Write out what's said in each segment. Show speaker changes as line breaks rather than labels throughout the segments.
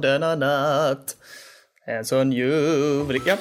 denna natt. En sån ljuvlig... Ja.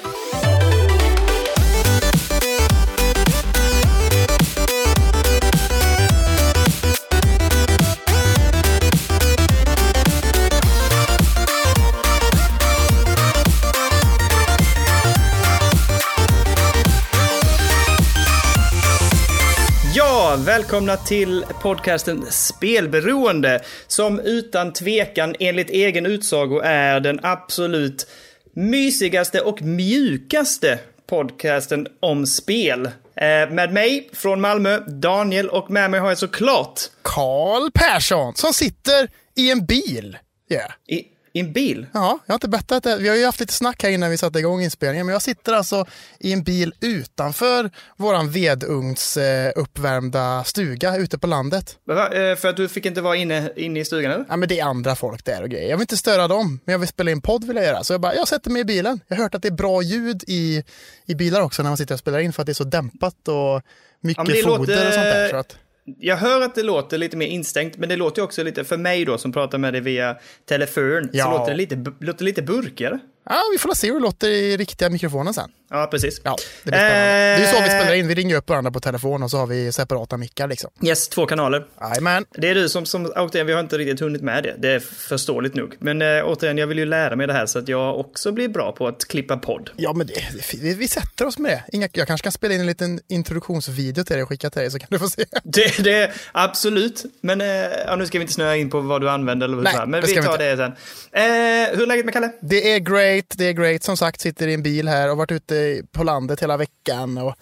Ja, välkomna till podcasten Spelberoende som utan tvekan enligt egen utsago är den absolut mysigaste och mjukaste podcasten om spel. Eh, Med mig från Malmö, Daniel och med mig har jag såklart
Karl Persson som sitter i en bil. Yeah.
i, i en bil.
Ja, jag har inte bettat det. Vi har ju haft lite snack här innan vi satte igång inspelningen, men jag sitter alltså i en bil utanför våran vedugns eh, uppvärmda stuga ute på landet.
Va? Eh, För att du fick inte vara inne, inne i stugan eller?
Ja, men det är andra folk där och grejer. Jag vill inte störa dem, men jag vill spela in podd vill jag göra. Så jag bara, jag sätter mig i bilen. Jag har hört att det är bra ljud i, i bilar också när man sitter och spelar in för att det är så dämpat och mycket
men det
foder
låter-
och sånt där. Så att...
Jag hör att det låter lite mer instängt, men det låter ju också lite, för mig då som pratar med dig via telefon, så
Ja.
låter det lite, bu- låter lite burkigare.
Ja, vi får väl se hur det låter i riktiga mikrofonen sen.
Ja, precis.
Ja, det blir spännande. Det är ju så vi spelar in. Vi ringer upp varandra på telefon och så har vi separata mickar liksom.
Yes, två kanaler.
Jajamän.
Det är du som, som återigen, vi har inte riktigt hunnit med det. Det är förståeligt nog. Men eh, återigen, jag vill ju lära mig det här så att jag också blir bra på att klippa podd.
Ja, men det, vi, vi sätter oss med det. Inga, jag kanske kan spela in en liten introduktionsvideo till dig och skicka till dig så kan du få se.
Det, det absolut. Men eh, ja, nu ska vi inte snöa in på vad du använder eller hur
Nej,
så här, Men
det
vi
ska vi
tar
inte.
det sen. Eh, hur är läget med Kalle?
Det är great, det är great. Som sagt, sitter i en bil här och varit ute på landet hela veckan och,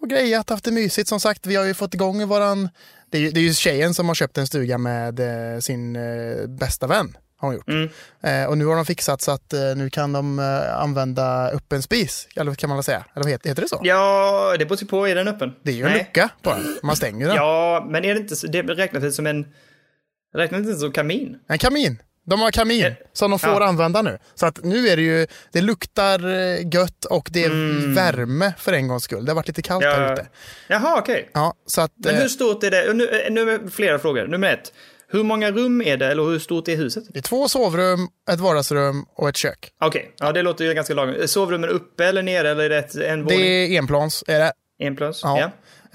och grejat, haft det mysigt. Som sagt, vi har ju fått igång våran... Det är ju, det är ju tjejen som har köpt en stuga med eh, sin eh, bästa vän. Har hon gjort.
Mm.
Eh, och nu har de fixat så att eh, nu kan de eh, använda öppen spis. Eller vad kan man väl säga? Eller vad heter, heter det så?
Ja, det beror ju på. Är den öppen?
Det är ju en lucka på den. Man stänger den.
Ja, men är det inte så- det räknas som en... Räknas inte som kamin?
En kamin. De har kamin som de får
Eh, ja.
använda nu. Så att nu är det ju, det luktar eh, gött och det är värme för en gångs skull. Det har varit lite kallt här
Mm. Ja.
ute.
Jaha, okej.
Ja, så att,
Men
eh,
hur stort är det? Och Nu, eh, nu är det flera frågor. Nummer ett. Hur många rum är det eller hur stort är huset?
eh, det är två sovrum, ett vardagsrum och ett kök.
Okej, ja det låter ju ganska lagom. Är Sovrummen uppe eller nere eller är det ett, en
Det
våning?
är enplans. Är det.
En plus? Ja.
Ja.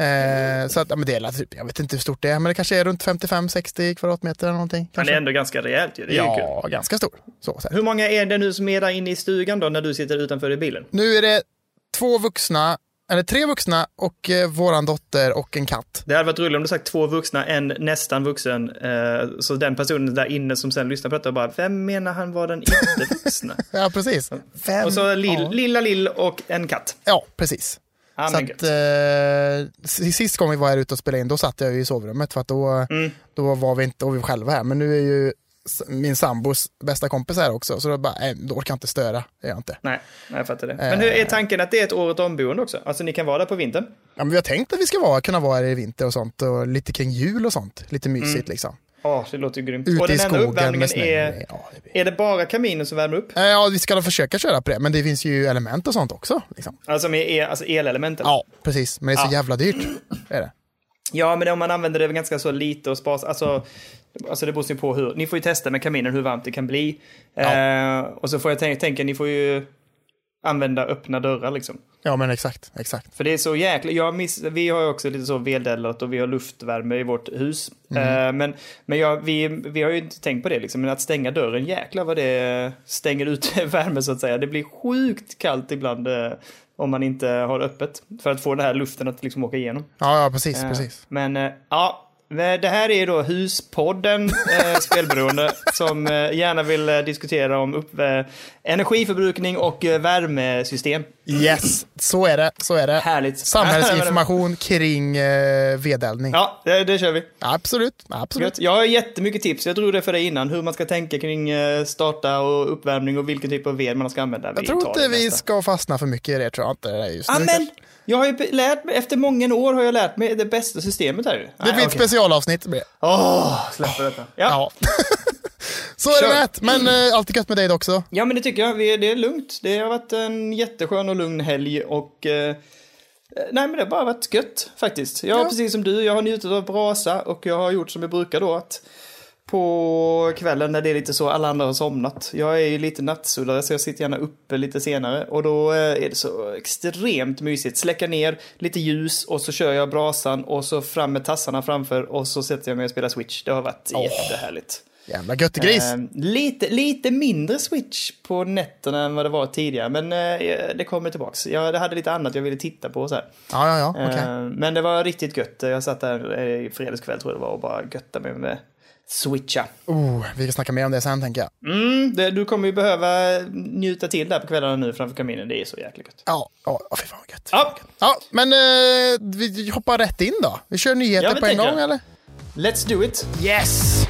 Eh, så att, ja, men det är, typ, jag vet inte hur stort det är, men det kanske är runt 55-60 kvadratmeter eller någonting.
Men det är
Kanske.
ändå ganska rejält ju. Det är ju kul.
Ja, ganska stor. Så, så här.
Hur många är det nu som är där inne i stugan då när du sitter utanför i bilen?
Nu är det två vuxna, eller tre vuxna och eh, våran dotter och en katt.
Det hade varit roligt om du sagt två vuxna, en nästan vuxen. Eh, så den personen där inne som sen lyssnar på detta bara, vem menar han var den inte vuxna?
Ja, precis. Fem,
och så lill,
ja.
lilla Lill och en katt.
ja, precis.
Ah,
Så
men
att, eh, s- sist gången vi var här ute och spelade in, då satt jag ju i sovrummet för att då,
Mm.
då var vi inte då var vi själva här. Men nu är ju s- min sambos bästa kompis här också, så då, bara, nej, då orkar jag inte störa. Det gör jag inte.
Nej, nej, jag fattar det. Men
eh,
hur är tanken att det är ett året omboende också? Alltså ni kan vara där på vintern?
Ja, men vi har tänkt att vi ska vara, kunna vara här i vinter och sånt, och lite kring jul och sånt. Lite mysigt liksom.
Ja, Ah, det låter ju grymt. och
Ute i
Mm. den enda
skogen
uppvärmningen
med snö.
är...
Ja, det blir...
Är det bara kaminen som värmer upp?
Eh, ja, vi ska då försöka köra på det, men det finns ju element och sånt också. Liksom.
Alltså med el, alltså elelementen?
Ja, precis. Men det är så jävla dyrt. Är det.
Ja, men om man använder det ganska så lite och sparas, alltså, alltså det beror ju på hur, ni får ju testa med kaminen hur varmt det kan bli. Eh, och så får jag tänka, tänka, ni får ju använda öppna dörrar liksom.
Ja, men exakt. exakt.
För det är så jäkla, jag miss, vi har ju också lite så vedeldrat och vi har luftvärme i vårt hus.
Mm.
Eh, men men jag, vi, vi har ju inte tänkt på det liksom, men att stänga dörren, jäklar vad det stänger ut värme så att säga. Det blir sjukt kallt ibland eh, om man inte har öppet. För att få den här luften att liksom åka igenom.
Ja, ja precis. precis.
Men eh, ja, det här är då Huspodden eh, Spelberoende som eh, gärna vill eh, diskutera om upp, eh, energiförbrukning och eh, värmesystem.
Yes, så är det. Så är det.
Härligt.
Samhällsinformation kring eh, vedeldning.
Ja, det, det kör vi.
Mm. Absolut, absolut.
Gött. Jag har jättemycket tips, jag drog det för dig innan, hur man ska tänka kring eh, starta och uppvärmning och vilken typ av ved man ska använda.
Jag tror inte vi
ska...
ska fastna för mycket i det, tror jag inte. Det är just nu.
Amen! Jag har ju be- lärt mig, efter många år har jag lärt mig det bästa systemet här ju.
Det blir ett specialavsnitt. med det.
Åh, släpper detta. Ja.
Ja. så är
Kör.
det med ett. Men eh, allt är gött med dig också.
Ja, men det tycker jag. Vi- Det är lugnt. Det har varit en jätteskön och lugn helg och... Eh, nej, men det har bara varit gött faktiskt. Jag har
Ja.
precis som du, jag har njutit av brasa och jag har gjort som jag brukar då att på kvällen när det är lite så alla andra har somnat. Jag är ju lite nattsuddare så jag sitter gärna uppe lite senare och då eh, är det så extremt mysigt. Släcka ner lite ljus och så kör jag brasan och så fram med tassarna framför och så sätter jag mig och spelar Switch. Det har varit jättehärligt.
Jävla göttegris.
Eh, lite, lite mindre switch på nätterna än vad det var tidigare, men eh, det kommer tillbaks. Jag hade lite annat jag ville titta på och så här.
ja, ja, ja. okej.
Eh, men det var riktigt gött. Jag satt där eh, i fredagskväll tror jag det var och bara götta mig med switcha.
Oh, vi ska snacka mer om det sen tänker jag.
Mm, det, du kommer ju behöva njuta till där på kvällarna nu framför kaminen. Det är så jäkla gött.
Ja, ja, ja, fy fan vad gött.
Ja,
Ja, men eh, vi hoppar rätt in då. Vi kör nyheter
Ja, det
på en
tänker
gång
jag.
eller?
let's do it.
Yes!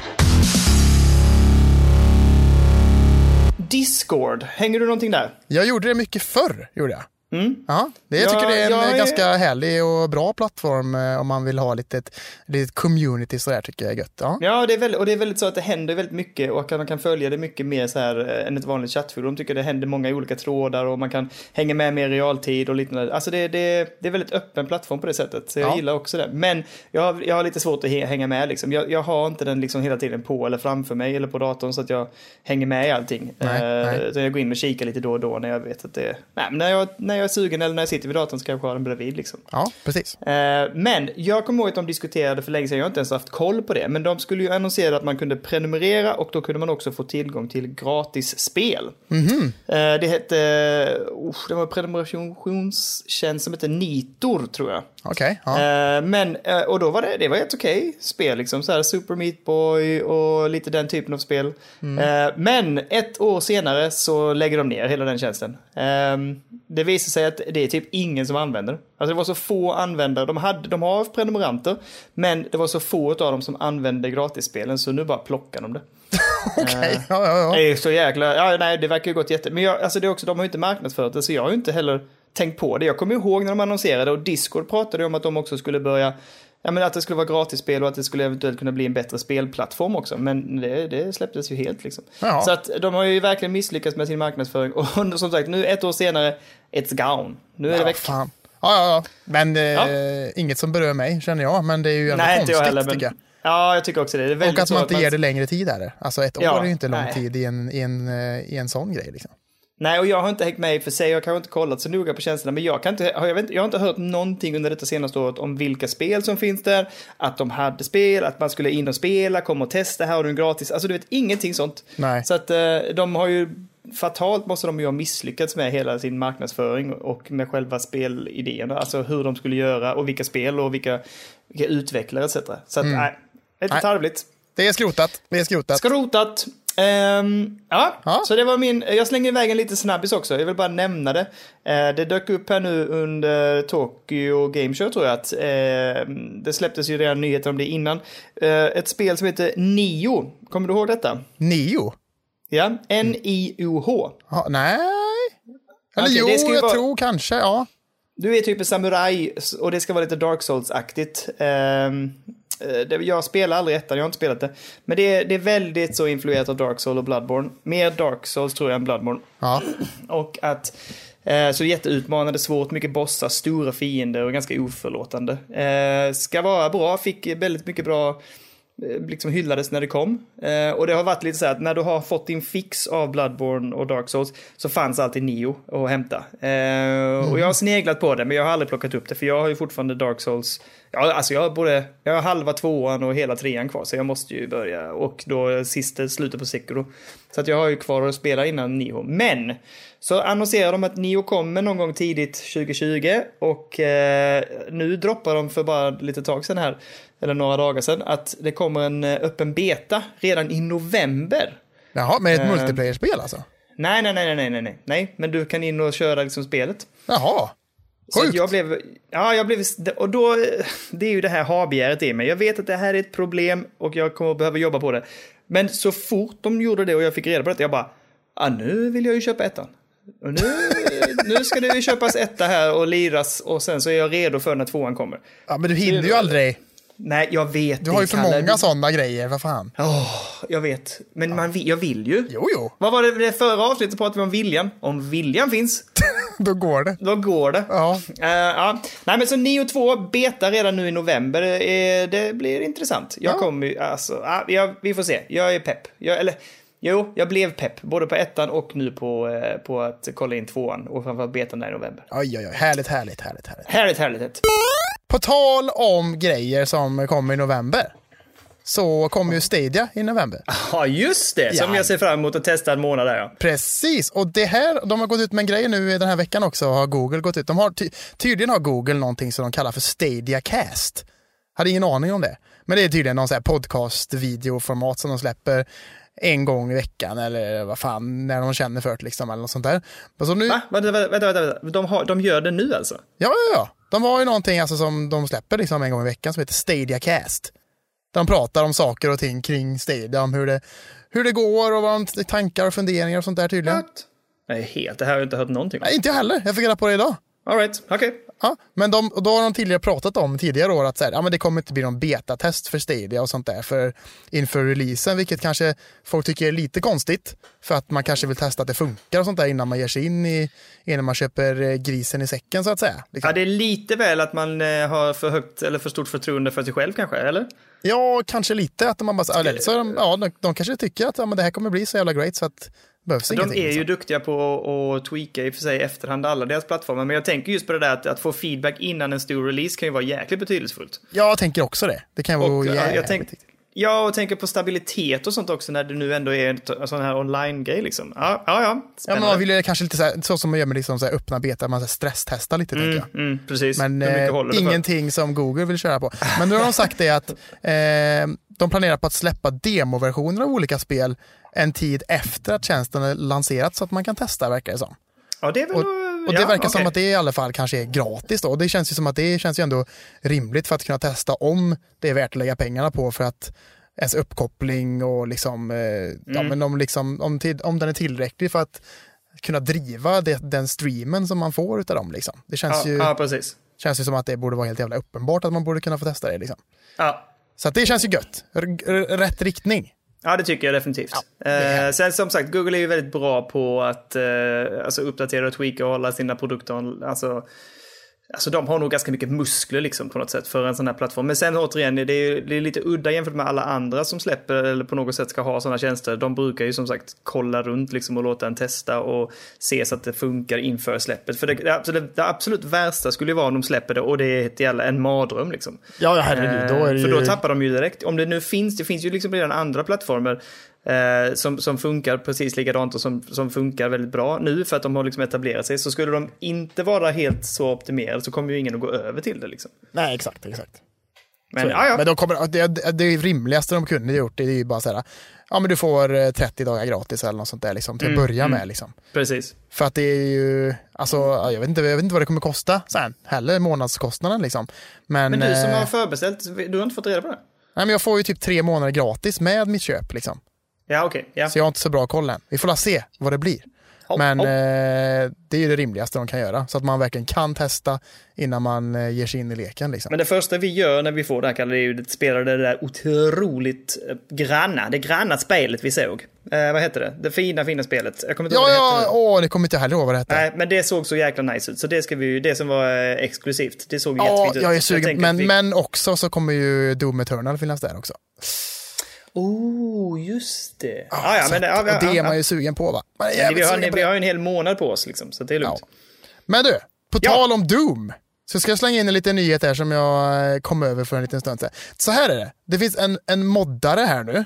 Discord, hänger du någonting där?
Jag gjorde det mycket förr, gjorde jag.
Mm.
Ja, det, jag
Ja,
tycker det är en
jag
eh,
är-
ganska härlig och bra plattform eh, om man vill ha lite, ett- lite community sådär tycker jag är gött. Ja.
Ja, det är väldigt, och det är väldigt så att det händer väldigt mycket och att man kan följa det mycket mer så här eh, än ett vanligt chattforum. De tycker det händer många olika trådar och man kan hänga med mer i realtid och liknande. Alltså det, det, det är väldigt öppen plattform på det sättet, så jag
Ja.
gillar också det. Men jag har, jag har lite svårt att he- hänga med liksom. Jag, jag har inte den liksom hela tiden på eller framför mig eller på datorn så att jag hänger med i allting.
Nej,
Eh,
nej.
Utan jag går in och kikar lite då och då när jag vet att det nej, men när, jag, när jag är sugen eller när jag sitter vid datorn så kanske jag har den bredvid liksom.
ja, precis.
Eh, Men jag kommer ihåg att de diskuterade för länge sedan, jag har inte ens haft koll på det, men de skulle ju annonsera att man kunde prenumerera och då kunde man också få tillgång till gratis spel.
Mhm.
Eh, Det hette, oh, det var en prenumerationstjänst som hette Nitor tror jag.
Okej, ja.
Eh, Men, eh, och då var det, det var ett okej spel liksom, så här Super Meat Boy och lite den typen av spel. Eh, Men ett år senare så lägger de ner hela den tjänsten. Eh, Det visar sig att det är typ ingen som använder det. Alltså det var så få användare, de, hade, de har prenumeranter, men det var så få av dem som använde gratisspelen så nu bara plockar de det.
okej. Ja, ja, ja.
Det är så jäkla, ja nej det verkar ju gått jätte, men jag, alltså det är också, de har ju inte marknadsfört det så jag har ju inte heller tänkt på det. Jag kommer ju ihåg när de annonserade och Discord pratade ju om att de också skulle börja, ja men att det skulle vara gratisspel och att det skulle eventuellt kunna bli en bättre spelplattform också, men det, det släpptes ju helt liksom.
Ja.
Så att de har ju verkligen misslyckats med sin marknadsföring och som sagt nu ett år senare, it's gone. Nu är det
Ja,
väck.
fan. Ja, ja, ja. Men eh, inget som berör mig känner jag, men det är ju ändå
Nej, inte
konstigt
jag heller.
tycker jag.
Men, ja, jag tycker också det. det är
Och
väldigt
att
så
man inte ger det längre tid är det. Alltså ett år
Ja,
är ju inte lång
nej.
tid i en, i, en, eh, i en sån grej. Liksom.
Nej, och jag har inte hängt med i och för sig, jag har kanske inte kollat så noga på tjänsterna, men jag, kan inte, har- jag, vet, inte- jag har inte hört någonting under detta senaste året om vilka spel som finns där, att de hade spel, att man skulle in och spela, kom och testa, här har du en gratis, alltså du vet ingenting sånt.
Nej.
Så att eh, de har ju, fatalt måste de ju ha misslyckats med hela sin marknadsföring och med själva spelidén, alltså hur de skulle göra och vilka spel och vilka, vilka utvecklare etc. Så att, nej, lite
Mm. Nej.
tarvligt.
Det är skrotat. Det är skrotat.
Skrotat. Ehm, ja,
Ja.
så det var min. Jag slänger iväg en liten snabbis också. Jag vill bara nämna det. Eh, det dök upp här nu under Tokyo Game Show tror jag att eh, det släpptes ju redan nyheter om det innan. Eh, ett spel som heter Nio. Kommer du ihåg detta?
Nio?
Ja, N-I-O-H.
Ja, nej. Eller
Okej,
jo,
det ska ju
jag
vara-
tror kanske. Ja.
Du är typ en samuraj och det ska vara lite Dark Souls-aktigt. Ehm, eh, det- jag spelar aldrig ettan, jag har inte spelat det. Men det är, det är väldigt så influerat av Dark Souls och Bloodborne. Mer Dark Souls tror jag än Bloodborne.
Ja.
Och att eh, så jätteutmanande, svårt, mycket bossar, stora fiender och ganska oförlåtande. Eh, ska vara bra, fick väldigt mycket bra, eh, liksom hyllades när det kom. Eh, och det har varit lite så här att när du har fått din fix av Bloodborne och Dark Souls så fanns alltid Nio att hämta. Eh, Och jag har sneglat på det men jag har aldrig plockat upp det för jag har ju fortfarande Dark Souls. Ja, alltså jag har både, jag har halva tvåan och hela trean kvar så jag måste ju börja och då sista slutet på Sekiro. Så att jag har ju kvar att spela innan Nio. Men så annonserar de att Nio kommer någon gång tidigt 2020 och eh, nu droppar de för bara lite tag sedan här, eller några dagar sedan, att det kommer en eh, öppen beta redan i november.
Jaha, men ett multiplayer-spel alltså?
Nej, nej, nej, nej, nej, nej, nej, men du kan in och köra liksom spelet.
Jaha.
Så att
Sjukt.
jag blev, ja, jag blev, och då, det är ju det här habegäret i mig. Jag vet att det här är ett problem och jag kommer att behöva jobba på det. Men så fort de gjorde det och jag fick reda på det, jag bara, ah, nu vill jag ju köpa ettan. Och nu, nu ska det ju köpas etta här och liras och sen så är jag redo för när tvåan kommer.
Ja, men du hinner ju aldrig.
Nej, jag vet.
Du har ju
det,
för
Kalle.
många sådana grejer, vad fan.
Åh, jag vet. Men man, vill- jag vill ju.
Jo, jo.
Vad var det, det förra avsnittet pratade vi om viljan. Om viljan finns
då går det.
Då går det.
Ja.
Eh, ja. Nej men så Neo 2 beta redan nu i november. Eh, det blir intressant. Jag
Ja.
kommer ju, alltså, ja, jag, vi får se. Jag är pepp. Jag, eller, jo, jag blev pepp. Både på ettan och nu på, eh, på att kolla in tvåan. Och framförallt betan där i november.
Oj, oj, oj. Härligt, härligt, härligt, härligt.
Härligt, härligt. härligt.
På tal om grejer som kommer i november. Så kommer ju Stadia i november.
Ja, just det. Som
Ja.
jag ser fram emot att testa en månad där ja.
Precis, och det här, de har gått ut med en grej nu i den här veckan också, har Google gått ut. De har ty- tydligen har Google någonting som de kallar för Stadia Cast. Hade ingen aning om det. Men det är tydligen någon sån här podcast-videoformat som de släpper en gång i veckan eller vad fan, när de känner för det liksom eller något sånt där. Men Så nu,
Va? Ah, Vänta, vänta, vänta. vänta. De, har, de gör det nu alltså?
Ja, ja, ja. De har ju någonting alltså, som de släpper liksom en gång i veckan som heter Stadia Cast. Där de pratar om saker och ting kring Stadia, om hur det, hur det går och vad de tankar och funderingar och sånt där tydligen.
Nej, helt. Det här har jag inte hört någonting om.
Nej, inte jag heller. Jag fick reda på det idag.
All right, okej.
Ja, men de, och då har de tidigare pratat om tidigare år att så här, ja, men det kommer inte bli någon betatest för Stadia och sånt där för, inför releasen, vilket kanske folk tycker är lite konstigt. För att man kanske vill testa att det funkar och sånt där innan man ger sig in i, innan man köper eh, grisen i säcken så att säga. Liksom.
Ja, det är lite väl att man eh, har för högt eller för stort förtroende för sig själv kanske, eller?
Ja, kanske lite. Att man bara, så- eller, så är de, ja, de, de kanske tycker att ja, men det här kommer bli så jävla great så att det behövs
De
ingenting.
är ju
liksom.
duktiga på att- att tweaka i och för sig i efterhand alla deras plattformar, men jag tänker just på det där att, att få feedback innan en stor release kan ju vara jäkligt betydelsefullt.
Jag tänker också det. Det kan vara
Och, ja,
jävligt
jag tänk, ja, och tänker på stabilitet och sånt också när det nu ändå är en t- en sån här online-grej liksom. Ja, ja, ja.
Ja, men
spännande.
man vill ju kanske lite så, här, så som man gör med liksom så här öppna beta, man så här stresstestar lite tänker jag.
mm, precis.
Men
Hur mycket
eh,
håller det för?
ingenting som Google vill köra på. Men nu har de sagt det att eh, de planerar på att släppa demoversioner av olika spel en tid efter att tjänsten är lanserad så att man kan testa verkar det som.
Ja, det är väl...
Och, och det
ja,
verkar som
okej.
att det i alla fall kanske är gratis då. Och det känns ju som att det känns ju ändå rimligt för att kunna testa om det är värt att lägga pengarna på för att ens uppkoppling och liksom, eh, ja,
Mm.
men om, liksom om, tid, om den är tillräcklig för att kunna driva det, den streamen som man får utav dem. Liksom. Det känns,
Ja,
ju,
ja, precis.
känns ju som att det borde vara helt jävla uppenbart att man borde kunna få testa det. Liksom.
Ja.
Så att det känns ju gött. R- r- rätt riktning.
Ja, det tycker jag definitivt. eh, sen som sagt, Google är ju väldigt bra på att eh, alltså uppdatera och tweaka och hålla sina produkter. Alltså, alltså de har nog ganska mycket muskler liksom på något sätt för en sån här plattform. Men sen återigen, det är, ju- det är lite udda jämfört med alla andra som släpper eller på något sätt ska ha sådana tjänster. De brukar ju som sagt kolla runt liksom och låta en testa och se så att det funkar inför släppet. För det, det, absolut, det absolut värsta skulle ju vara om de släpper det och det är ett jävla, en mardröm liksom.
Ja, ja
Eh, För då tappar de ju direkt. Om det nu finns, det finns ju liksom redan andra plattformar eh, som, som funkar precis likadant och som, som funkar väldigt bra nu för att de har liksom etablerat sig. Så skulle de inte vara helt så optimerade så kommer ju ingen att gå över till det liksom.
Nej, exakt, exakt.
Men,
Så
ja,
är det.
ja.
Men de kommer, det, det- det rimligaste de kunde gjort det är ju bara så här, ja men du får eh, 30 dagar gratis eller något sånt där liksom, till
Mm,
att börja med. Liksom.
precis.
För att det är ju, alltså ja, jag vet inte, jag vet inte vad det kommer kosta sen heller, månadskostnaden liksom. Men,
Men du som
eh,
har förbeställt, du har inte fått reda på det?
nej, men jag får ju typ tre månader gratis med mitt köp liksom.
Ja, okej. Ja.
Så Alltså, jag har inte så bra koll än. Vi får la se vad det blir.
Hopp,
Men
hopp.
eh, det är ju det rimligaste de kan göra, så att man verkligen kan testa innan man eh, ger sig in i leken. Liksom.
Men det första vi gör när vi får det här Kalle, det är ju att spela det där otroligt eh, granna, det granna spelet vi såg. Eh, vad heter det? Det fina, fina spelet. Jag kommer inte ihåg
ja,
vad det heter nu.
ja, åh, det kommer inte jag heller ihåg vad det hette.
Nej, men det såg så jäkla nice ut. Så det ska vi ju, det som var eh, exklusivt, det såg
Ja,
jättefint ut.
jag
tänker
är sugen.
att
men,
vi...
men också så kommer ju Doom Eternal finnas där också.
Oh, just det. Ah, ja,
Så
men det,
att-
ja,
och det är
ja,
man
ja.
ju sugen på va? Man är
Men Vi
jävligt
har,
sugen
ni,
på
vi
det.
har ju en hel månad på oss liksom, så det är lugnt.
Ja. Men du, på
Ja.
tal om Doom. Så ska jag slänga in en liten nyhet här som jag eh, kom över för en liten stund sedan. Så här är det. Det finns en, en moddare här nu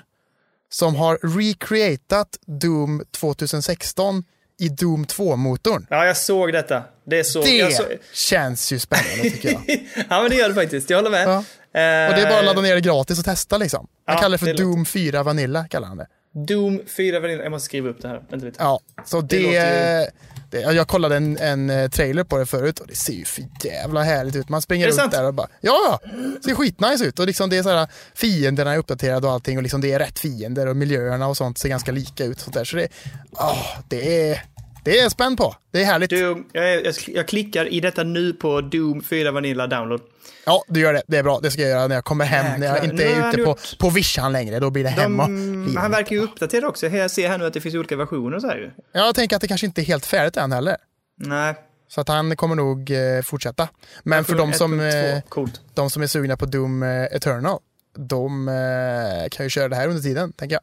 som har recreatat Doom 2016 i Doom 2-motorn.
Ja, jag såg detta. Det är så...
Det
Jag så...
känns ju spännande tycker jag.
ja, men det gör det faktiskt. Jag håller med.
Ja. Och det är bara att
Eh,
ladda ner det gratis och testa liksom. Han
Ja,
kallar det för
det låter-
Doom 4 Vanilla. Kallar han det.
Doom 4 Vanilla. Jag måste skriva upp det här. Vänta lite.
Ja, så det...
låter
det, ja, jag kollade en, en eh, trailer på det förut och det ser ju för jävla härligt ut. Man springer
Är det
runt
sant?
där och bara, ja, ja, det ser skitnice ut. Och liksom det är så här, fienderna är uppdaterade och allting och liksom det är rätt fiender och miljöerna och sånt ser ganska lika ut. Och sånt där. Så det, oh, det, är, det är jag spänd på. Det är härligt.
Doom, jag, jag, jag klickar i detta nu på Doom 4 Vanilla Download.
Ja, du gör det. Det är bra. Det ska jag göra när jag kommer hem. när jag
Jäklar.
inte
Nu har
är
han
ute på,
gjort-
på vischan längre. Då blir det hemma.
Mm, han verkar ju uppdaterad också. Jag ser här nu att det finns olika versioner och så här ju.
Ja, Jag tänker att det kanske inte är helt färdigt än heller.
Nej.
Så att han kommer nog eh, fortsätta. Men för de som, eh,
1.2, Coolt.
de som är sugna på Doom eh, Eternal, de eh, kan ju köra det här under tiden, tänker jag.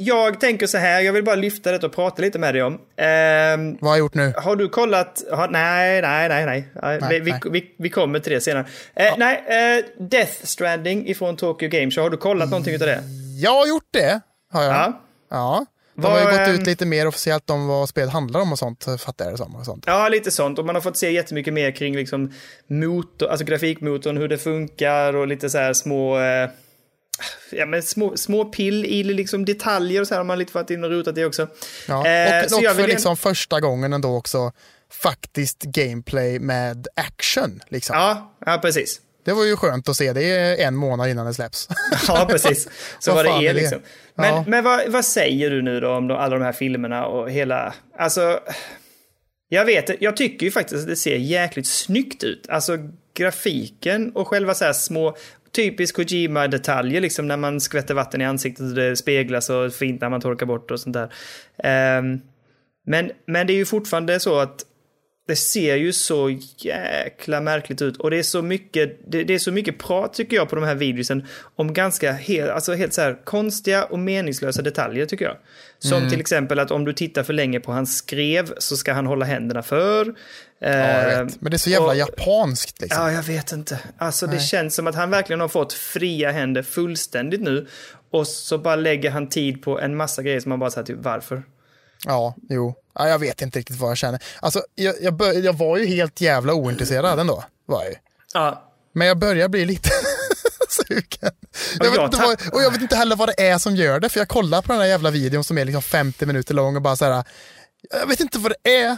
Jag tänker så här, jag vill bara lyfta det och prata lite med dig om. Ehm,
Vad har jag gjort nu?
Har du kollat? Har, nej, nej, nej, nej. nej,
Nej,
vi, vi-
nej.
Vi, vi kommer till det senare. Eh, Nej, eh, Death Stranding ifrån Tokyo Game Show. Har du kollat någonting utav det?
Jag har gjort det, har jag. Ja.
Ja.
De
Vad,
har ju gått
ehm,
ut lite mer officiellt om vad spelet handlar om och sånt, fattar jag det som. Och sånt.
ja, lite sånt. Och man har fått se jättemycket mer kring liksom motor, alltså grafikmotorn, hur det funkar och lite så här små... Eh, ja, men små, små pill i liksom detaljer och så här har man lite varit inne och rotat i också.
Ja.
Eh,
och
så
och
jag
för
vill-
liksom första gången ändå också faktiskt gameplay med action. Liksom.
Ja, ja, precis.
Det var ju skönt att se det en månad innan det släpps.
Ja, precis. Så
Vad
vad,
fan
det
är
är
det?
liksom. Men,
Ja.
men vad, vad säger du nu då om de, alla de här filmerna och hela... Alltså, jag vet Jag tycker ju faktiskt att det ser jäkligt snyggt ut. Alltså grafiken och själva så här små... Typiskt Kojima-detaljer, liksom när man skvätter vatten i ansiktet och det speglas och fint när man torkar bort och sånt där. Ehm, men, men det är ju fortfarande så att det ser ju så jäkla märkligt ut och det är så mycket, det, det är så mycket prat tycker jag på de här videosen om ganska helt, alltså helt så här konstiga och meningslösa detaljer tycker jag. Som
Mm.
till exempel att om du tittar för länge på hans skrev så ska han hålla händerna för.
Ja,
Eh,
jag vet. Men det är så jävla
och-
japanskt liksom.
Ja, jag vet inte. Alltså det känns som att han verkligen har fått fria händer fullständigt nu. Och så bara lägger han tid på en massa grejer som man bara säger typ varför?
Ja, jo. Ja, jag vet inte riktigt vad jag känner. Alltså, jag, jag, bör, jag var ju helt jävla ointresserad ändå. Var jag ju.
Ja,
Men jag börjar bli lite sugen. Jag vet
jag
inte vad,
tapp-
och jag vet inte heller vad det är som gör det, för jag kollar på den här jävla videon som är liksom 50 minuter lång och bara så här. Jag vet inte vad det är, men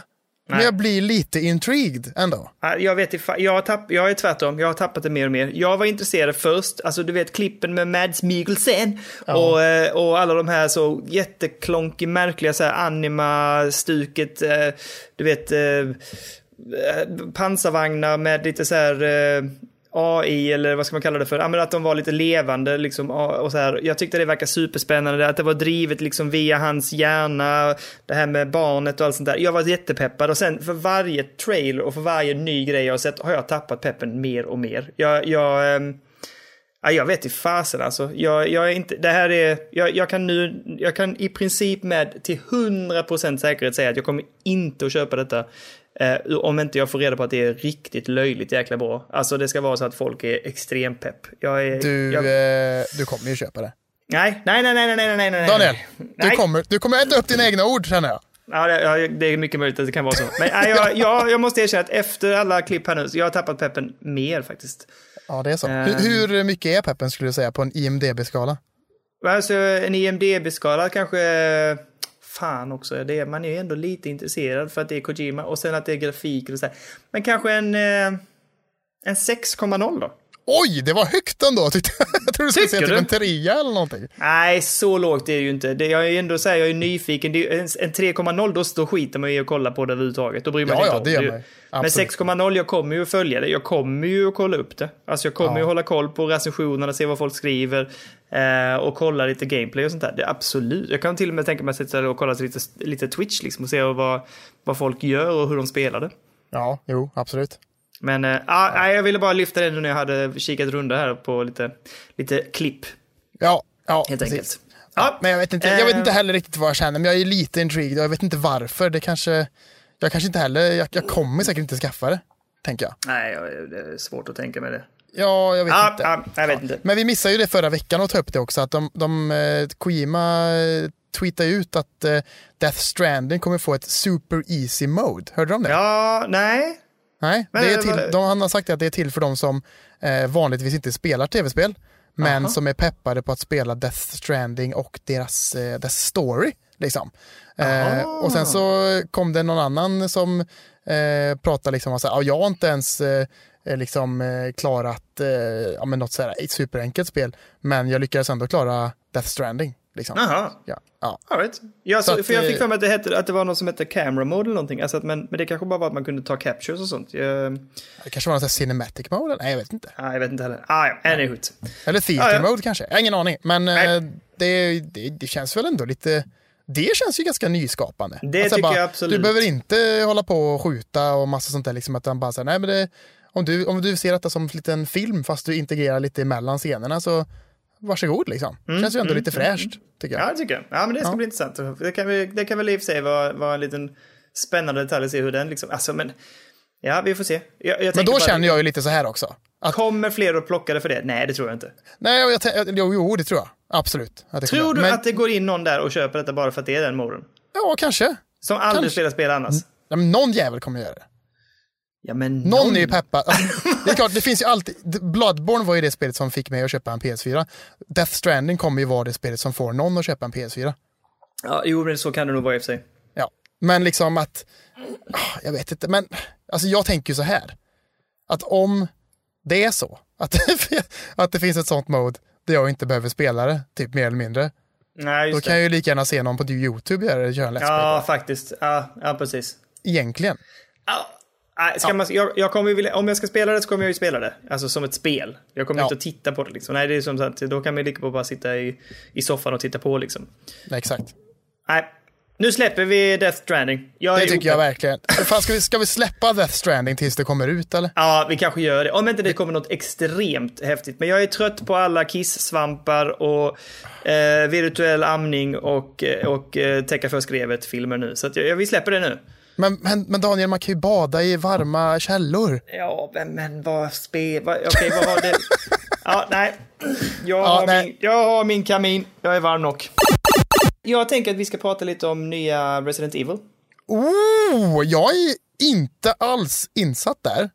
Nej.
jag blir lite intrigued ändå.
Ja, Jag vet ifa- jag, har tapp, jag är tvärtom, jag har tappat det mer och mer. Jag var intresserad först, alltså du vet klippen med Mads Mikkelsen och, eh, och alla de här så jätteklonkig, märkliga så här anima-stuket, eh, du vet eh, eh, pansarvagnar med lite så här eh, AI eller vad ska man kalla det för? Ja, men att de var lite levande liksom och och så här. Jag tyckte det verkar superspännande, att det var drivet liksom via hans hjärna, det här med barnet och allt sånt där. Jag var jättepeppad och sen för varje trailer och för varje ny grej jag har sett har jag tappat peppen mer och mer. Jag, jag, ehm, ja, jag vet i fasen alltså. Jag, jag är inte, det här är, jag, jag kan nu, jag kan i princip med till 100% säkerhet säga att jag kommer inte att köpa detta. Eh, om inte jag får reda på att det är riktigt löjligt jäkla bra. Alltså det ska vara så att folk är extrempepp. Jag är,
Du,
jag,
eh, du kommer ju köpa det.
nej, nej, nej, nej, nej, nej, nej, nej.
Daniel, du
Nej.
kommer, du kommer äta upp dina egna ord känner jag.
Ja, det, ja, det är mycket möjligt att det kan vara så. Men nej, jag, jag, jag måste erkänna att efter alla klipp här nu, så jag har tappat peppen mer faktiskt.
Ja, det är så.
Ehm.
Hur, hur mycket är peppen skulle du säga på en IMDB-skala?
Alltså en IMDB-skala kanske... Fan också, det är, man är ju ändå lite intresserad för att det är Kojima och sen att det är grafik och så här. Men kanske en... eh, En 6,0 då?
Oj, det var högt ändå tyckte jag. Jag trodde du skulle säga
Tycker
typ
du?
en trea eller någonting.
Nej, så lågt är det ju inte. Det, jag är ju ändå så här, jag är nyfiken. Det är, ju- en en 3,0 då, då skiter man ju i att kolla på det överhuvudtaget. Då bryr man
Ja,
sig inte
ja,
om
det gör
ju-
man ju.
Men
Absolut.
6,0, jag kommer ju att följa det. Jag kommer ju att kolla upp det. Alltså jag kommer ju hålla koll på recensionerna, se vad folk skriver eh, och kolla lite gameplay och sånt där. Det, är absolut. Jag kan till och med tänka mig att sitta och kolla lite, lite Twitch liksom och se vad, vad folk gör och hur de spelar det.
Ja, jo, absolut.
Men eh, ah, nej, jag ville bara lyfta det nu när jag hade kikat runda här på lite, lite klipp
Ja, ja
helt
precis.
enkelt. Ja,
Men jag vet, inte, jag vet
Eh.
inte heller riktigt vad jag känner, men jag är lite intrigued och jag vet inte varför. Det kanske, jag kanske inte heller, jag, jag kommer säkert inte skaffa det, tänker jag.
Nej, jag- det är svårt att tänka mig det.
Ja, jag vet
Ja,
inte.
ja, Ah, jag vet inte.
Men vi missade ju det förra veckan och ta upp det också, att de, de eh, Kojima eh, tweetade ut att eh, Death Stranding kommer få ett super easy mode. Hörde du om det?
Ja, nej.
Nej,
Men
det är
det var-
till, de, han har sagt att det är till för de som eh, vanligtvis inte spelar tv-spel, men som är peppade på att spela Death Stranding och deras, eh, dess story. Liksom. Eh, och sen så kom det någon annan som eh, pratade liksom om att jag har inte ens eh, eh, liksom, eh, klarat eh, ja, men något så här, ett superenkelt spel, men jag lyckades ändå klara Death Stranding. Liksom.
Jaha.
Ja, ja.
All right. Jag,
Så
så,
att,
för jag
eh,
fick för mig att det, hette, att det var något som hette camera mode eller någonting. Alltså att, men, men det kanske bara var att man kunde ta captures och sånt. Jag,
Det kanske var någon så här cinematic mode? Nej, jag vet inte.
ah, jag vet inte heller. Ah, ja, anyhoot.
Eller theater
Ja, ja.
mode kanske. Jag har ingen aning. Men eh,
Nej.
det, det, det känns väl ändå lite Det känns ju ganska nyskapande. Alltså,
Det tycker
bara,
jag absolut.
Du behöver inte hålla på och skjuta och massa sånt där. Liksom, att han bara säger, nej men det, om, du, om du ser detta som en liten film fast du integrerar lite emellan scenerna så varsågod liksom.
Mm,
känns ju ändå lite fräscht tycker jag.
Ja, det tycker jag. Ja, men det ska bli intressant. Det kan, vi- det kan väl i och för sig vara, vara en liten spännande detalj att se hur den liksom, alltså men, ja vi får se. Jag, jag
men då känner jag ju lite så här också. Att,
Kommer fler att plocka det för det? Nej, det tror jag inte.
nej, och jag, tän- jo, jo, det tror jag. Absolut. att det kommer
Tror
att-
du
men,
att det går in någon där och köper detta bara för att det är den moren?
Ja, kanske.
Som aldrig
Kanske.
spelar spel annars?
Ja, men någon jävel kommer göra det.
Ja, men
Någon är ju peppad. Alltså, det är klart, det finns ju alltid. Bloodborne var ju det spelet som fick mig att köpa en PS4. Death Stranding kommer ju vara det spelet som får någon att köpa en PS4.
Ja, jo, men så kan det nog vara i och för sig.
Ja. Men liksom att, ah, jag vet inte, men alltså jag tänker ju så här. Att om det är så, att, att det finns ett sånt mode där jag inte behöver spelare, typ mer eller mindre.
Nej,
Då
just
kan
det.
jag ju lika gärna se någon på typ YouTube göra det, köra en Let's Play på
Ja, faktiskt. Ja, ja precis.
det. Egentligen.
Ja. Nej, Ska man, jag, jag kommer ju vilja, om jag ska spela det så kommer jag ju spela det. Alltså som ett spel. Jag kommer
Ja.
inte att titta på det liksom. Nej, det är som så att då kan man ju lika på bara sitta i, i soffan och titta på liksom.
Nej, exakt.
Nej, nu släpper vi Death Stranding. Jag
Det
är
tycker jag
opepp.
verkligen. Fan, ska, vi, ska vi släppa Death Stranding tills det kommer ut eller?
Ja, vi kanske gör det. Om inte det kommer något extremt häftigt. Men jag är trött på alla kissvampar och eh, virtuell amning och, eh, och eh, täcka för skrevet-filmer nu. Så att jag, jag, vi släpper det nu.
Men, men, men Daniel, man kan ju bada i varma källor.
Ja, men, men vad spel... Vad, Okej, vad har det... Ja, nej. Jag, har
nej.
Min, jag har min kamin. Jag är varm nog. Jag tänker att vi ska prata lite om nya Resident Evil.
Oh, jag är inte alls insatt där.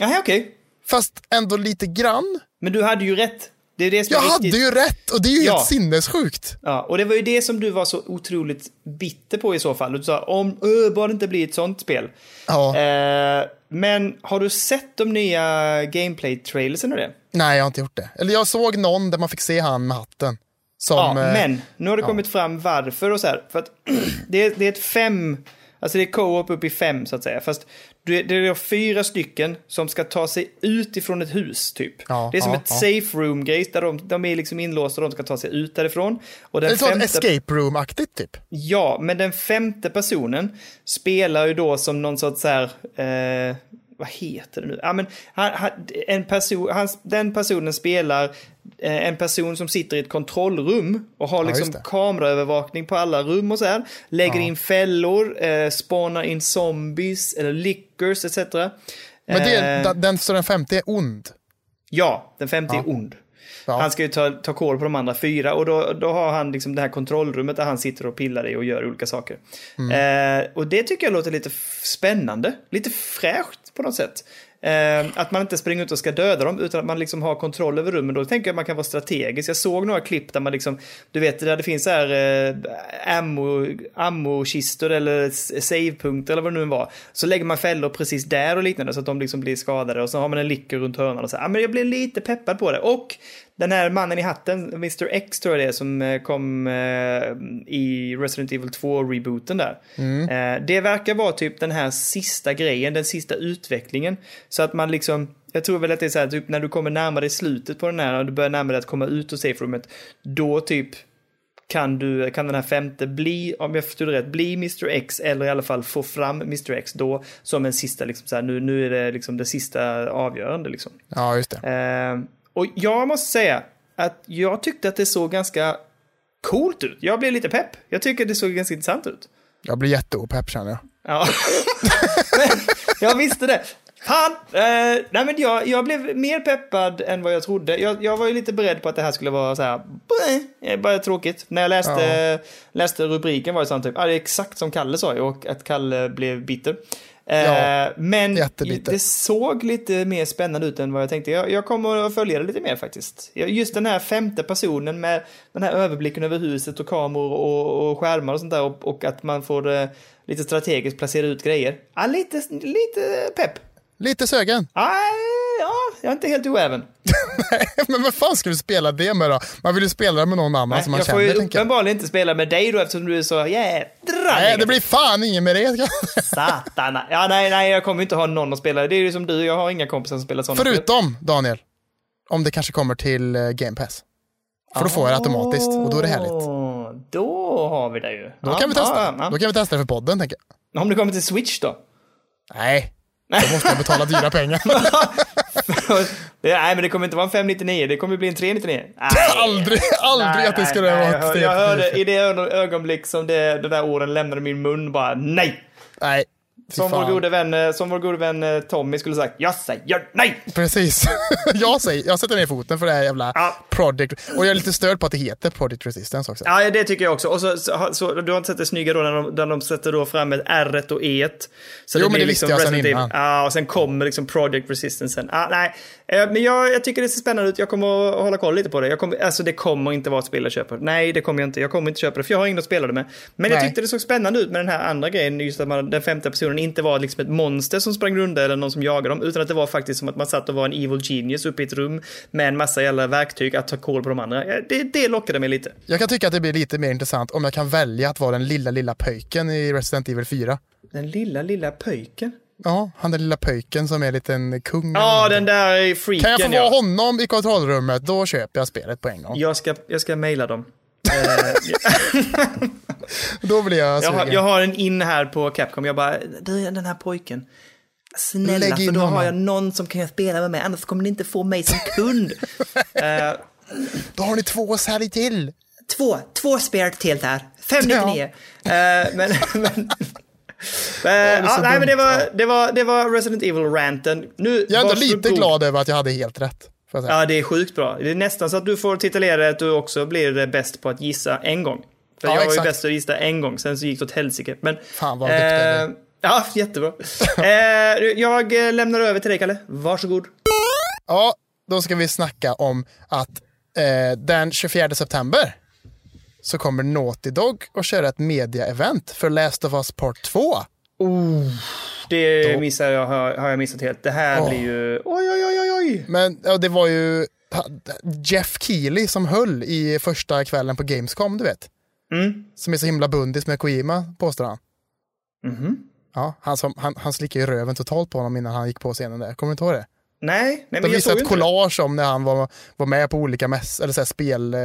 Jaha, okej.
Fast ändå lite grann.
Men du hade ju rätt. Det är det som
Jag
är
hade
riktigt...
ju rätt och det är ju
Ja.
helt sinnessjukt.
Ja, och det var ju det som du var så otroligt bitter på i så fall. Du sa om ö, bara det inte blir ett sånt spel.
Ja.
Eh, men har du sett de nya gameplay-trailersen och det?
Nej, jag har inte gjort det. Eller jag såg någon där man fick se han med hatten. Som,
Ja,
eh,
men nu har det kommit fram varför och så här. För att det, är, det är ett fem, alltså det är co-op upp i fem så att säga. Fast det, det är fyra stycken som ska ta sig ut ifrån ett hus typ.
Ja,
det är som
ja,
ett
ja.
safe room gate där de, de är liksom inlåsta och de ska ta sig ut därifrån. Och
Det
den
är sånt
femte,
escape room-aktigt typ.
Ja, men den femte personen spelar ju då som någon sorts så här, eh, vad heter det nu? Ja, men han, han, en person, han, den personen spelar eh, en person som sitter i ett kontrollrum och har liksom
just det.
kameraövervakning på alla rum och så här. Lägger in fällor, eh, spawnar in zombies eller lickers etc.
Men det,
Eh,
är- den, så den femte är ond.
Ja, den femte är ond.
Ja.
Han ska ju ta, ta koll på de andra fyra och då, då har han liksom det här kontrollrummet där han sitter och pillar i och gör olika saker. Eh, och det tycker jag låter lite f- spännande, lite fräscht på något sätt. Eh, att man inte springer ut och ska döda dem utan att man liksom har kontroll över rummen. Då tänker jag att man kan vara strategisk. Jag såg några klipp där man liksom, du vet där det finns så här eh, ammo, ammo-kistor eller s- savepunkter eller vad det nu var. Så lägger man fällor precis där och liknande så att de liksom blir skadade och så har man en lycka runt hörnan och så här. Ja, men jag blir lite peppad på det. Och den här mannen i hatten, Mr X tror jag det är, som eh, kom eh, i Resident Evil 2-rebooten där. Eh, det verkar vara typ den här sista grejen, den sista utvecklingen. Så att man liksom, jag tror väl att det är så här, typ när du kommer närmare slutet på den här och du börjar närma dig att komma ut ur safe roomet, då typ kan, du, kan den här femte bli, om jag förstod det rätt, bli Mr X eller i alla fall få fram Mr X då som en sista, liksom så här, nu, nu är det liksom det sista avgörande liksom.
Ja, just det.
Eh, och jag måste säga att jag tyckte att det såg ganska coolt ut. Jag blev lite pepp. Jag tycker det såg ganska intressant ut.
Jag blir jätteopepp känner jag.
Ja. Men jag visste det. Fan! Eh, nej men jag, jag blev mer peppad än vad jag trodde. Jag, jag var ju lite beredd på att det här skulle vara så här, "Bäh, eh, bara tråkigt. När jag läste, läste rubriken var det sånt typ, ah, det är exakt som Kalle sa ju och att Kalle blev bitter. Eh,
Ja,
men
jättebitter.
det såg lite mer spännande ut än vad jag tänkte. Jag, jag kommer att följa det lite mer faktiskt. Jag- Just den här femte personen med den här överblicken över huset och kameror och, och skärmar och sånt där och, och att man får eh, lite strategiskt placera ut grejer. Ja, lite, lite pepp.
Lite sögen.
Ja, ja, jag är inte helt oäven.
men vad fan ska du spela det med då? Man vill ju spela det med någon annan som Alltså, man
jag
känner.
får ju
tänker jag.
uppenbarligen inte spela med dig då eftersom du är så jädra
Nej, det
negativ.
blir fan ingen med det.
Satana. Ja, nej, nej, jag kommer ju inte ha någon att spela. Det är ju som du, jag har inga kompisar som spelar sådana.
Förutom, Daniel, om det kanske kommer till eh, Game Pass. För då får jag det automatiskt och då är det härligt.
Åh, då har vi det ju.
Då kan vi testa. Då kan vi testa för podden, tänker jag.
Om det kommer till Switch då?
Nej, då måste jag betala dyra pengar.
det, nej, men det kommer inte vara en 599, det kommer bli en 399. Nej.
aldrig, aldrig
Nej,
att det
nej,
skulle
nej,
vara
jag
ett
hör-
steg
Jag hörde
till-
i det ö- ögonblick som det, de där orden lämnade min mun bara nej.
Nej, fy
Som vår,
fan.
gode vän, eh, som vår gode vän eh, Tommy skulle sagt, jag säger nej!
Precis. jag, säger, jag sätter ner foten för det här jävla
Ja.
Project... Och jag är lite störd på att det heter Project Resistance också.
Ja, det tycker jag också. Och så, så, så, du har inte sett det snygga då när de, när de sätter då fram ett R och E. Så
Jo, men det visste jag sedan
Resident Evil.
innan.
Ja, och sen kommer liksom Project Resistance sen. Ja, nej, Eh, men jag, jag tycker det ser spännande ut. Jag kommer att hålla koll lite på det. Jag kommer, alltså det kommer inte vara ett spel jag köper. Nej, det kommer jag inte. Jag kommer inte köpa det, för jag har ingen att spela det med. Men jag
Nej.
tyckte det såg spännande ut med den här andra grejen, just att man, den femte personen inte var liksom ett monster som sprang runt eller någon som jagade dem, utan att det var faktiskt som att man satt och var en evil genius uppe i ett rum med en massa jävla verktyg att ta koll på de andra. Ja, Det, det lockade mig lite.
Jag kan tycka att det blir lite mer intressant om jag kan välja att vara den lilla, lilla pöjken i Resident Evil 4.
Den lilla, lilla pöjken.
Ja, han den lilla pöjken som är en liten kung.
Ja, den där är freaken
kan jag få vara
ja.
honom i kontrollrummet, då köper jag spelet på en gång.
Jag ska, jag ska mejla dem. Eh,
Då blir jag
jag, har,
sugen.
jag har en in här på Capcom. Jag bara, du den här pojken. Snälla,
Lägg in
för då
honom.
har jag någon som kan spela med mig, annars kommer ni inte få mig som kund. Eh,
Då har ni två sälj till!
två, två spel till där. 599. Eh, men, men, Eh, ja,
så
nej, men det
dumt.
var, det var, det var Resident Evil-ranten. Nu,
Jag är ändå
varsågod.
lite glad över att jag hade helt rätt. Får jag säga.
Ja, det är sjukt bra. Det är nästan så att du får titulera att du också blir eh, bäst på att gissa en gång. För
Ja,
jag var ju
exakt.
bäst att gissa en gång, sen så gick det åt helsike. Men,
Fan, vad duktig du är.
Ja, jättebra. eh, jag eh, lämnar över till dig, Kalle. Varsågod.
Ja, då ska vi snacka om att eh, den 24 september så kommer Naughty Dog att köra ett media-event för Last of Us Part 2.
Det missar jag, har, har jag missat helt. Det här blir ju... Oj, oj, oj, oj, oj.
Men ja, det var ju ha- Jeff Keely som höll i första kvällen på Gamescom, du vet.
Mm.
Som är så himla bundis med Kojima, påstår han.
Mhm.
Ja, han, som, han, han slickade ju röven totalt på honom innan han gick på scenen där. Kommer du inte ihåg det?
Nej, nej
De
men jag såg
visade
ju
ett
inte det.
collage om när han var, var med på olika mäss, eller så här spel... Eh,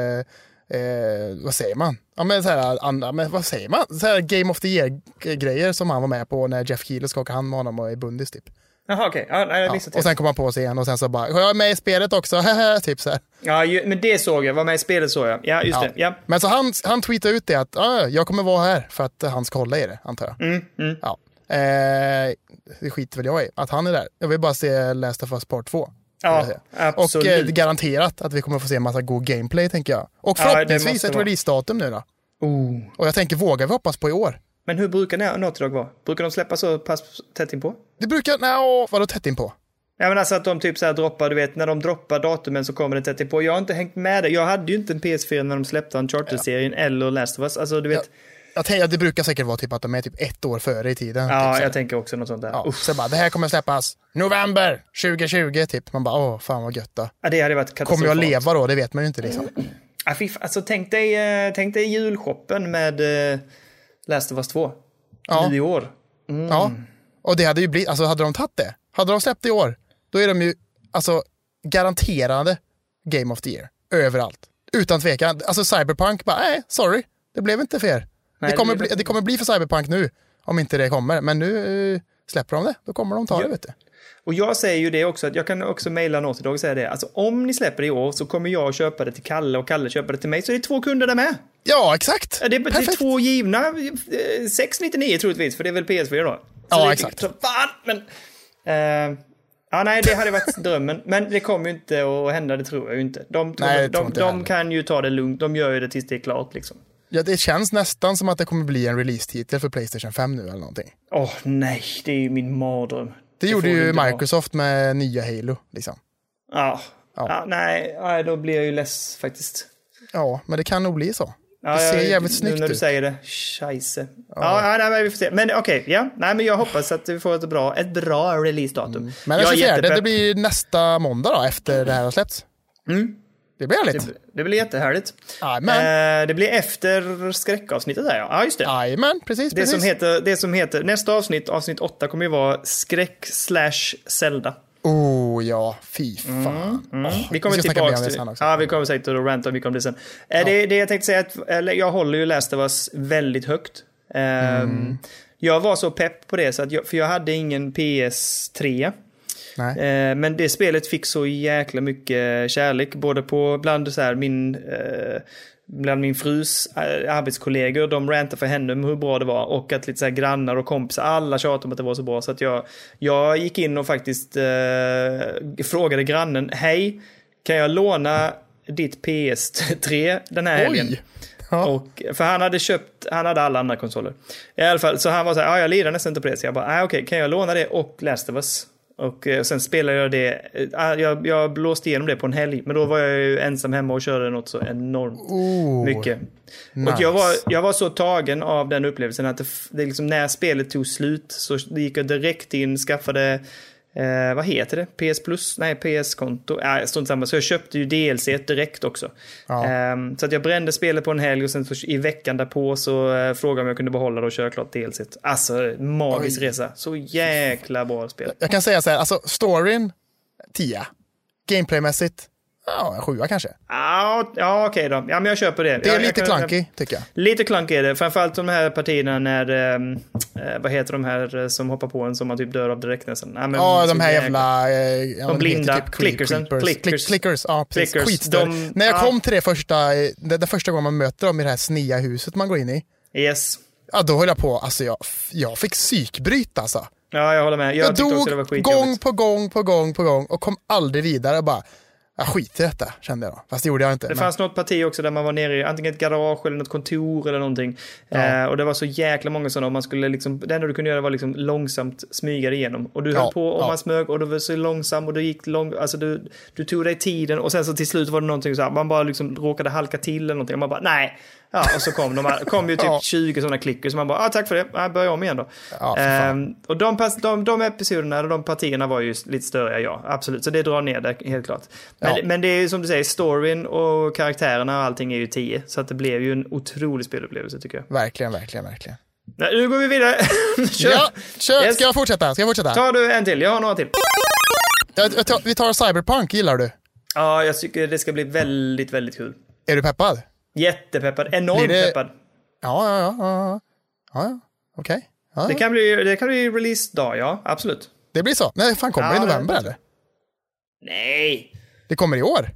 eh, vad säger man? Ja, men så här, an, ja, men vad säger man? Så här Game of the Year-grejer som han var med på när Jeff Keely skakade hand med honom och är bundis typ.
Jaha, okej. Ja, nej, jag
Ja,
missade
och
helt.
sen kom han på sig igen och sen så bara, jag är med i spelet också, hehe, typ så här.
Ja, ju, men det såg jag. Var med i spelet såg jag. Ja, just
Ja.
det. Ja.
Men så han, han tweetade ut det att "Ah, jag kommer vara här för att han ska hålla i det, antar jag.
Mm, mm.
Ja. Eh, det skiter väl jag i, att han är där. Jag vill bara se Last of Us Part 2.
Ja,
vill jag säga. Och eh,
absolut.
garanterat att vi kommer få se en massa god gameplay, tänker jag. Och
Ja, det
förhoppningsvis
måste
ett
vara.
releasedatum nu då.
Oh.
Och jag tänker, vågar vi hoppas på i år?
Men hur brukar ni- Naughty Dog vara? Brukar de släppa så pass tätt inpå?
Det brukar, nej, vadå tätt inpå?
Ja men alltså att de typ så här droppar, du vet när de droppar datumen så kommer det tätt inpå. Jag har inte hängt med det. Jag hade ju inte en PS4 när de släppte Uncharted-serien eller Last of Us. Alltså du
typ
vet.
Jag tänker, att det brukar säkert vara typ att de är typ ett år före i tiden.
Ja,
typ, så.
jag tänker också något sånt där.
ja.
Uff.
Så bara, det här kommer släppas november 2020, typ. Man bara, åh, fan vad gött då.
Ja, det hade varit
Kommer jag
katastrofalt.
leva då? Det vet man ju inte liksom.
Mm. Ja, fy fan. alltså tänk dig, eh, tänk dig julshoppen med eh, Last of Us 2.
Ja.
Nu i år.
Ja, och det hade ju blivit, alltså hade de tagit det, hade de släppt det i år, då är de ju alltså garanterade Game of the Year överallt. Utan tvekan. Alltså Cyberpunk bara, nej, sorry, det blev inte för er.
Nej,
det, kommer
det blev
bli, det kommer bli för Cyberpunk nu, om inte det kommer. Men nu eh, släpper de det, då kommer de ta det, vet du.
Och jag säger ju det också, att jag kan också mejla Naughty Dog och säga det. Alltså om ni släpper det i år så kommer jag köpa det till Kalle och Kalle köper det till mig. Så det är två kunder där med.
Ja, exakt.
Ja, Det är, det är
Perfekt.
två givna. eh, 699 troligtvis, för det är väl PS4 då? Så
Ja,
det,
exakt.
Så, fan, men... eh, ja, nej, det hade varit drömmen. Men det kommer ju inte att hända, det tror jag ju inte. De,
Nej, det
de,
tror
de,
inte jag
de
heller.
kan ju ta det lugnt. De gör ju det tills det är klart liksom.
Ja, det känns nästan som att det kommer bli en release-titel för Playstation 5 nu eller någonting.
Åh nej, det är ju min mardröm.
Det, gjorde
får vi
ju
inte ha.
Microsoft med nya Halo. Liksom.
Ja. ja, nej, nej, då blir jag ju less faktiskt.
Ja, men det kan nog bli så.
Ja,
det ser
jag-
jävligt
Nu
snyggt
när du
ut.
säger det. Scheisse. Ja, ja nej, men vi får se. Men okej, ja. Nej, men jag hoppas att vi får ett bra, ett bra releasedatum.
Mm. Men den
jag är
24, det
jättepepp.
blir nästa måndag då, efter det här har släppts. Det blir härligt.
Mm. Det blir jättehärligt.
Jajamän,
Eh, det blir efter skräckavsnittet där ja. Ja, just det.
Jajamän, precis.
det,
precis.
som heter, det som heter, nästa avsnitt, avsnitt 8, kommer ju vara skräck slash Zelda.
Oh ja, fy fan. Åh,
Mm, Vi kommer
Mm. ska snacka mer
tillbaka
om det
till
sen också.
Ja, vi kommer säkert att ranta mycket om det sen. Eh, Det, det jag tänkte säga, att, eller jag håller ju Last of Us väldigt högt. Ehm,
Mm.
Jag var så pepp på det, så att jag, för jag hade ingen PS3.
Nej.
Eh, Men det spelet fick så jäkla mycket kärlek, både på bland så här min, eh, bland min frus eh, arbetskollegor, de rantade för henne om hur bra det var och att lite så här grannar och kompisar, alla tjatade om att det var så bra så att jag, jag gick in och faktiskt eh, frågade grannen, hej, kan jag låna ditt PS3 den här helgen?
Oj! Ja.
Och, för han hade köpt, han hade alla andra konsoler. I alla fall, så han var så här, ah, jag lirar nästan inte på det. Så jag bara, ah, okej, kan jag låna det och Last of Us? Och eh, sen spelade jag det, eh, ah, jag, jag blåste igenom det på en helg, men då var jag ju ensam hemma och körde något så enormt
Oh,
mycket. Och
nice.
jag var, jag var så tagen av den upplevelsen att det, f- det liksom, när spelet tog slut så gick jag direkt in, skaffade, eh, vad heter det, PS plus? Nej, PS-konto. Äh, strunt samma, så jag köpte ju DLC direkt också.
Ja.
Ehm, så att jag brände spelet på en helg och sen så, i veckan därpå så eh, frågade jag om jag kunde behålla det och köra klart DLC. Alltså, magisk resa. Så jäkla bra spel.
Jag kan säga så här, alltså storyn, 10. Gameplaymässigt, ja, en sjua kanske.
Ah, ja, okej då. Ja, men jag köper det.
Det är
jag,
lite
jag, kan-
clunky, tycker jag.
Lite klunk är det, framförallt de här partierna när, ehm, eh, vad heter de här eh, som hoppar på en som man typ dör av direkt nästan. Ja, men typ
Ja, de
så
här
jäkla-
jävla... Eh, ja,
De blinda.
heter cre-
Clickersen.
creepers.
Clickers.
Click, clickers, ja precis.
Clickers.
Skitstör.
De-
När jag
ja.
kom till det första, eh, det, det första gången man möter dem i det här snia huset man går in i,
Yes.
ja, då höll jag på, alltså jag, jag fick psykbryt alltså.
Ja, jag håller med. Jag,
Jag,
tyckte också det var
dog gång
skitjobbigt.
på gång på gång på gång och kom aldrig vidare. Och bara, jag skiter i detta, kände jag då. Fast det gjorde jag inte.
Det
men-
fanns något parti också där man var nere i antingen ett garage eller något kontor eller någonting. Eh, och det var så jäkla många sådana. Och man skulle liksom, det enda du kunde göra var liksom långsamt smyga dig igenom. Och du
Ja,
höll på och
ja.
man smög och du var så långsam och du gick lång, alltså du, du tog dig tiden och sen så till slut var det någonting så här, man bara liksom råkade halka till eller någonting. Och man bara nej. Ja, och så kom de här, kom ju typ
Ja.
20 sådana klickor så man bara, ah, tack för det, ah, börja om igen då.
Ja, för fan.
Ehm, och de, pass, de, de episoderna, eller de partierna var ju lite större, ja. Absolut, så det drar ner det helt klart. Men,
Ja.
men det är ju som du säger, storyn och karaktärerna och allting är ju 10. Så att det blev ju en otrolig spelupplevelse tycker jag.
Verkligen, verkligen, verkligen.
Nej, nu går vi vidare. Kör!
Ja, kör!
Yes.
Ska jag fortsätta? Ska jag fortsätta?
Tar du en till? Jag har några till.
Jag, jag tar, vi tar Cyberpunk, gillar du?
Ja, jag tycker det ska bli väldigt, väldigt kul.
Är du peppad?
Jättepeppad. Enormt
Blir det-
peppad.
Ja, ja, ja. ja, ja. ja. Okej. Ja,
Det
ja.
kan bli, det kan bli release-dag, ja. Absolut.
Det blir så. Nej, fan kommer det
Ja,
i
det-
november eller?
Nej!
Det kommer i år.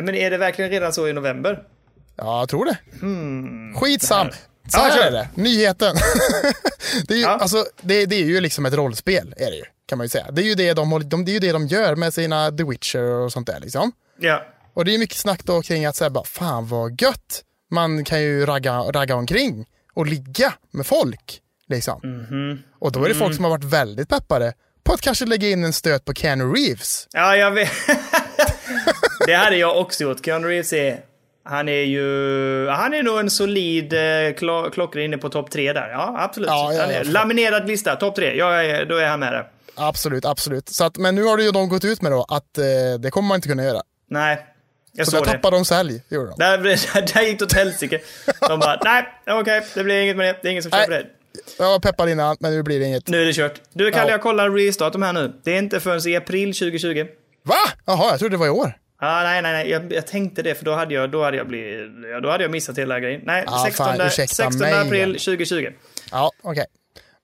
Men är det verkligen redan så i november?
Ja, jag tror det. Skitsam. Så
Hmm. Ja,
här
kör.
är det, nyheten. det, är ju,
Ja.
alltså, det, det är ju liksom ett rollspel, är det ju, kan man ju säga. Det är ju det de, håller- de, det är ju det de gör med sina The Witcher och sånt där. Liksom.
Ja.
Och det är ju mycket snack då kring att säga bara, fan vad gött. Man kan ju ragga, ragga omkring och ligga med folk. Liksom.
Mhm.
Och då är det
Mm.
folk som har varit väldigt peppade på att kanske lägga in en stöt på Keanu Reeves.
Ja, jag vet. det hade jag också gjort. Keanu Reeves är... Han är ju... Han är nog en solid eh, klo- klocka inne på topp tre där. Ja, absolut.
Ja, ja,
han
ja,
är,
för-
laminerad lista, topp tre. Jag är, då är han med där.
Absolut, absolut. Så att, men nu har ju de gått ut med då att eh, det kommer man inte kunna göra.
Nej, jag
Så
såg
där
det.
tappade de sälj, gjorde de.
Där, där gick det åt helsike. De bara, nej, okej, det blir inget med det. Det är ingen som köper
Nej.
det.
Jag var peppad innan, men nu blir det inget.
Nu är det kört. Du, Kalle,
Ja.
jag kollar restartum här nu. Det är inte förrän i april 2020.
Va? Jaha, jag trodde det var i år.
Ah, nej, nej, nej. Jag, jag tänkte det, för då hade jag, då hade jag, blivit, ja, då hade jag missat hela grejen. Nej,
Ah, fan,
16,
ursäkta
16
mig.
april 2020.
Ja, okej.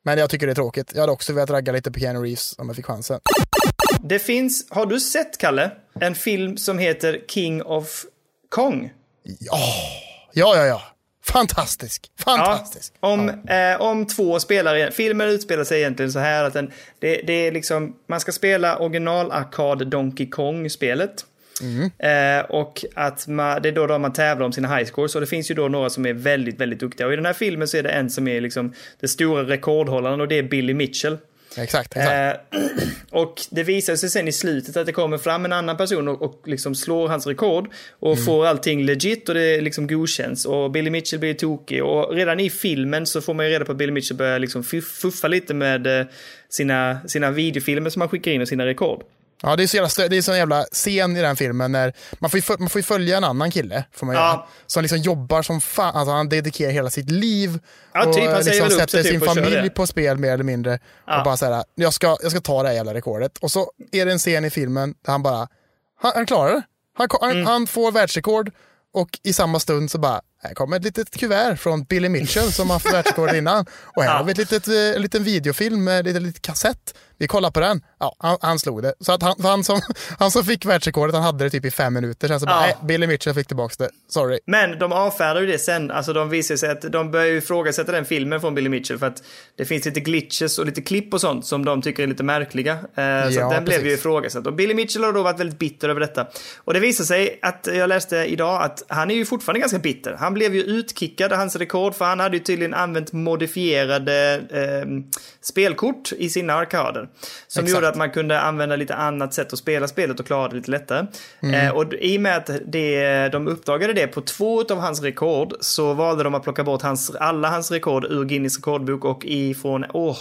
Men jag tycker det är tråkigt. Jag hade också velat ragga lite på Keanu Reeves om jag fick chansen.
Det finns, har du sett Kalle, en film som heter King of Kong?
Ja, ja, ja. Fantastisk. Fantastisk.
Om, eh, om två spelare, filmen utspelar sig egentligen så här att den, det, det är liksom, man ska spela original-arkad Donkey Kong-spelet. Eh, och att man, det är då, då man tävlar om sina highscores och det finns ju då några som är väldigt, väldigt duktiga. Och i den här filmen så är det en som är liksom den stora rekordhållaren och det är Billy Mitchell.
Exakt, exakt.
Eh, och det visar sig sen i slutet att det kommer fram en annan person och, och liksom slår hans rekord och får allting legit och det liksom godkänns och Billy Mitchell blir tokig och redan i filmen så får man ju reda på att Billy Mitchell börjar liksom fuff- fuffa lite med eh, sina, sina videofilmer som han skickar in och sina rekord.
Ja, det är så jävla, stö- det är så jävla scen i den filmen när man får, ju föl- man får ju följa en annan kille, får man
Ja.
göra, som liksom jobbar som fan, alltså han dedikerar hela sitt liv
Ja,
och
typ, han
eh,
säger
liksom
väl upp sig
sätter
typ
sin
och kör
familj
det.
på spel mer eller mindre. Och bara så här, jag ska, jag ska ta det här jävla rekordet. Och så är det en scen i filmen där han bara, han, han klarar det. Han, ko- han,
Mm.
han får världsrekord och i samma stund så bara, här kommer ett litet kuvert från Billy Mitchell som har haft världsrekord innan. Och här har vi ett litet, eh, en liten videofilm med en liten kassett. Vi kollar på den. Ja, han, han slog det. Så att han, han, som, han som fick världsrekordet, han hade det typ i fem minuter. Sen så bara,
Ja.
nej, Billy Mitchell fick tillbaka det. Sorry.
Men de avfärdar ju det sen. Alltså de visar sig att de börjar ju ifrågasätta den filmen från Billy Mitchell för att det finns lite glitches och lite klipp och sånt som de tycker är lite märkliga. Eh, så att den
precis.
blev ju ifrågasatt. Och Billy Mitchell har då varit väldigt bitter över detta. Och det visar sig att eh, jag läste idag att han är ju fortfarande ganska bitter. Han blev ju utkickad, hans rekord, för han hade ju tydligen använt modifierade eh, spelkort i sina arkader. Som
Exakt.
gjorde att man kunde använda lite annat sätt att spela spelet och klara det lite lättare.
Mm.
Eh, och i och med att det, de uppdagade det på två av hans rekord så valde de att plocka bort hans, alla hans rekord ur Guinness rekordbok och ifrån, åh,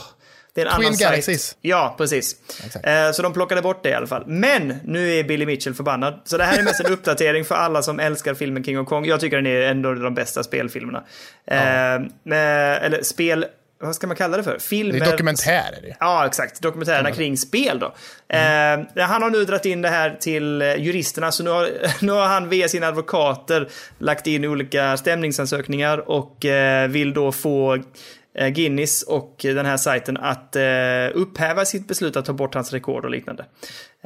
det är en
Twin
annan sajt.
Galaxies.
Ja, precis.
Exakt.
Eh, så de plockade bort det i alla fall. Men nu är Billy Mitchell förbannad. Så det här är mest en uppdatering för alla som älskar filmen King of Kong. Jag tycker den är en av de bästa spelfilmerna. Eh, med, eller spel, vad ska man kalla det för?
Det
Filmer.
är dokumentär är det ju.
Ja, exakt. Dokumentärerna kring spel då. Eh, han har nu dragit in det här till eh, juristerna, så nu har, nu har han via sina advokater lagt in olika stämningsansökningar och eh, vill då få eh, Guinness och den här sajten att eh, upphäva sitt beslut att ta bort hans rekord och liknande.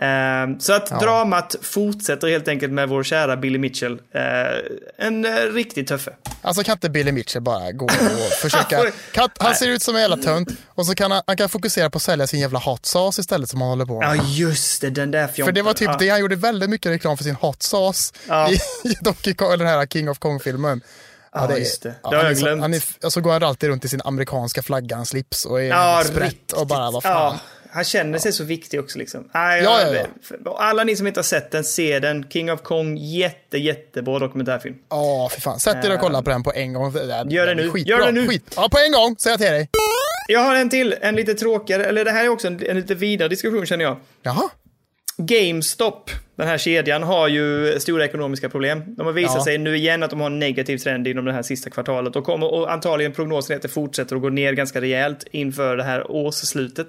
Eh, så att dramat fortsätter helt enkelt med vår kära Billy Mitchell. Eh, en eh, riktig tuffe.
Alltså kan inte Billy Mitchell bara gå och försöka... Kan, han ser ut som en jävla tönt och så kan han, han kan fokusera på att sälja sin jävla hot sauce istället som han håller på med.
Ja, just det. Den där
För
fjompen.
det var typ
Ja.
det, han gjorde väldigt mycket reklam för sin hot sauce
Ja.
i, i Donkey Kong, eller den här King of Kong-filmen. Ja,
just det. Det har
han
jag
är så-
glömt.
Han är, och så går han alltid runt i sin amerikanska flaggan, slips och är
Ja,
sprätt
riktigt.
och bara vad fan.
Ja, han känner sig så viktig också liksom. Nej,
Ja,
jag-
ja,
och Alla ni som inte har sett den, se den. King of Kong, jätte, jättebra dokumentärfilm.
Ja, fy fan. Sätt dig och kolla på den på en gång.
Gör det nu. Gör det nu.
Skit. Ja, på en gång, säger jag till dig.
Jag har en till, en lite tråkigare, eller det här är också en, en lite vidare diskussion känner jag.
Jaha.
GameStop, den här kedjan, har ju stora ekonomiska problem. De har visat
Ja.
sig nu igen att de har en negativ trend inom det här sista kvartalet och, kommer, och antagligen prognosen är att det fortsätter att gå ner ganska rejält inför det här årsslutet.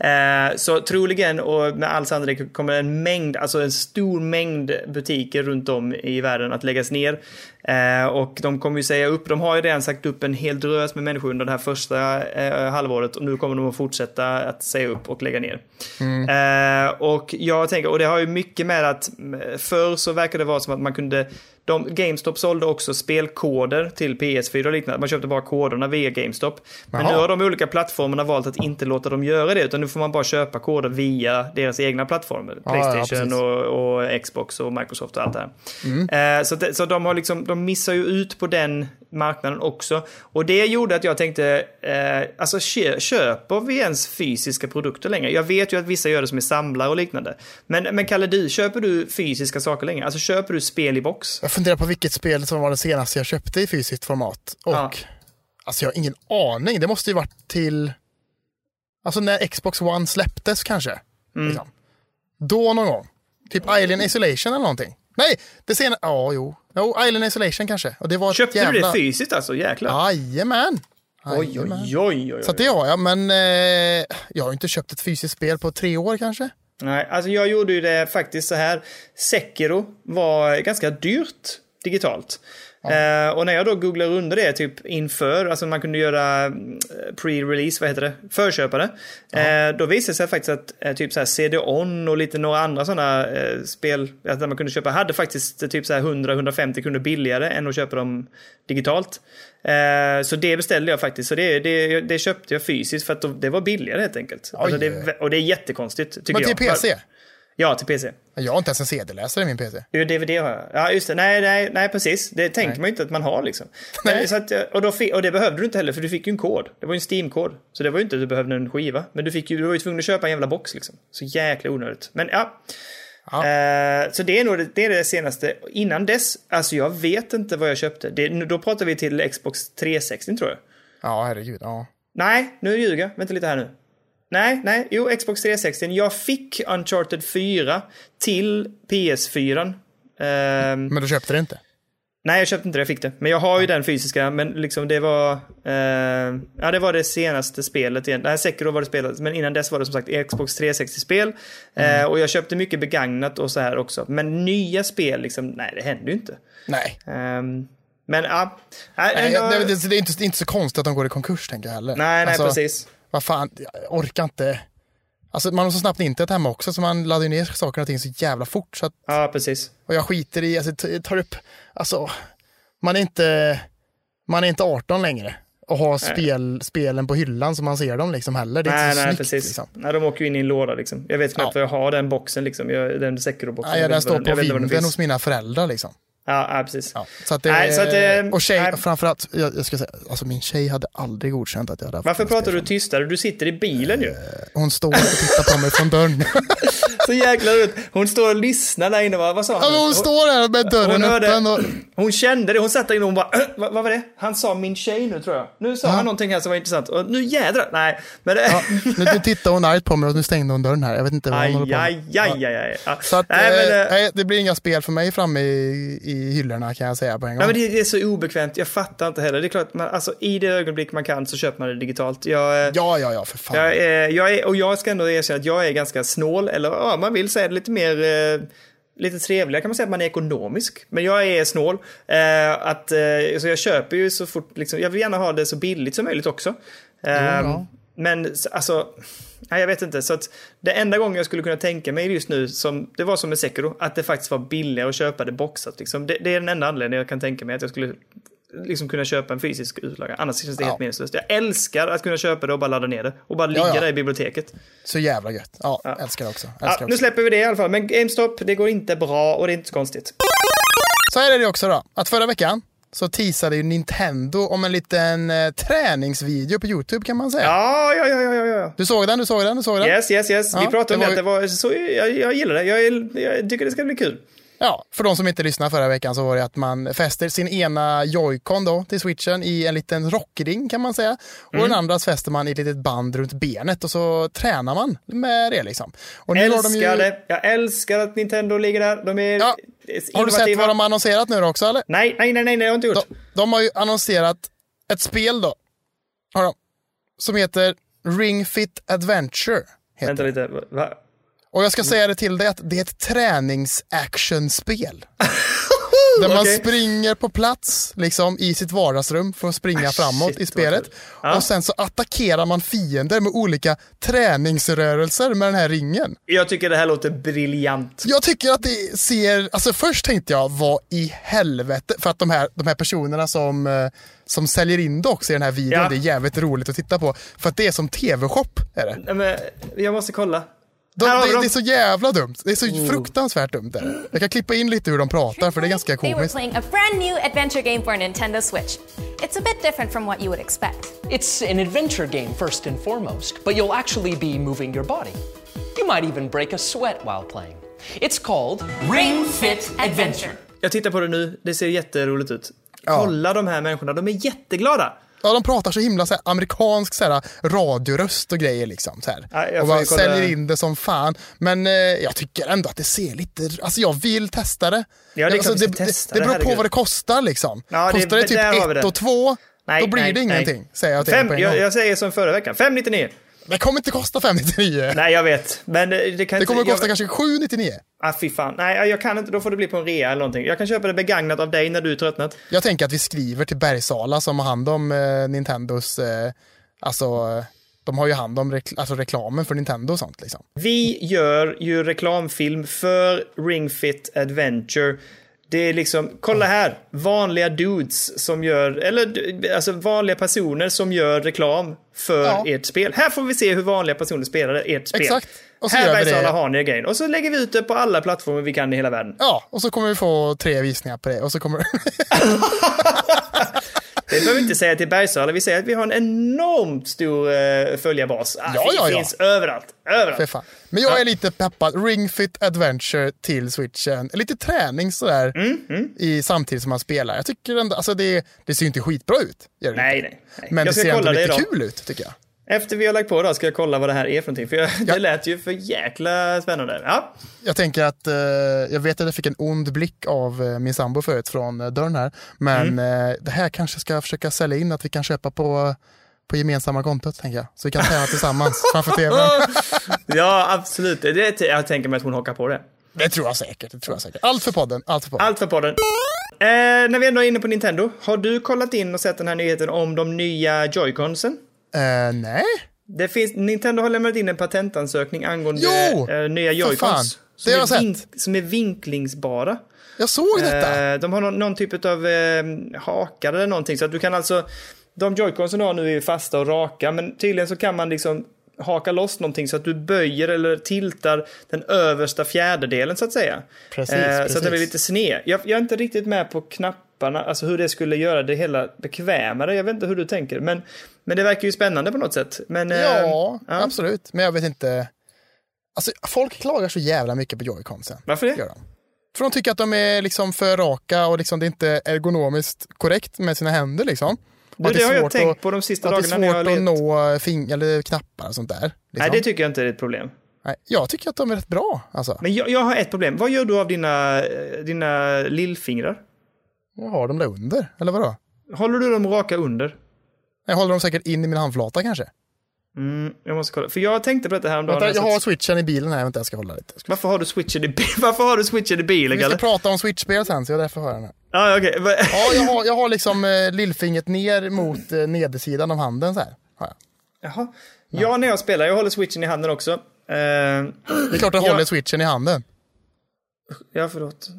Eh, så troligen och med all sannolikhet kommer en mängd, alltså en stor mängd butiker runt om i världen att läggas ner. Eh, och de kommer ju säga upp, de har ju redan sagt upp en hel drös med människor under det här första eh, halvåret och nu kommer de att fortsätta att säga upp och lägga ner. Eh, och jag tänker, och det har ju mycket med att mm, förr så verkade det vara som att man kunde de, GameStop sålde också spelkoder till PS4 och liknande. Man köpte bara koderna via GameStop. Men
Jaha.
nu har de olika plattformarna valt att inte låta dem göra det, utan nu får man bara köpa koder via deras egna plattformar.
Ja, ja,
Playstation
precis. Mm.
och, och Xbox och Microsoft och allt det här. Eh, så det, så de, har liksom, de missar ju ut på den marknaden också. Och det gjorde att jag tänkte, eh, alltså kö, köper vi ens fysiska produkter längre? Jag vet ju att vissa gör det som är samlare och liknande. Men, men Kalle, du, köper du fysiska saker längre? Alltså köper du spel i box?
Jag funderar på vilket spel som var det senaste jag köpte i fysiskt format. Och
Ja.
alltså jag har ingen aning. Det måste ju varit till... Alltså när Xbox One släpptes kanske.
Mm.
Liksom. Då någon gång. Typ Alien Isolation eller någonting. Nej, det senaste... Ja, jo. Jo, Alien Isolation kanske. Och det var ett
Köpte du
jävla...
det fysiskt alltså? Jäklar.
Jajamän.
oj, oj,
Jajamän.
oj, oj, oj.
Så att det har jag, men eh, jag har ju inte köpt ett fysiskt spel på tre år kanske.
Nej, alltså jag gjorde ju det faktiskt så här. Sekiro var ganska dyrt digitalt. Eh, och när jag då googlade under det typ inför, alltså man kunde göra mm, pre-release, vad heter det, förköpare. Eh, då visade det sig faktiskt att eh, typ så här CD-ON och lite några andra sådana eh, spel, alltså där man kunde köpa, hade faktiskt eh, typ så här 100-150 kronor billigare än att köpa dem digitalt. Eh, så det beställde jag faktiskt, så det, det, det köpte jag fysiskt för att då- det var billigare helt enkelt. Alltså
Oj.
det, är vä- och det är jättekonstigt tycker
Men typ
jag.
till PC.
Ja, till PC.
Jag har inte ens en CD-läsare i min PC.
Jo, DVD har jag. Ja, just det. Nej, nej, nej precis. Det tänker man ju inte att man har liksom. Nej. Så att, och, då fi- och det behövde du inte heller, för du fick ju en kod. Det var ju en Steam-kod. Så det var ju inte att du behövde en skiva. Men du, fick ju, du var ju tvungen att köpa en jävla box liksom. Så jäkla onödigt. Men ja.
Ja.
Eh, så det är nog det, det, är det senaste. Innan dess, alltså jag vet inte vad jag köpte. Det, nu- då pratar vi till Xbox 360 tror jag.
Ja, herregud. Ja.
Nej, nu ljuger jag. Vänta lite här nu. Nej, nej, jo, Xbox 360. Jag fick Uncharted 4 till PS4. Ehm,
Men du köpte det inte?
nej, jag köpte inte det, jag fick det. Men jag har ju den fysiska, men liksom det var... ehm, ja, det var det senaste spelet igen. Nej, Sekiro var det spelet, men innan dess var det som sagt Xbox 360-spel. Eh,
Mm.
och jag köpte mycket begagnat och så här också. Men nya spel, liksom, nej, det händer ju inte.
Nej.
Ehm, men ja... nej,
Nej,
ändå-
det, det, det är inte, det är inte så konstigt att de går i konkurs tänker jag heller.
nej, nej
Alltså,
precis.
Vad fan, jag orkar inte. Alltså man har så snabbt internet hemma också så man laddar ju ner saker och ting så jävla fort. Så att,
Ja, precis.
och jag skiter i, alltså t- tar upp, alltså man är inte, man är inte 18 längre och har spel, spelen på hyllan så man ser dem liksom heller. Det är
Nej,
inte så
nej,
snyggt
precis.
liksom.
Nej, de åker ju in i en låda liksom. Jag vet knappt
Ja.
vad jag har den boxen liksom. Jag, den Securo-boxen.
Nej,
Jag vet
den
inte
står
vad
på
jag vet inte vad den
vinden
finns.
hos mina föräldrar liksom.
Ja, ja, precis. Ja.
Så att det,
Nej, så att det-
och tjej,
nej.
framförallt, jag, jag ska säga, alltså min tjej hade aldrig godkänt att jag hade haft
Varför
en
pratar du
Playstation.
tystare? Du sitter i bilen ju.
Hon står och tittar på mig från dörren.
Så jäkla ut. Hon står och lyssnar där inne. Vad, vad sa
Ja, men Alltså, hon står här med dörren
hörde-
öppen och...
Hon kände det. Hon satt där inne och hon bara, "Äh, vad, vad var det? Han sa min tjej nu tror jag. Nu sa han någonting här som var intressant. Och nu jädrar. Nej, men det...
Ja, nu nu tittar hon argt på mig och nu stängde hon dörren här. Jag vet inte vad hon
Aj,
håller
aj,
på
aj,
med.
aj, aj. Ja.
Så att,
nej, men,
eh,
eh,
nej, det blir inga spel för mig framme i, i hyllorna kan jag säga på en gång.
Ja, men det, det är så obekvämt. Jag fattar inte heller. Det är klart, att man, alltså, i det ögonblick man kan så köper man det digitalt. Jag, eh,
ja, ja, ja, för fan.
Jag är, jag är, och jag ska ändå erkänna att jag är ganska snål, eller ja, man vill säga det lite mer, eh, lite trevligare kan man säga att man är ekonomisk. Men jag är snål. Eh, att, eh, så jag köper ju så fort, liksom, jag vill gärna ha det så billigt som möjligt också. Ehm,
ja.
Men s- alltså, nej, jag vet inte. Så att det enda gången jag skulle kunna tänka mig just nu, som, det var som med Sekiro, att det faktiskt var billigare att köpa det boxat. Liksom. Det, det är den enda anledningen jag kan tänka mig att jag skulle liksom kunna köpa en fysisk utlaga. Annars känns det
Ja.
helt meningslöst. Jag älskar att kunna köpa det och bara ladda ner det. Och bara ligga
Ja, ja.
där i biblioteket.
Så jävla gött. Ja, älskar det också. Älskar
Ja,
det
nu
också.
släpper vi det i alla fall. Men GameStop, det går inte bra och det är inte så konstigt.
Så här är det också då, att förra veckan så teasade ju Nintendo om en liten eh, träningsvideo på YouTube kan man säga.
Ja, ja, ja, ja, ja, ja.
Du såg den, du såg den, du såg den.
Yes, yes, yes.
Ja,
vi pratade om
det
det. Att det var, så, jag, jag gillar det. Jag, är- jag tycker det ska bli kul.
Ja, för de som inte lyssnade förra veckan så var det att man fäster sin ena joycon då till switchen i en liten rockring kan man säga. Och den
Mm.
andra fäster man i ett litet band runt benet och så tränar man med det liksom. Och nu har de ju-
Älskar det. Jag älskar att Nintendo ligger där. De är
Ja.
innovativa.
Har du sett vad de har annonserat nu då också eller?
Nej, nej, nej, nej, det har jag inte gjort.
De, de har ju annonserat ett spel då. Har de. Som heter Ring Fit Adventure. Heter.
Vänta lite. Va?
Och jag ska
Mm.
säga det till dig att det är ett träningsactionspel. Där man
Okej.
springer på plats liksom, i sitt vardagsrum för att springa framåt
Ah, shit,
i spelet.
vad Ah. kul. Ja.
Och sen så attackerar man fiender med olika träningsrörelser med den här ringen.
Jag tycker det här låter briljant.
Jag tycker att det ser, alltså först tänkte jag vad i helvete, för att de här, de här personerna som, eh, som säljer in det också i den här videon,
Ja.
det är jävligt roligt att titta på. För att det är som tv-shop. Är det.
Nej, men jag måste kolla.
De,
Här har Mm.
det,
vi dem.
det är så jävla dumt. Det är så fruktansvärt dumt. Där. Jag kan klippa in lite hur de pratar för er det är ganska
They were
komiskt.
playing a brand new adventure game for a Nintendo Switch. It's a bit different from what you would expect.
It's an adventure game first and foremost, but you'll actually be moving your body. You might even break a sweat while playing. It's called
Ring Fit Adventure.
Jag tittar på det nu. Det ser jätteroligt ut. Kolla de här människorna. De är jätteglada.
Ja, de pratar så himla så här, amerikansk så här, radioröst och grejer liksom. Så här.
Ja, jag
och
får
bara
kolla.
säljer in det som fan. Men eh, jag tycker ändå att det ser lite, alltså jag vill testa det. Alltså,
det är klart vi ska
det,
testa
det
det,
beror på
herregud.
vad det kostar liksom.
Ja, det-
kostar det,
där har vi
typ
det.
1 och 2,
Nej,
då blir
nej, nej.
det ingenting. Säger jag till dig
Fem,
på en gång.
jag, jag säger som förra veckan. 599.
Det kommer inte kosta 599.
Nej, jag vet. Men det, det kan
Det kommer
inte...
kosta
jag,
kanske 799.
Ah, fy fan. Nej, jag kan inte. Då får det bli på en rea eller någonting. Jag kan köpa det begagnat av dig när du är tröttnat.
Jag tänker att vi skriver till Bergsala som har hand om eh, Nintendos, eh, alltså eh, de har ju hand om rekl- alltså reklamen för Nintendo och sånt liksom.
Vi gör ju reklamfilm för Ring Fit Adventure. Det är liksom, kolla här, vanliga dudes som gör, eller d- alltså vanliga personer som gör reklam för
Ja.
ert spel. Här får vi se hur vanliga personer spelar ert spel.
Exakt. Och så
här
gör vi
Bergsala
det.
har ni grejen. Och så lägger vi ut det på alla plattformar vi kan i hela världen.
Ja, och så kommer vi få tre visningar på det och så kommer
Det behöver vi inte säga till Bergsala, vi säger att vi har en enormt stor eh, följarbas. Ah,
Ja,
det
ja, ja.
finns överallt, överallt.
Fy fan. Men jag är lite peppad. Ring Fit Adventure till switchen. Lite träning sådär
Mm,
I, samtidigt som man spelar. Jag tycker ändå, alltså det, det ser ju inte skitbra ut. Gör det
Nej,
inte.
nej. nej.
Men
jag
det
ska
ser ändå
kolla det
lite
idag.
kul ut tycker jag.
Efter vi har lagt på då ska jag kolla vad det här är för någonting. För jag, det lät ju för jäkla spännande. Ja,
Jag tänker att, eh, jag vet att jag fick en ond blick av eh, min sambo förut från eh, dörren här. Men eh, det här kanske ska jag försöka sälja in att vi kan köpa på, på gemensamma kontot tänker jag. Så vi kan tävla tillsammans framför tvn.
ja absolut. Det, jag tänker mig att hon hockar på det.
Det tror jag säkert. Det tror jag säkert. Allt för podden. Allt för podden.
Allt för podden. Eh, när vi ändå är inne på Nintendo, har du kollat in och sett den här nyheten om de nya Joy-Consen?
Eh, nej.
Det finns, Nintendo har lämnat in en patentansökning angående
Jo!
eh, nya
För fan.
Joy-Cons. Som,
Det har
är
jag
vink- som är vinklingsbara.
Jag såg detta.
Eh, de har någon, någon typ av eh, hakar eller någonting. Så att du kan alltså... De joyconsen du har nu är ju fasta och raka, men tydligen så kan man liksom haka loss någonting så att du böjer eller tiltar den översta fjärdedelen så att säga. Eh,
Precis,
Så att den blir
precis.
lite sned. Jag, jag är inte riktigt med på knapparna, alltså hur det skulle göra det hela bekvämare. Jag vet inte hur du tänker, men, men det verkar ju spännande på något sätt. Men, eh,
ja, absolut. Men jag vet inte. Alltså, folk klagar så jävla mycket på joyconsen.
Varför det?
Gör de. För de tycker att de är liksom för raka och liksom det är inte ergonomiskt korrekt med sina händer. Liksom. Och att
det
är
har jag
svårt
tänkt
att-
på de sista
att
dagarna när jag har
Det är
levt.
svårt att nå fing- eller knappar och sånt där.
Nej,
Liksom.
det tycker jag inte är ett problem.
Nej, jag tycker att de är rätt bra. Alltså.
Men jag, jag har ett problem. Vad gör du av dina, eh, dina lillfingrar?
Jag har dem där under, eller vadå?
Håller du dem raka under?
Jag håller dem säkert in i min handflata kanske.
Mm, jag måste kolla. För jag tänkte på detta häromdagen.
Vänta, jag har
har...
switchen i bilen här, vänta jag ska hålla lite. Jag ska-
Varför har du switchen i bilen? Varför har du switchen i bilen,
Vi ska
Kalle?
prata om switchspel sen, så jag därför har jag den här.
Ja, okej. Va-
Ja, jag har, jag har liksom eh, lillfingret ner mot eh, nedersidan av handen så här. Har jag.
Jaha. Ja, när jag spelar. Jag håller switchen i handen också. Eh,
Det är klart jag
Ja.
håller switchen i handen.
ja, förlåt.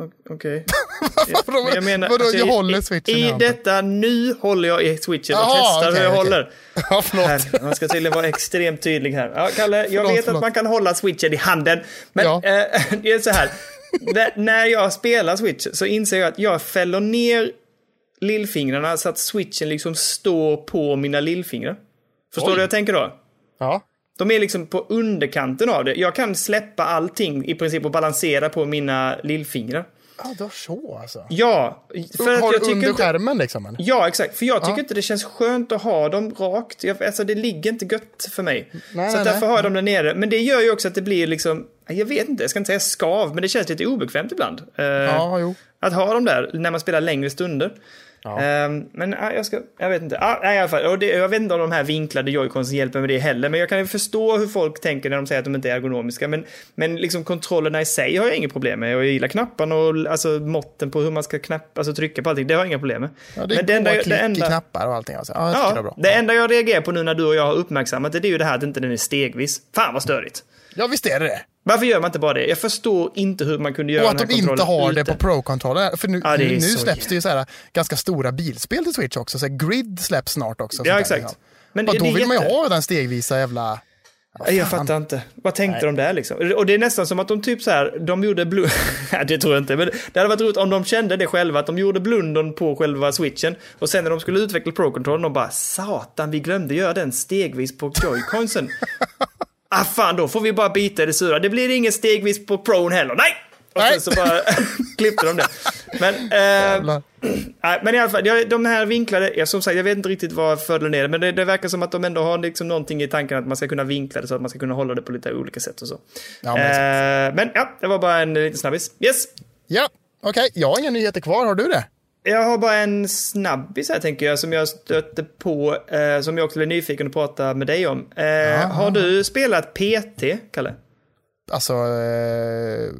O- Okej.
Vadå,
Jag menar...
vadå
alltså,
jag
i-
håller switchen i,
I
handen?
detta nu håller jag i switchen och
Jaha,
testar
okej,
hur jag
okej.
håller.
Ja, förlåt.
Här, man ska tydligen vara extremt tydlig här. Ja, Kalle, jag
Förlåt,
vet att
förlåt.
man kan hålla switchen i handen, men
Ja.
eh, det är så här. N- när jag spelar switch så inser jag att jag fäller ner lillfingrarna så att switchen liksom står på mina lillfingrar. Förstår du vad jag tänker då?
Ja.
De är liksom på underkanten av det. Jag kan släppa allting i princip och balansera på mina lillfingrar.
ja, du har så alltså.
Ja, för att
har
jag
du
tycker
under
inte...
skärmen liksom? Eller?
Ja, exakt. För jag tycker inte det känns skönt att ha dem rakt. Jag, alltså det ligger inte gött för mig.
Nej,
så att därför
nej, nej. Mm.
har jag dem där nere. Men det gör ju också att det blir liksom, jag vet inte, jag ska inte säga skav, men det känns lite obekvämt ibland. Eh,
Ja, jo.
Att ha dem där när man spelar längre stunder. Eh, men ja, jag, ska, jag vet inte. Ah, nej, i alla fall. Och det, jag vet inte om de här vinklade joyconsen hjälper med det heller. Men jag kan ju förstå hur folk tänker när de säger att de inte är ergonomiska. Men, men liksom kontrollerna i sig har jag inga problem med. Jag gillar knapparna och alltså, måtten på hur man ska knappa, alltså, trycka på allting. Det har jag inga problem med.
Ja, det är
men
goa
enda-
klick i knappar och allting. Alltså. Ja, jag tycker det
Ja,
är bra.
det enda jag reagerar på nu när du och jag har uppmärksammat det, det är ju det här att inte den är stegvis. Fan vad störigt.
Ja, visst är det det.
Varför gör man inte bara det? Jag förstår inte hur man kunde göra
Och att
den
de
här
inte
kontrollen
har det
ute.
på Pro-kontrollen. För nu,
Ja, det är
nu
så
släpps det ju så här ganska stora bilspel till Switch också. Så här, Grid släpps snart också.
Ja,
sånt där,
exakt.
liksom.
Men
Bara
det-
då
det är
vill man ju
jätte-
ha den stegvisa jävla...
Nej, Jag fattar inte. Vad tänkte de där liksom? Och det är nästan som att de typ så här, de gjorde blund... det tror jag inte, men det hade varit roligt om de kände det själva, att de gjorde blundern på själva switchen. Och sen när de skulle utveckla Pro Control, de bara satan, vi glömde göra den stegvis på Joy-Consen. ah fan, då får vi bara bita i det sura. Det blir ingen stegvis på Pron heller. Nej! Och sen
Nej.
så bara klippte de det. Men, eh, Nej, men i alla fall, jag- de här vinklade, ja, som sagt, jag vet inte riktigt vad fördelen är, men det, det verkar som att de ändå har liksom någonting i tanken att man ska kunna vinkla det så att man ska kunna hålla det på lite olika sätt och så.
Ja, men
men,
det
eh, men ja, det var bara en eh, liten snabbis. Yes!
Ja, okej. Jag har inga nyheter kvar. Har du det?
Jag har bara en snabbis här tänker jag, som jag stötte på, eh, som jag också blev nyfiken att prata med dig om. Eh, har du spelat PT, Kalle?
Alltså, eh,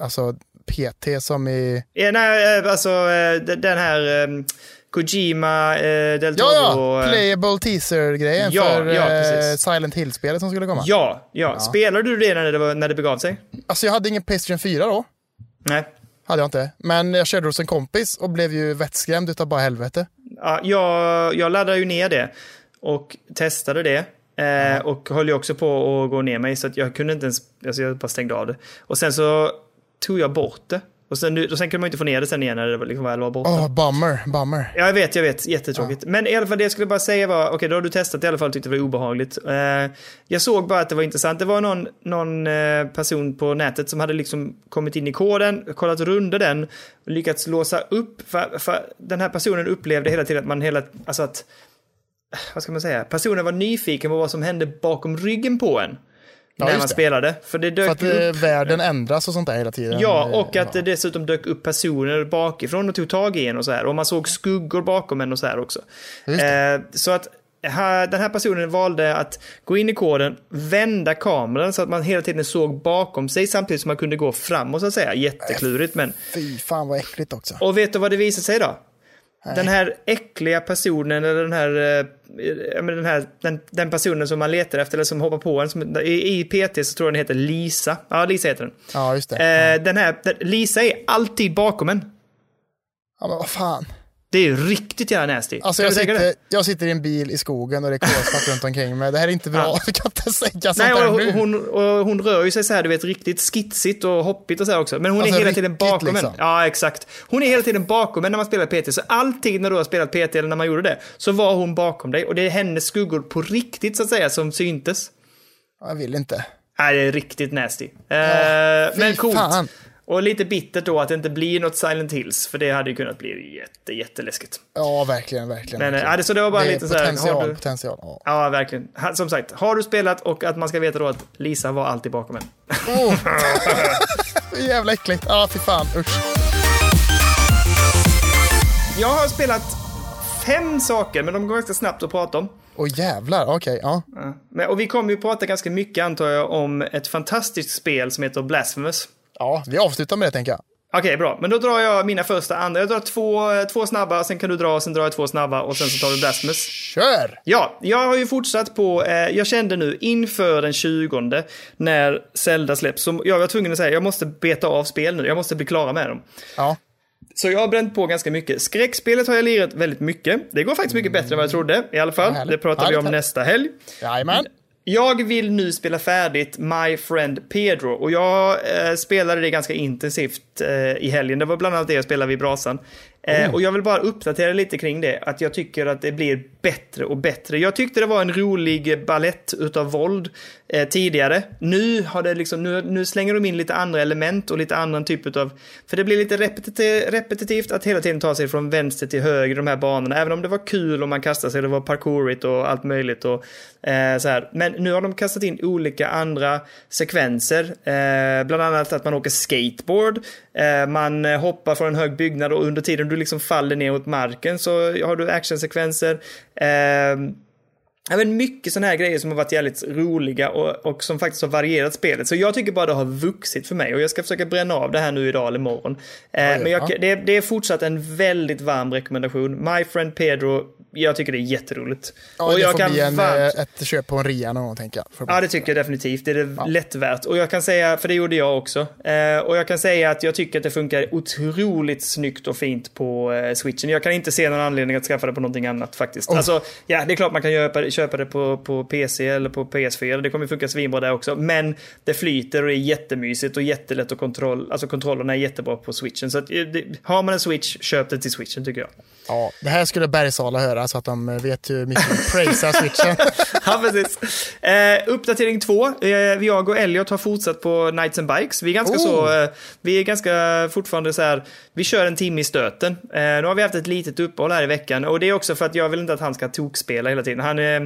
alltså PT som i...
Ja, nej, eh, alltså eh, d- den här eh, Kojima, eh, Del
Ja, ja!
Toro, eh,
Playable teaser-grejen
Ja,
för
ja,
eh,
precis.
Silent Hill-spelet som skulle komma.
Ja, ja. Spelade du det när det, var, när det begav sig?
Alltså, jag hade ingen Playstation 4 då.
Nej.
Hade jag inte. Men jag körde hos en kompis och blev ju vettskrämd utav bara helvete.
Ja, jag, jag laddade ju ner det och testade det. Eh, och höll ju också på att gå ner mig så att jag kunde inte ens, alltså jag bara stängde av det. Och sen så tog jag bort det. Och sen, nu- och sen kunde man ju inte få ner det sen igen när det var- liksom väl var borta.
Åh, bummer, bummer.
Ja, jag vet, jag vet. Jättetråkigt. Men i alla fall det jag skulle bara säga var, okej då har du testat i alla fall och tyckte det var obehagligt. Eh, jag såg bara att det var intressant. Det var någon, någon eh, person på nätet som hade liksom kommit in i koden, kollat runt den, lyckats låsa upp, för, för den här personen upplevde hela tiden att man hela, alltså att vad ska man säga, personen var nyfiken på vad som hände bakom ryggen på en. när
just
man
det.
spelade. För det dök
För att
upp
eh, världen ändras och sånt där hela tiden.
Ja,
Eh,
och att det dessutom dök upp personer bakifrån och tog tag i en och så här. Och man såg skuggor bakom en och så här också. Eh, så att här, den här personen valde att gå in i koden, vända kameran så att man hela tiden såg bakom sig samtidigt som man kunde gå framåt så att säga. Jätteklurigt men.
Fy fan vad äckligt också.
Och vet du vad det visade sig då? Den här äckliga personen eller den här, eh, ja, men den, här den, den personen som man letar efter eller som hoppar på en. Som, i, I PT så tror jag den heter Lisa. Ja, Lisa heter den.
Ja, just det.
Eh, den här, den, Lisa är alltid bakom en.
Ja, men vad fan.
Det är riktigt jävla nasty.
Alltså
Kan
jag
du tänka
sitter,
dig?
jag sitter i en bil i skogen och det är kolsvart runt omkring mig. Det här är inte bra.
Ja.
Du kan inte säga sånt
Nej,
där nu.
och hon, och hon rör ju sig så här, du vet, riktigt skitsigt och hoppigt och så här också. Men hon
Alltså,
är hela tiden
ryckigt
bakom
liksom.
en. Ja, exakt. Hon är hela tiden bakom en när man spelar PT. Så alltid när du har spelat PT eller när man gjorde det, så var hon bakom dig. Och det är hennes skuggor på riktigt, så att säga, som syntes.
Jag vill inte.
Nej, det är riktigt nasty. Eh,
fy
men coolt.
fan.
Och lite bittert då att det inte blir något Silent Hills, för det hade ju kunnat bli jätte, jätteläskigt.
Ja, verkligen, verkligen.
Men, eh,
verkligen.
ja, det- så det var bara
Det är
lite så här, har
potential,
du-
potential. Ja.
Ja, verkligen. Ha- Som sagt, har du spelat och att man ska veta då att Lisa var alltid bakom en.
Jävla äckligt. Ja, fy fan. Usch.
Jag har spelat fem saker, men de går ganska snabbt att prata om.
Åh jävlar, okej. ja.
Men, och vi kommer ju prata ganska mycket, antar jag, om ett fantastiskt spel som heter Blasphemous.
ja, vi avslutar med det tänker jag.
Okej, bra. Men då drar jag mina första andra. Jag drar två, två snabba, sen kan du dra, sen drar jag två snabba och sen så tar du Blasphemous.
Kör!
Ja, jag har ju fortsatt på, eh, jag kände nu inför den 20 när Zelda släpps, som jag var tvungen att säga, jag måste beta av spel nu, jag måste bli klara med dem.
Ja.
Så jag har bränt på ganska mycket. Skräckspelet har jag lirat väldigt mycket. Det går faktiskt mycket bättre än vad jag trodde i alla fall.
Mm. härligt.
Det pratar vi
Härligt,
om
härligt.
nästa helg.
Jajamän.
Jag vill nu spela färdigt My Friend Pedro och jag eh, spelade det ganska intensivt eh, i helgen. Det var bland annat det jag spelade vid brasan. Eh,
Mm.
Och jag vill bara uppdatera lite kring det, att jag tycker att det blir bättre och bättre. Jag tyckte det var en rolig ballett utav våld eh, tidigare. Nu, har det liksom, nu, nu slänger de in lite andra element och lite annan typ utav... För det blir lite repetiti- repetitivt att hela tiden ta sig från vänster till höger i de här banorna. Även om det var kul och man kastade sig, det var parkourigt och allt möjligt. Och, eh, så här. Men nu har de kastat in olika andra sekvenser. Eh, bland annat att man åker skateboard, eh, man eh, hoppar från en hög byggnad och under tiden du liksom faller ner mot marken så har du actionsekvenser. Eh, Ja, men mycket sådana här grejer som har varit jävligt roliga och, och som faktiskt har varierat spelet. Så jag tycker bara det har vuxit för mig och jag ska försöka bränna av det här nu idag eller imorgon. Eh, men jag, det, det är fortsatt en väldigt varm rekommendation. My friend Pedro, jag tycker det är jätteroligt.
Ja, det
jag
får bli en,
varmt-
eh, ett köp på en rea någon gång tänker jag. Får
Ja,
bli-
det tycker jag definitivt. Det är det lätt värt. Och jag kan säga, för det gjorde jag också, eh, och jag kan säga att jag tycker att det funkar otroligt snyggt och fint på eh, switchen. Jag kan inte se någon anledning att skaffa det på någonting annat faktiskt. Alltså, ja, det är klart man kan köpa, köpa det på, på PC eller på PS4. Det kommer funka svinbra där också. Men det flyter och det är jättemysigt och jättelätt att kontroll, alltså kontrollerna är jättebra på switchen. Så att, eh, det, har man en switch, köp det till switchen tycker jag.
Ja, det här skulle Bergsala höra så att de eh, vet hur mycket de praisar switchen.
ja, precis. Eh, uppdatering två. Eh, jag och Elliot har fortsatt på Nights and Bikes. Vi är ganska
Oh.
så, eh, vi är ganska fortfarande så här, vi kör en timme i stöten. Eh, nu har vi haft ett litet uppehåll här i veckan och det är också för att jag vill inte att han ska tokspela hela tiden. Han eh,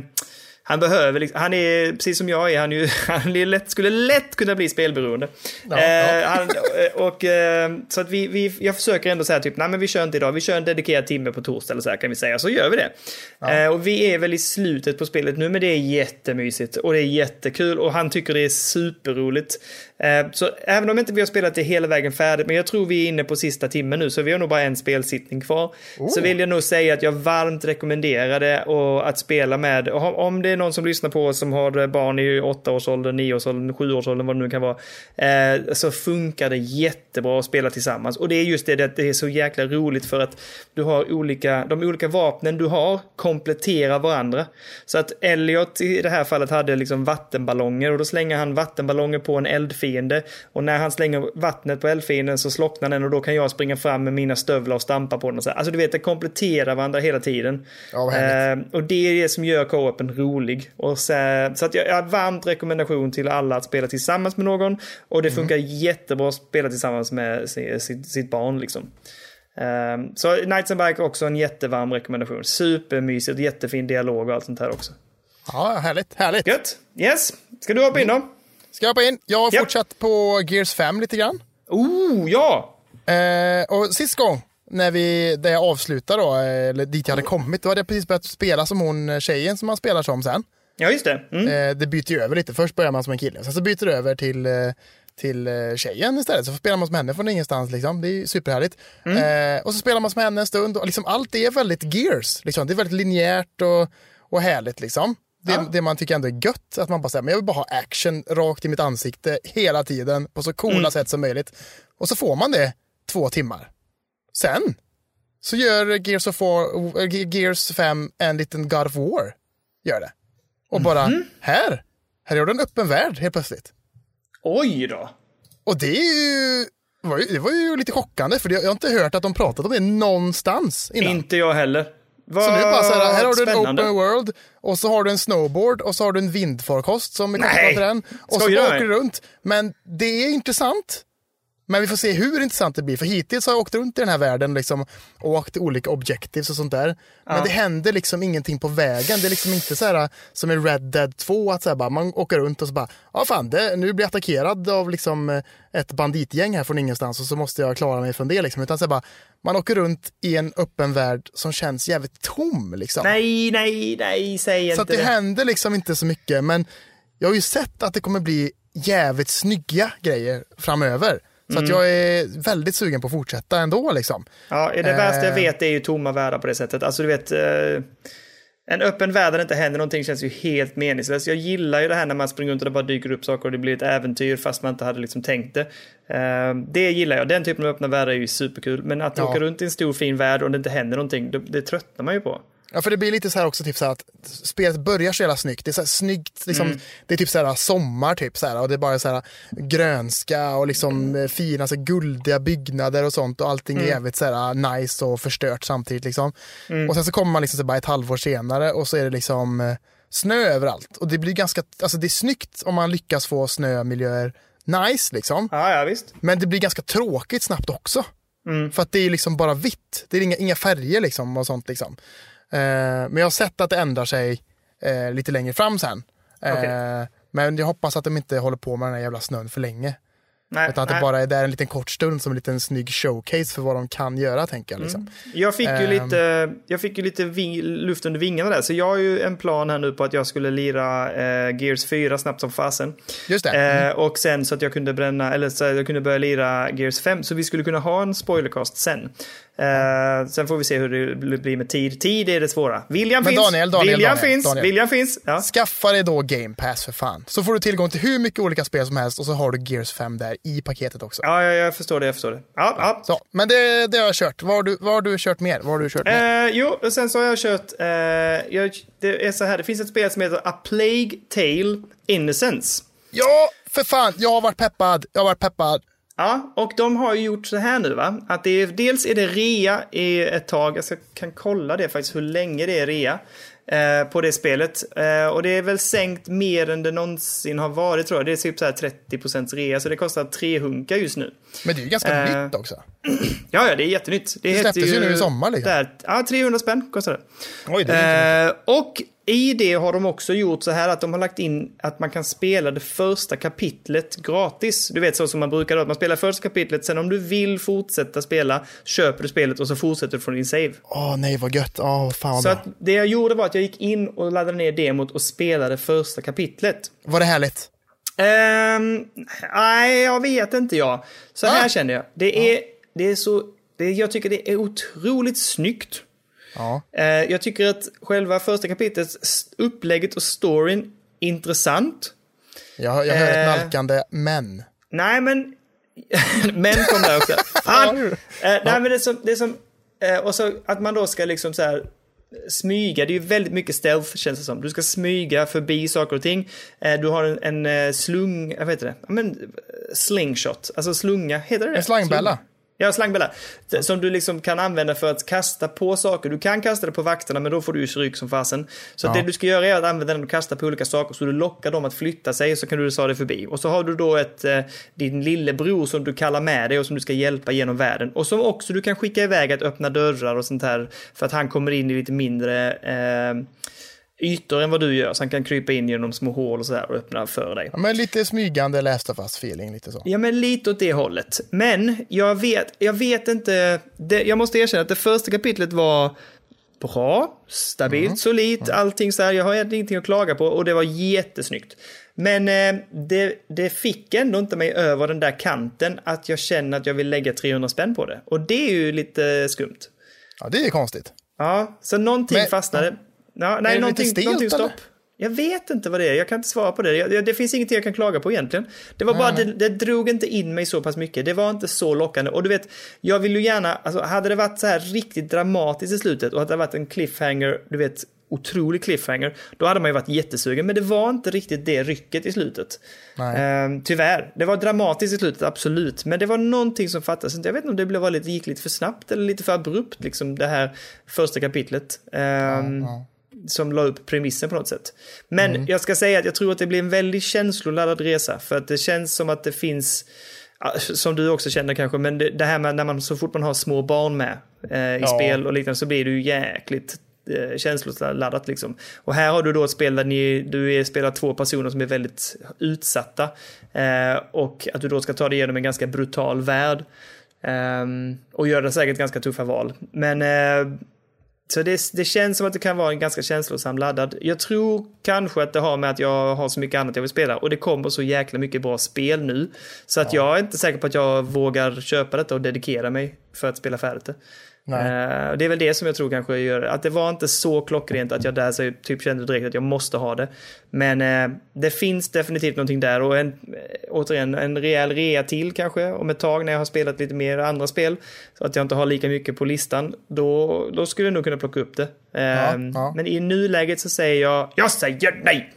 han behöver, liksom- han är precis som jag är, han, är ju, han är lätt, skulle lätt kunna bli spelberoende.
Ja,
eh,
ja.
Han, och, eh, så att vi, vi, jag försöker ändå säga typ, nej men vi kör inte idag, vi kör en dedikerad timme på torsdag eller så här kan vi säga, så gör vi det. Eh, och vi är väl i slutet på spelet nu, men det är jättemysigt och det är jättekul och han tycker det är superroligt. Eh, så även om inte vi har spelat det hela vägen färdigt, men jag tror vi är inne på sista timmen nu, så vi har nog bara en spelsittning kvar. Så vill jag nog säga att jag varmt rekommenderar det och att spela med. Och om- Om det är någon som lyssnar på oss som har barn i åttaårsåldern, nioårsåldern, sjuårsåldern, vad det nu kan vara, eh, så funkar det jättebra att spela tillsammans. Och det är just det, det att det är så jäkla roligt för att du har olika, de olika vapnen du har kompletterar varandra. Så att Elliot i det här fallet hade liksom vattenballonger och då slänger han vattenballonger på en eldfiende. Och när han slänger vattnet på eldfienden så slocknar den och då kan jag springa fram med mina stövlar och stampa på den. Och så här. Alltså du vet, det kompletterar varandra hela tiden.
Ja, vad härligt.
Eh, och det är det som gör co-open rolig. Och så så att jag, jag har varmt rekommendation till alla att spela tillsammans
Mhm.
med någon. Och det funkar jättebra att spela tillsammans med si- sitt, sitt barn liksom. Ehm, så Knights and Bike också en jättevarm rekommendation. Supermysigt, jättefin dialog och allt sånt här också.
Ja, härligt. Härligt.
Gött! Yes! Ska du hoppa in då?
Ska jag hoppa in? Jag har
Japp.
fortsatt på Gears 5 lite grann.
Oh, ja!
Eh, och sist gång, när vi, där jag avslutade då, eh, eller dit jag hade kommit, då hade jag precis börjat spela som hon eh, tjejen som man spelar som sen.
Ja, just det. Mm.
Eh, det byter ju över lite. Först börjar man som en kille, sen så byter det över till, eh, till eh, tjejen istället. Så spelar man som henne från ingenstans. Liksom. Det är ju superhärligt. Eh, och så spelar man som henne en stund. Och liksom, allt är väldigt gears. Liksom. Det är väldigt linjärt och, och härligt. Liksom. Det, det man tycker ändå är gött, att man bara säger men jag vill bara ha action rakt i mitt ansikte hela tiden på så coola sätt som möjligt. Och så får man det två timmar. Sen så gör Gears, of War, eh, Gears 5 en liten God of War. Gör det. Och bara,
Mhm.
här! Här är du en öppen värld helt plötsligt.
Oj då!
Och det är ju... Var ju, det var ju lite chockande, för det- jag har inte hört att de pratat om det någonstans innan.
Inte jag heller. Vad
så nu är det bara så här, här har du en
spännande.
open world, och så har du en snowboard, och så har du en vindfarkost som är kopplad
Nej.
till den. Och så
Skojar du
bara
med
åker du
mig?
runt. Men det är intressant. Men vi får se hur intressant det blir, för hittills har jag åkt runt i den här världen liksom, och åkt till olika objectives och sånt där. Men det händer liksom ingenting på vägen. Det är liksom inte så här som i Red Dead 2, att så här, bara, man åker runt och så bara, ja fan, det, nu blir jag attackerad av liksom, eh, ett banditgäng här från ingenstans och så måste jag klara mig från det. Liksom. Utan så här, bara, man åker runt i en öppen värld som känns jävligt tom. Liksom.
Nej, nej, nej, säg
Så att
inte
det
det.
händer liksom inte så mycket, men jag har ju sett att det kommer bli jävligt snygga grejer framöver. Så att jag är väldigt sugen på att fortsätta ändå. Liksom.
Ja, det värsta
Eh.
jag vet är ju tomma världar på det sättet. Alltså du vet, eh, en öppen värld där det inte händer någonting känns ju helt meningslöst. Jag gillar ju det här när man springer runt och det bara dyker upp saker och det blir ett äventyr fast man inte hade liksom tänkt det. Eh, det gillar jag. Den typen av öppna världar är ju superkul. Men att åka runt i en stor fin värld och det inte händer någonting, det, det tröttnar man ju på.
Ja, för det blir lite så här också, typ så här att spelet börjar så jävla snyggt. Det är så här snyggt, liksom, det är typ så här sommar typ så här, och det är bara så här grönska och liksom eh, fina så här, guldiga byggnader och sånt och allting är jävligt så här eh, nice och förstört samtidigt liksom. Och sen så kommer man liksom så här, bara ett halvår senare och så är det liksom eh, snö överallt och det blir ganska, alltså det är snyggt om man lyckas få snömiljöer nice liksom.
Ja, ja visst.
Men det blir ganska tråkigt snabbt också.
Mm.
För att det är liksom bara vitt. Det är inga, inga färger liksom och sånt liksom. Eh, men jag har sett att det ändrar sig eh, lite längre fram sen. Eh,
Okej.
Men jag hoppas att de inte håller på med den här jävla snön för länge.
Nej,
Utan att
nej.
det bara är där en liten kort stund som en liten snygg showcase för vad de kan göra tänker jag. Liksom.
Mm. Jag fick ju lite, jag fick ju lite ving, luft under vingarna där, så jag har ju en plan här nu på att jag skulle lira eh, Gears 4 snabbt som fasen.
Just det.
Eh, och sen så att jag kunde bränna, eller så att jag kunde börja lira Gears 5, så vi skulle kunna ha en spoilercast sen. Eh, sen får vi se hur det blir med tid. Tid är det svåra. Viljan
Men
finns!
Daniel, Daniel,
viljan
Daniel,
finns!
Daniel.
Viljan finns! Ja.
Skaffa dig då Game Pass för fan. Så får du tillgång till hur mycket olika spel som helst och så har du Gears 5 där i paketet också.
Ja, ja, jag förstår det, jag förstår det. Ja, ja.
Så, men det, det har jag kört. Vad har, du, vad har du kört mer? Vad har du kört mer?
Eh, jo, och sen så har jag kört... eh, jag, det är så här, det finns ett spel som heter A Plague Tale Innocence.
Ja, för fan. Jag har varit peppad. Jag har varit peppad.
Ja, och de har ju gjort så här nu va. Att det är, dels är det rea i ett tag, jag ska, kan kolla det faktiskt hur länge det är rea eh, på det spelet. Eh, och det är väl sänkt mer än det någonsin har varit tror jag. Det är typ så här 30% rea, så det kostar tre hunkar just nu.
Men det är ju ganska
Eh,
nytt också.
Ja, ja, det är jättenytt. Det,
släpptes
heter
ju nu i sommar, liksom.
Där, ja, 300 spänn kostar det.
Oj, det
Eh, och i det har de också gjort så här att de har lagt in att man kan spela det första kapitlet gratis. Du vet så som man brukar då, att man spelar första kapitlet, sen om du vill fortsätta spela köper du spelet och så fortsätter du från din save.
Åh nej, vad gött. Åh, fan vad
eh, Så
bra.
att det jag gjorde var att jag gick in och laddade ner demot och spelade första kapitlet.
Var det härligt?
Ehm, nej, jag vet inte jag. Så här
Ah.
känner jag. Det är, det är så... Det, jag tycker det är otroligt snyggt.
Ja.
Eh, jag tycker att själva första kapitlet, s- upplägget och storyn, intressant.
Jag, jag hör ett
Eh.
nalkande men.
Nej, men... men kom där också. Fan!
Ja,
Eh, nej, men det är som... Det är som eh, och så att man då ska liksom så här smyga, det är ju väldigt mycket stealth känns det som. Du ska smyga förbi saker och ting. Eh, Du har en, en eh, slung, jag vet inte det, Ja, men eh, slingshot, alltså slunga, heter det det?
En slangbella.
Slunga. Ja, slangbella. Som du liksom kan använda för att kasta på saker. Du kan kasta det på vakterna, men då får du ju stryk som fasen. Så att det du ska göra är att använda den och kasta på olika saker, så du lockar dem att flytta sig, så kan du ta dig förbi. Och så har du då ett, eh, din lillebror som du kallar med dig och som du ska hjälpa genom världen. Och som också du kan skicka iväg att öppna dörrar och sånt här, för att han kommer in i lite mindre eh, ytor än vad du gör, så han kan krypa in genom små hål och så här och öppna för dig.
Ja, men lite smygande Last of Us-feeling, lite så.
Ja, men lite åt det hållet. Men jag vet, jag vet inte. Det, jag måste erkänna att det första kapitlet var bra, stabilt,
Mm.
solitt, allting så här. Jag har egentligen ingenting att klaga på och det var jättesnyggt. Men eh, det, det fick ändå inte mig över den där kanten att jag känner att jag vill lägga 300 spänn på det. Och det är ju lite skumt.
Ja, det är konstigt.
Ja, så någonting
Men-
fastnade. Ja, nej,
lite
någonting,
stelt,
någonting
eller?
stopp. Jag vet inte vad det är, jag kan inte svara på det. Jag, jag- det finns ingenting jag kan klaga på egentligen. Det var bara, det, det drog inte in mig så pass mycket. Det var inte så lockande. Och du vet, jag vill ju gärna, alltså hade det varit så här riktigt dramatiskt i slutet och att det hade varit en cliffhanger, du vet, otrolig cliffhanger, då hade man ju varit jättesugen. Men det var inte riktigt det rycket i slutet.
Nej.
Ehm, tyvärr. Det var dramatiskt i slutet, absolut. Men det var någonting som fattades. inte. Jag vet inte om det blev var lite, gick lite för snabbt eller lite för abrupt, liksom det här första kapitlet. Ehm, Som la upp premissen på något sätt. Men jag ska säga att jag tror att det blir en väldigt känsloladdad resa. För att det känns som att det finns, ah, som du också känner kanske, men det, det här med när man så fort man har små barn med eh, i spel och liknande så blir det ju jäkligt eh, känsloladdat liksom. Och här har du då ett spel där ni, du är, spelar två personer som är väldigt utsatta. Eh, och att du då ska ta dig igenom en ganska brutal värld. ehm, och göra säkert ganska tuffa val. Men eh, så det, det känns som att det kan vara en ganska känslosam laddad. Jag tror kanske att det har med att jag har så mycket annat jag vill spela och det kommer så jäkla mycket bra spel nu. Så att jag är inte säker på att jag vågar köpa detta och dedikera mig för att spela färdigt det. Eh, det är väl det som jag tror kanske gör att det var inte så klockrent att jag där så typ kände direkt att jag måste ha det. Men eh, det finns definitivt någonting där och en, eh, återigen en rejäl rea till kanske om ett tag när jag har spelat lite mer andra spel så att jag inte har lika mycket på listan då, då skulle jag nog kunna plocka upp det. Ehm,
ja.
Men i nuläget så säger jag, jag säger nej!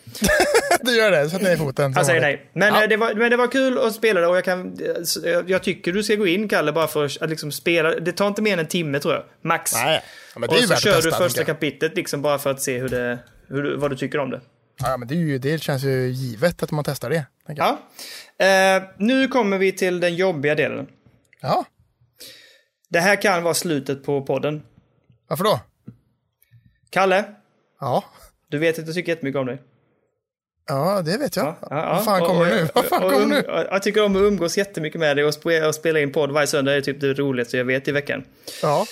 Du gör det, sätt ner foten.
Jag säger nej. Men, eh, det var, men det var kul att spela det och jag, kan, eh, s- eh, jag tycker du ska gå in Kalle bara för att liksom spela. Det tar inte mer än en timme tror jag, max.
Nej, ja, men
och
det är ju
så
värt att
kör du
testa.
första
tycker jag.
kapitlet liksom bara för att se hur det, hur, du- vad du tycker om det.
Ja, men det, är ju, det känns ju givet att man testar det. tänker jag.
Ja. Eh, nu kommer vi till den jobbiga delen.
Ja,
Det här kan vara slutet på podden.
varför då?
Kalle,
Ja,
du vet att jag tycker jättemycket om dig.
ja det vet jag.
Ja, ja,
Vad fan
och-
kommer
och-
nu? Vad fan
och-
kommer
och-
nu?
och- Jag tycker om att umgås jättemycket med dig och sp- och spela in podd varje söndag är typ det roligaste jag vet i veckan.
Ja.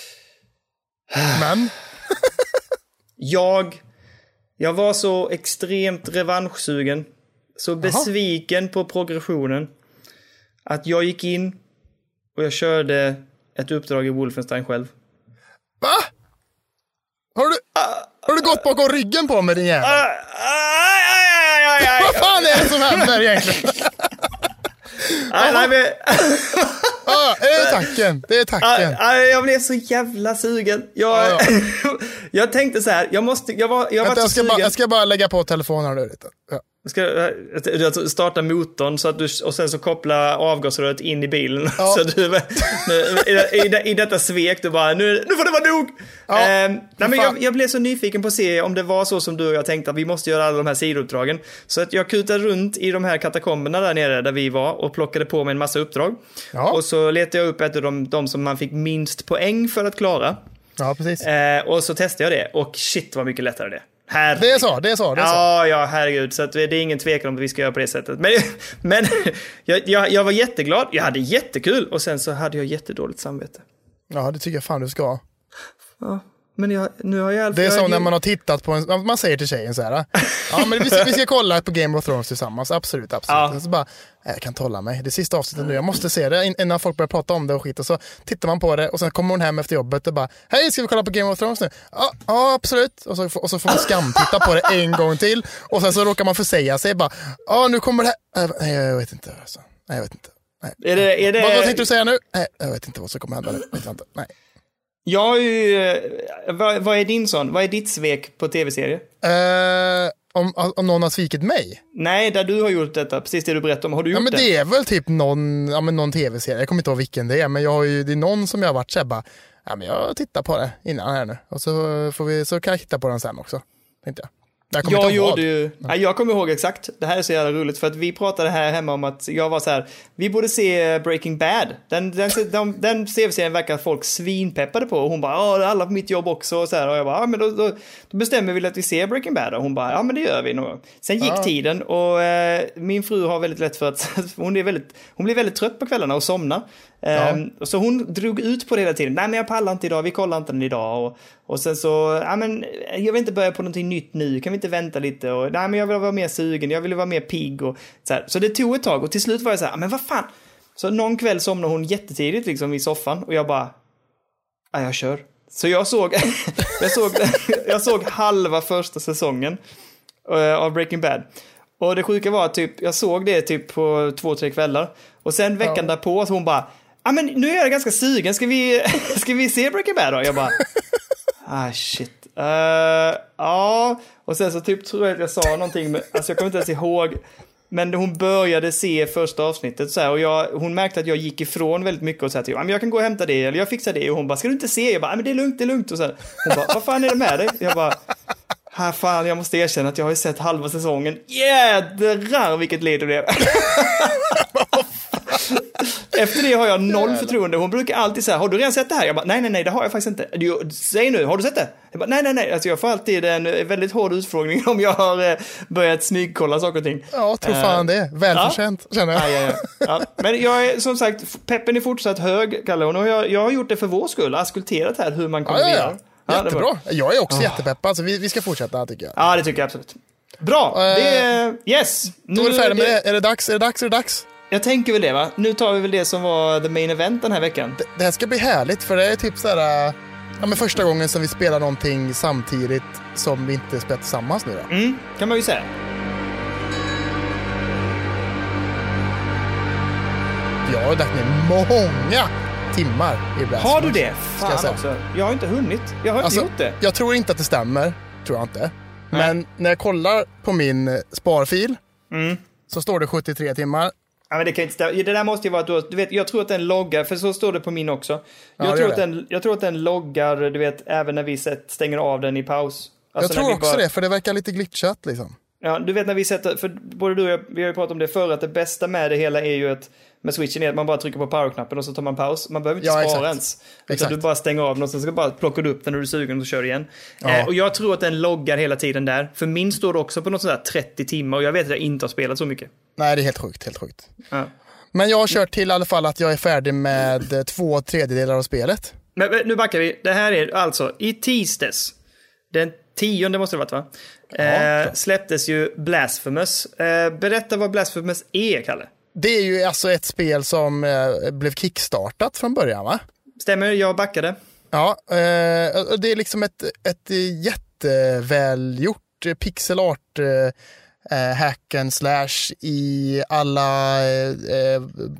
Men,
Jag, jag var så extremt revanschsugen, så besviken på progressionen, att jag gick in och jag körde ett uppdrag i Wolfenstein själv.
va? Har du, har du gått bakom ryggen på mig din jävel?
Aj, aj, aj, aj, aj.
Vad fan är det som händer egentligen?
Aj, nej, men-
Ja, det är tanken. Det är
aj,
tanken.
aj, Jag blev så jävla sugen. Jag,
Ja,
jag tänkte så här, jag måste, jag var, jag var
Vänta,
så
jag, ska
sugen.
bara, jag ska bara lägga på telefonen. här nu. Ja.
Ska, eh, alltså, starta motorn så att du, och sen så koppla avgasröret in i bilen. Så du, eh, nu, i, i, I detta svek du bara, nu, nu får det vara nog! Ehm, nej, men
fan.
jag, jag blev så nyfiken på att se om det var så som du och jag tänkte att vi måste göra alla de här sidouppdragen. Så att jag kutade runt i de här katakomberna där nere där vi var och plockade på mig en massa uppdrag.
Ja.
Och så letade jag upp ett av de, de som man fick minst poäng för att klara.
ja, precis.
Eh, och så testade jag det och shit vad mycket lättare det. Här
Det är så, det är så. Det är så.
Ja, ja, herregud. Så att det är ingen tvekan om att vi ska göra på det sättet. Men, men jag, jag, jag var jätteglad, jag hade jättekul och sen så hade jag jättedåligt samvete.
Ja, det tycker jag fan du ska.
Men jag, nu har jag i alla fall-
Det är
jag,
som när man har tittat på en, man säger till tjejen så här. Ja men vi ska, vi ska kolla på Game of Thrones tillsammans, absolut, absolut.
Ja.
Så bara, "Nej, jag kan inte hålla mig, det är sista avsnittet nu, jag måste se det in- innan folk börjar prata om det och skit. Och så tittar man på det och sen kommer hon hem efter jobbet och bara, hej ska vi kolla på Game of Thrones nu? Ja, ja absolut. Och så, får- och så får man skamtitta på det en gång till. Och sen så råkar man försäga sig bara, ja nu kommer det här, Äh, nej jag vet inte. Alltså. Nej jag vet inte. Nej.
Är det, är det,
Vad, vad tänkte du säga nu? Nej, jag vet inte vad som kommer hända nu. Vet jag inte. Nej.
Jag är ju, eh, vad, vad är din sån? Vad är ditt svek på tv-serie?
Eh, Om, om någon har svikit mig?
Nej, där du har gjort detta, precis det du berättade om, har du gjort
Ja men
det?
det är väl typ någon, ja, men någon tv-serie, jag kommer inte ihåg vilken det är, men jag har ju, det är någon som jag har varit såhär bara, ja men jag tittar på det innan här nu, och så, får vi, så kan jag titta på den sen också, tänkte jag. Jag kommer
Jag
inte ihåg
gjorde
vad.
ju, nej, jag kommer ihåg exakt, det här är så jävla roligt för att vi pratade här hemma om att jag var så här, vi borde se Breaking Bad. Den, den, den, den tv-serien verkar folk svinpeppade på och hon bara, ja det är alla på mitt jobb också och så här och jag bara, ja men då, då, då bestämmer vi väl att vi ser Breaking Bad och hon bara, ja men det gör vi nog. Sen gick tiden och eh, min fru har väldigt lätt för att, hon, är väldigt, hon blir väldigt trött på kvällarna och somnar. Ehm, Så hon drog ut på det hela tiden. Nej men jag pallar inte idag, vi kollar inte den idag. Och, och sen så, ja men jag vill inte börja på någonting nytt nu, kan vi inte vänta lite? Och, Nej men jag vill vara mer sugen, jag vill vara mer pigg. Och, så, här. så det tog ett tag och till slut var jag så här, "Ja, men vad fan. Så någon kväll somnade hon jättetidigt liksom i soffan och jag bara, ja jag kör. Så jag såg, jag såg, jag såg halva första säsongen eh, av Breaking Bad. Och det sjuka var att typ, jag såg det typ på två, tre kvällar. Och sen veckan därpå så hon bara, ja men nu är jag ganska sugen, ska vi, ska vi se Breaking Bad då? Jag bara, ah shit. Eh, ja, och sen så typ tror jag att jag sa någonting, men, alltså jag kommer inte ens ihåg. Men hon började se första avsnittet så här, och jag, hon märkte att jag gick ifrån väldigt mycket och sa typ, "Ja, men jag kan gå och hämta det eller jag fixar det. Och hon bara, ska du inte se? Jag bara, "Ja, men det är lugnt, det är lugnt. Och så här, hon bara, vad fan är det med dig? Jag bara, här Ah, fan, jag måste erkänna att jag har ju sett halva säsongen. Jädrar vilket liv det blev. Efter det har jag noll förtroende. Hon brukar alltid säga, har du redan sett det här? Jag bara, nej, nej, nej, det har jag faktiskt inte. Du, säg nu, har du sett det? Jag bara, nej, nej, nej. Alltså, jag får alltid en eh, väldigt hård utfrågning om jag har eh, börjat smygkolla saker och ting.
Ja, tror fan det. Välförtjänt, känner jag.
eh, Ja, ja, ja. Ja. Men jag är som sagt, f- peppen är fortsatt hög, Kalle. Och jag, jag har gjort det för vår skull, askulterat här hur man kommer
Ja, ja,
vidare. det
ja.
var-
Jättebra. Jag är också jättepeppad, så vi, vi ska fortsätta tycker jag.
Ja, det tycker jag absolut. Bra! det är, yes!
Eh, Då är vi färdiga med
det-
det. Är det dags? Är det dags? Är det dags?
Jag tänker väl det va? Nu tar vi väl det som var the main event den här veckan.
Det här ska bli härligt, för det är typ så här... äh, Ja, men första gången som vi spelar någonting samtidigt som vi inte spelar tillsammans nu då.
Kan man ju säga.
Jag har lagt ner många timmar i Blast
Har du
Wars,
det?
ska
Fan
jag säga.
också. Jag har inte hunnit. Jag har
Alltså,
inte gjort det.
Jag tror inte att det stämmer. Tror jag inte. Men när jag kollar på min eh, sparfil
Mm.
så står det 73 timmar.
Ja, men det, kan inte stämma. det där måste ju vara att du, har- du vet, jag tror att den loggar, för så står det på min också. Jag,
det
tror,
gör
att
det.
den, jag tror att den loggar, du vet, även när vi sätt, stänger av den i paus. Alltså
jag
när
tror
vi
också
bara-
det, för det verkar lite glitchat liksom.
Ja, du vet när vi sätter, för både du och jag, vi har ju pratat om det förr, att det bästa med det hela är ju att med switchen är att man bara trycker på powerknappen och så tar man paus. Man behöver inte
Ja,
spara
exakt.
ens. Utan
Exakt.
du bara stänger av den och sen ska bara plockar du upp den när du är sugen och kör igen. Eh, och jag tror att den loggar hela tiden där. För min står det också på något sånt där 30 timmar och jag vet att jag inte har spelat så mycket.
Nej, det är helt sjukt, helt sjukt.
Ja.
Men jag har kört till i alla fall att jag är färdig med eh, två tredjedelar av spelet.
Men, men nu backar vi. Det här är alltså i tisdags. Den tionde måste det varit va? eh, släpptes ju Blasphemous. Eh, berätta vad Blasphemous är, Kalle.
Det är ju alltså ett spel som eh, blev kickstartat från början va?
Stämmer, jag backade.
Ja, eh, och det är liksom ett, ett jättevälgjort eh, pixel art eh, eh, hack and slash i alla, eh,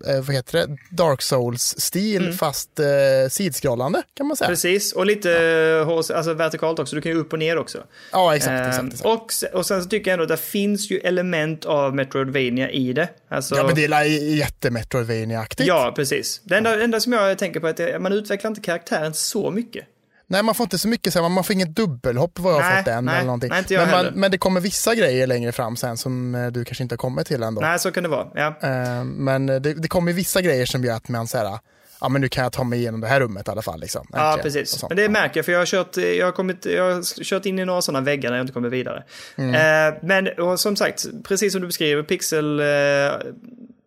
eh, vad heter det, Dark Souls-stil fast eh, sidskrollande kan man säga.
Mm. Precis, och lite ja. alltså, vertikalt också. Du kan ju upp och ner också.
Ja, exakt,
Ehm,
exakt. exakt.
Och, se- och sen så tycker jag ändå att det finns ju element av Metroidvania i det. Alltså,
ja, men det är jättemetroidvania-aktigt.
ja, precis. Det enda, enda som jag tänker på är att det- man utvecklar inte karaktären så mycket.
Nej, man får inte så mycket, så här, man får inget dubbelhopp vad jag har
Nej,
fått än.
nej,
eller någonting.
nej, inte jag
men, man,
heller.
men det kommer vissa grejer längre fram sen som eh, du kanske inte har kommit till ändå.
Nej, så kan det vara. Ja.
Eh, Men det, det kommer vissa grejer som gör att man så här, ah, ja men nu kan jag ta mig igenom det här rummet i alla fall. Liksom.
Ja,
Äntligen. Och
precis.
sånt.
Men det märker jag, för jag har kört, jag har kommit, jag har kört in i några sådana väggar när jag inte kommer vidare.
Mm.
Eh, men och som sagt, precis som du beskriver, pixel, eh,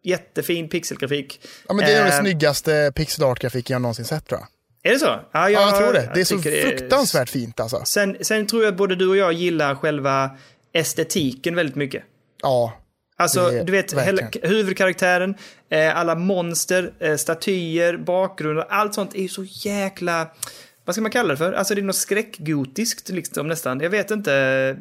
jättefin pixelgrafik.
ja, men det är nog
Eh,
den snyggaste pixel art-grafiken jag någonsin sett tror jag.
Är det så? jag,
Ja, jag tror det. Det är så
tycker
fruktansvärt fint alltså.
Sen, sen tror jag att både du och jag gillar själva estetiken väldigt mycket.
Ja,
Alltså,
Det är-
du vet, hela,
verkligen.
huvudkaraktären, eh, alla monster, eh, statyer, bakgrunder, allt sånt är ju så jäkla... Vad ska man kalla det för? Alltså det är något skräckgotiskt liksom nästan. Jag vet inte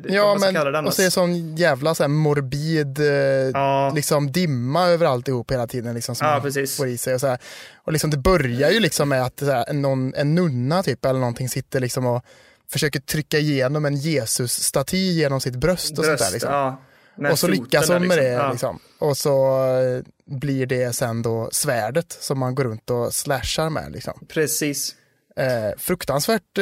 vad
ja
man ska kalla det
men
annars.
och så är det sån jävla så här, morbid eh, liksom, dimma över alltihop hela tiden. Liksom, som
Ja,
man
precis.
får i sig. Och, så här. och liksom, det börjar ju liksom med att så här, någon, en nunna typ eller någonting sitter liksom och försöker trycka igenom en Jesus-staty genom sitt bröst och sånt där.
Bröst,
Liksom.
ja. Med
och så
foten
lyckas
där,
hon med det.
Ja.
Liksom. Och så eh, blir det sen då svärdet som man går runt och slashar med. Liksom.
Precis.
Eh, fruktansvärt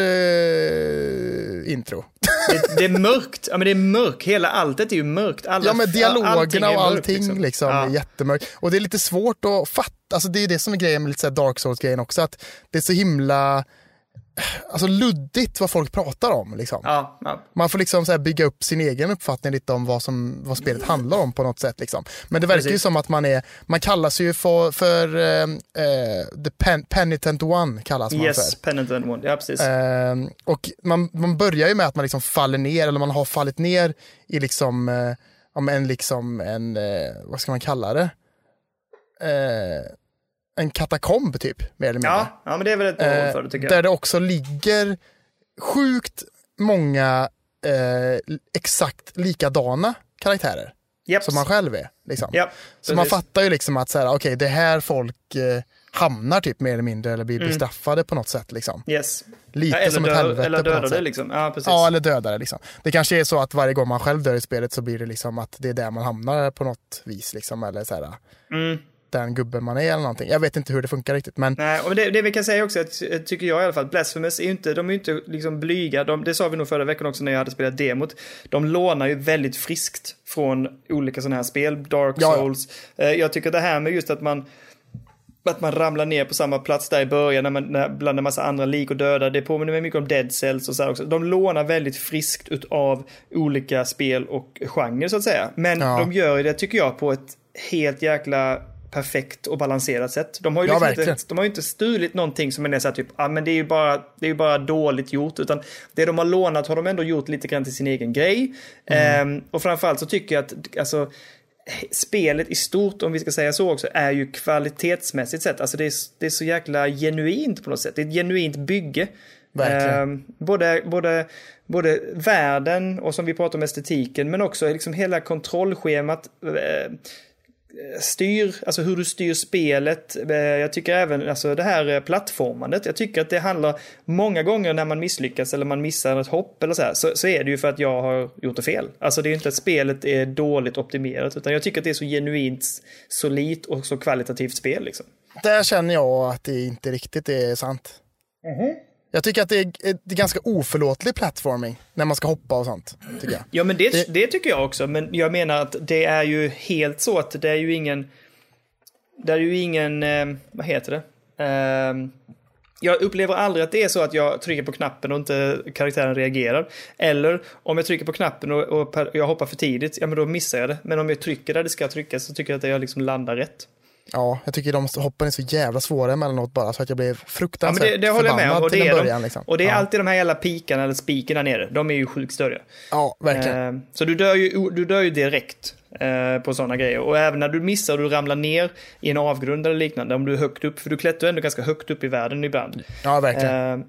eh, intro.
Det, det är mörkt. Ja, men det är mörkt. Hela alltet är ju mörkt. Alla,
Ja men
allting
dialogerna
är
och
mörkt,
allting liksom, är
Ja.
jättemörkt. Och det är lite svårt att fatta, alltså det är ju det som är grejen med lite så här Dark Souls-grejen också, att det är så himla alltså luddigt vad folk pratar om. Liksom.
Ja, ja.
Man får liksom så här bygga upp sin egen uppfattning lite om vad, som, vad spelet handlar om på något sätt. Liksom. Men det verkar ju
Precis.
som att man är, man kallas ju för, för eh, eh, The Pen- Penitent One kallas man för.
Yes, penitent one. Ja, precis.
Ehm, och man, man börjar ju med att man liksom faller ner, eller man har fallit ner i liksom, eh, om en, liksom en, eh, vad ska man kalla det? Eh, en katakomb typ, mer eller mindre.
ja, ja, men det är väl ett bra ord
Eh,
för det tycker
Där
jag.
det också ligger sjukt många eh, exakt likadana karaktärer
Japp.
som man själv är. Liksom.
Japp,
så man
precis.
fattar ju liksom att så här, okej, det här folk eh, hamnar typ mer eller mindre eller blir bestraffade på något sätt. Liksom.
Yes.
Lite
Mm. ja, eller
som ett
dö-
helvete
Eller
på något
döda det
sätt.
liksom. Ja, precis.
Ja, eller döda det liksom. Det kanske är så att varje gång man själv dör i spelet så blir det liksom att det är där man hamnar på något vis liksom. Eller så här, den gubben man är eller någonting. Jag vet inte hur det funkar riktigt, men
Mm. Nej, och det, det vi kan säga också, att, eh, tycker jag i alla fall, Blasphemous är ju inte, de är ju inte liksom blyga, de, det sa vi nog förra veckan också när jag hade spelat demot, de lånar ju väldigt friskt från olika sådana här spel, Dark
Ja, ja.
Souls. Eh, Jag tycker det här med just att man att man ramlar ner på samma plats där i början när man, när, bland en massa andra lik och döda. Det påminner mig mycket om Dead Cells och så här också. De lånar väldigt friskt utav olika spel och genrer så att säga. Men
Ja.
de gör ju det, tycker jag, på ett helt jäkla perfekt och balanserat sätt. De har ju
Ja,
liksom
verkligen.
inte, de har ju inte stulit någonting som är så här typ, ah, men det är ju bara, det är ju bara dåligt gjort, utan det de har lånat har de ändå gjort lite grann till sin egen grej.
Mm.
Ehm, och framförallt så tycker jag att, alltså, spelet i stort, om vi ska säga så också, är ju kvalitetsmässigt sett, alltså det är, det är så jäkla genuint på något sätt. Det är ett genuint bygge.
Verkligen.
Ehm, både, både, både världen och som vi pratar om estetiken, men också liksom hela kontrollschemat. eh, styr, alltså hur du styr spelet. Eh, Jag tycker även, alltså det här eh, plattformandet. Jag tycker att det handlar, många gånger när man misslyckas eller man missar ett hopp eller så här, så, så är det ju för att jag har gjort det fel. Alltså det är ju inte att spelet är dåligt optimerat, utan jag tycker att det är så genuint solitt och så kvalitativt spel liksom.
där känner jag att det inte riktigt är sant.
Mhm.
Jag tycker att det är, eh, det är ganska oförlåtlig platforming när man ska hoppa och sånt. Tycker jag.
Ja, men det, det... tycker jag också. Men jag menar att det är ju helt så att det är ju ingen... Det är ju ingen... Eh, vad heter det? Eh, jag upplever aldrig att det är så att jag trycker på knappen och inte karaktären reagerar. Eller om jag trycker på knappen och, och per, jag hoppar för tidigt, ja men då missar jag det. Men om jag trycker där det ska tryckas så tycker jag att jag liksom landar rätt.
Ja, jag tycker de hoppen är så jävla svåra emellanåt bara så att jag blev
Ja, men
fruktansvärt
det, det håller jag med om.
Alltså, förbannad
Och det, är
till en början.
de,
liksom.
och det är
ja.
alltid de här jävla pikarna eller spiken där nere. De är ju sjukt större.
Ja, verkligen.
Eh, Så du dör ju, du dör ju direkt eh, på sådana grejer. Och även när du missar och du ramlar ner i en avgrund eller liknande, om du är högt upp, för du klättrar ändå ganska högt upp i världen ibland.
ja, verkligen.
Eh,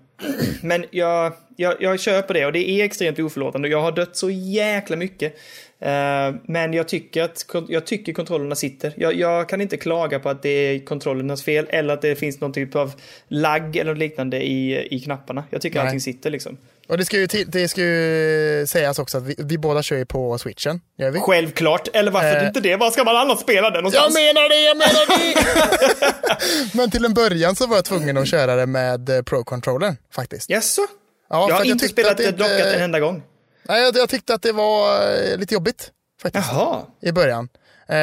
Men jag, jag, jag köper det och det är extremt oförlåtande. Jag har dött så jäkla mycket. Eh, Men jag tycker att kon- jag tycker kontrollerna sitter. Jag, jag kan inte klaga på att det är kontrollernas fel eller att det finns någon typ av lagg eller liknande i, i knapparna. Jag tycker
Nej.
allting sitter liksom.
Och det ska, ju till, det ska ju sägas också att vi, vi båda kör ju på switchen. Gör vi?
Självklart, eller varför
Eh.
inte det? Var ska man annars spela den någonstans?
Jag menar det, jag menar det! Men till en början så var jag tvungen att köra det med eh, Pro-controllern faktiskt.
Jaså?
Ja, för
jag har
att jag
inte
tyckte
spelat
att det
det
inte-
dockat en enda gång.
Nej, jag, jag tyckte att det var eh, lite jobbigt faktiskt
Jaha. Ah.
i början.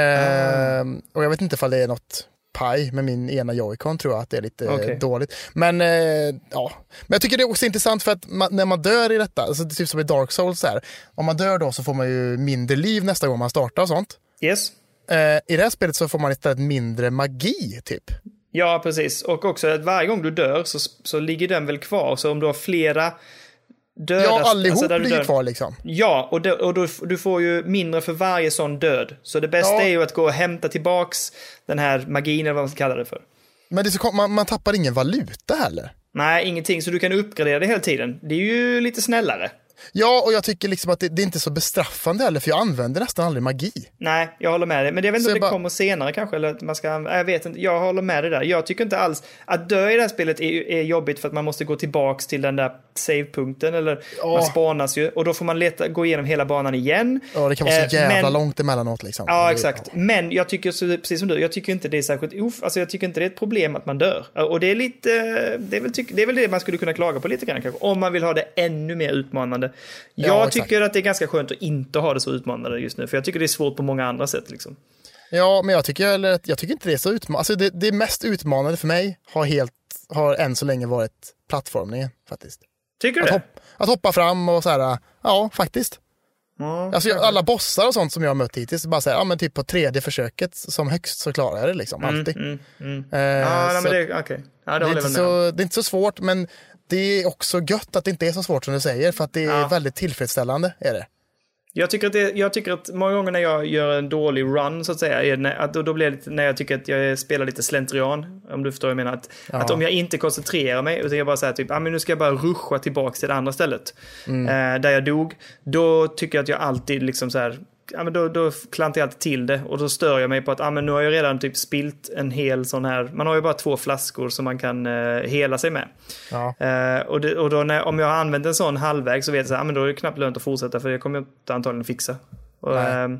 Ehm, och jag vet inte ifall det är något paj med min ena joycon tror jag att det är lite eh,
Okej.
dåligt. Men eh, ja, men jag tycker det är också intressant för att man, när man dör i detta, alltså det är typ som i Dark Souls så här, om man dör då så får man ju mindre liv nästa gång man startar och sånt.
Yes.
Eh, I det här spelet så får man istället mindre magi, typ.
Ja, precis. Och också att varje gång du dör så, så ligger den väl kvar. Så om du har flera döda...
Ja, allihop
alltså där du
ligger
dör-
kvar liksom.
Ja, och, då, och då, du får ju mindre för varje sån död. Så det bästa
Ja.
är ju att gå och hämta tillbaks den här magin eller vad man ska kalla det för.
Men det är så, kom- man, man tappar ingen valuta heller.
Nej, ingenting. Så du kan uppgradera det hela tiden. Det är ju lite snällare.
Ja, och jag tycker liksom att det, det är inte så bestraffande heller, för jag använder nästan aldrig magi.
Nej, jag håller med dig. Men jag vet inte om
Så jag
det
bara-
kommer senare kanske. Eller att man ska, nej, jag vet inte, jag håller med dig där. Jag tycker inte alls att dö i det här spelet är, är jobbigt för att man måste gå tillbaks till den där savepunkten. Eller
Ja.
man spanas ju och då får man leta, gå igenom hela banan igen.
Ja, det kan vara så
Eh,
jävla
men-
långt emellanåt liksom.
Ja,
Det-
exakt. Men jag tycker, så- precis som du, jag tycker inte det är särskilt of, alltså jag tycker inte det är ett problem att man dör. Och det är lite, det är väl, tyck, det, är väl det man skulle kunna klaga på lite grann kanske, om man vill ha det ännu mer utmanande. Jag
Ja, exakt.
tycker att det är ganska skönt att inte ha det så utmanande just nu, för jag tycker det är svårt på många andra sätt liksom.
Ja, men jag tycker, eller, att- jag tycker inte det är så utmanande. Alltså, det, det mest utmanande för mig har, helt, har än så länge varit plattformningen faktiskt.
Tycker du det?
Att, hopp, att hoppa fram och så här, ja faktiskt.
Ja.
Alltså jag- alla bossar och sånt som jag har mött hittills, bara så här, ja men typ på tredje försöket som högst så klarar jag det liksom, alltid. Eh,
Mm, Ja, nej,
så
men det, okej. Ja, det
det,
håller
är inte
jag väl med om.
så, det är inte så svårt, men det är också gött att det inte är så svårt som du säger, för att det är väldigt tillfredsställande. Är det.
Jag tycker, att det, jag tycker att många gånger när jag gör en dålig run så att säga, är när, att då, då blir det lite, när jag tycker att jag spelar lite slentrian, om du förstår vad jag menar. Att, att om jag inte koncentrerar mig, utan jag bara säger typ, ah, men nu ska jag bara ruscha tillbaka till det andra stället, eh, där jag dog, då tycker jag att jag alltid liksom så här, ja, men då, då klantar jag alltid till det och då stör jag mig på att ah, men nu har jag redan typ spilt en hel sån här, man har ju bara två flaskor som man kan eh, hela sig med.
Ja.
Eh, och det, och då när, om jag har använt en sån halvväg så vet jag så här, ah, men då är det knappt lönt att fortsätta för det kommer jag inte antagligen fixa. Och,
Nej.
ehm,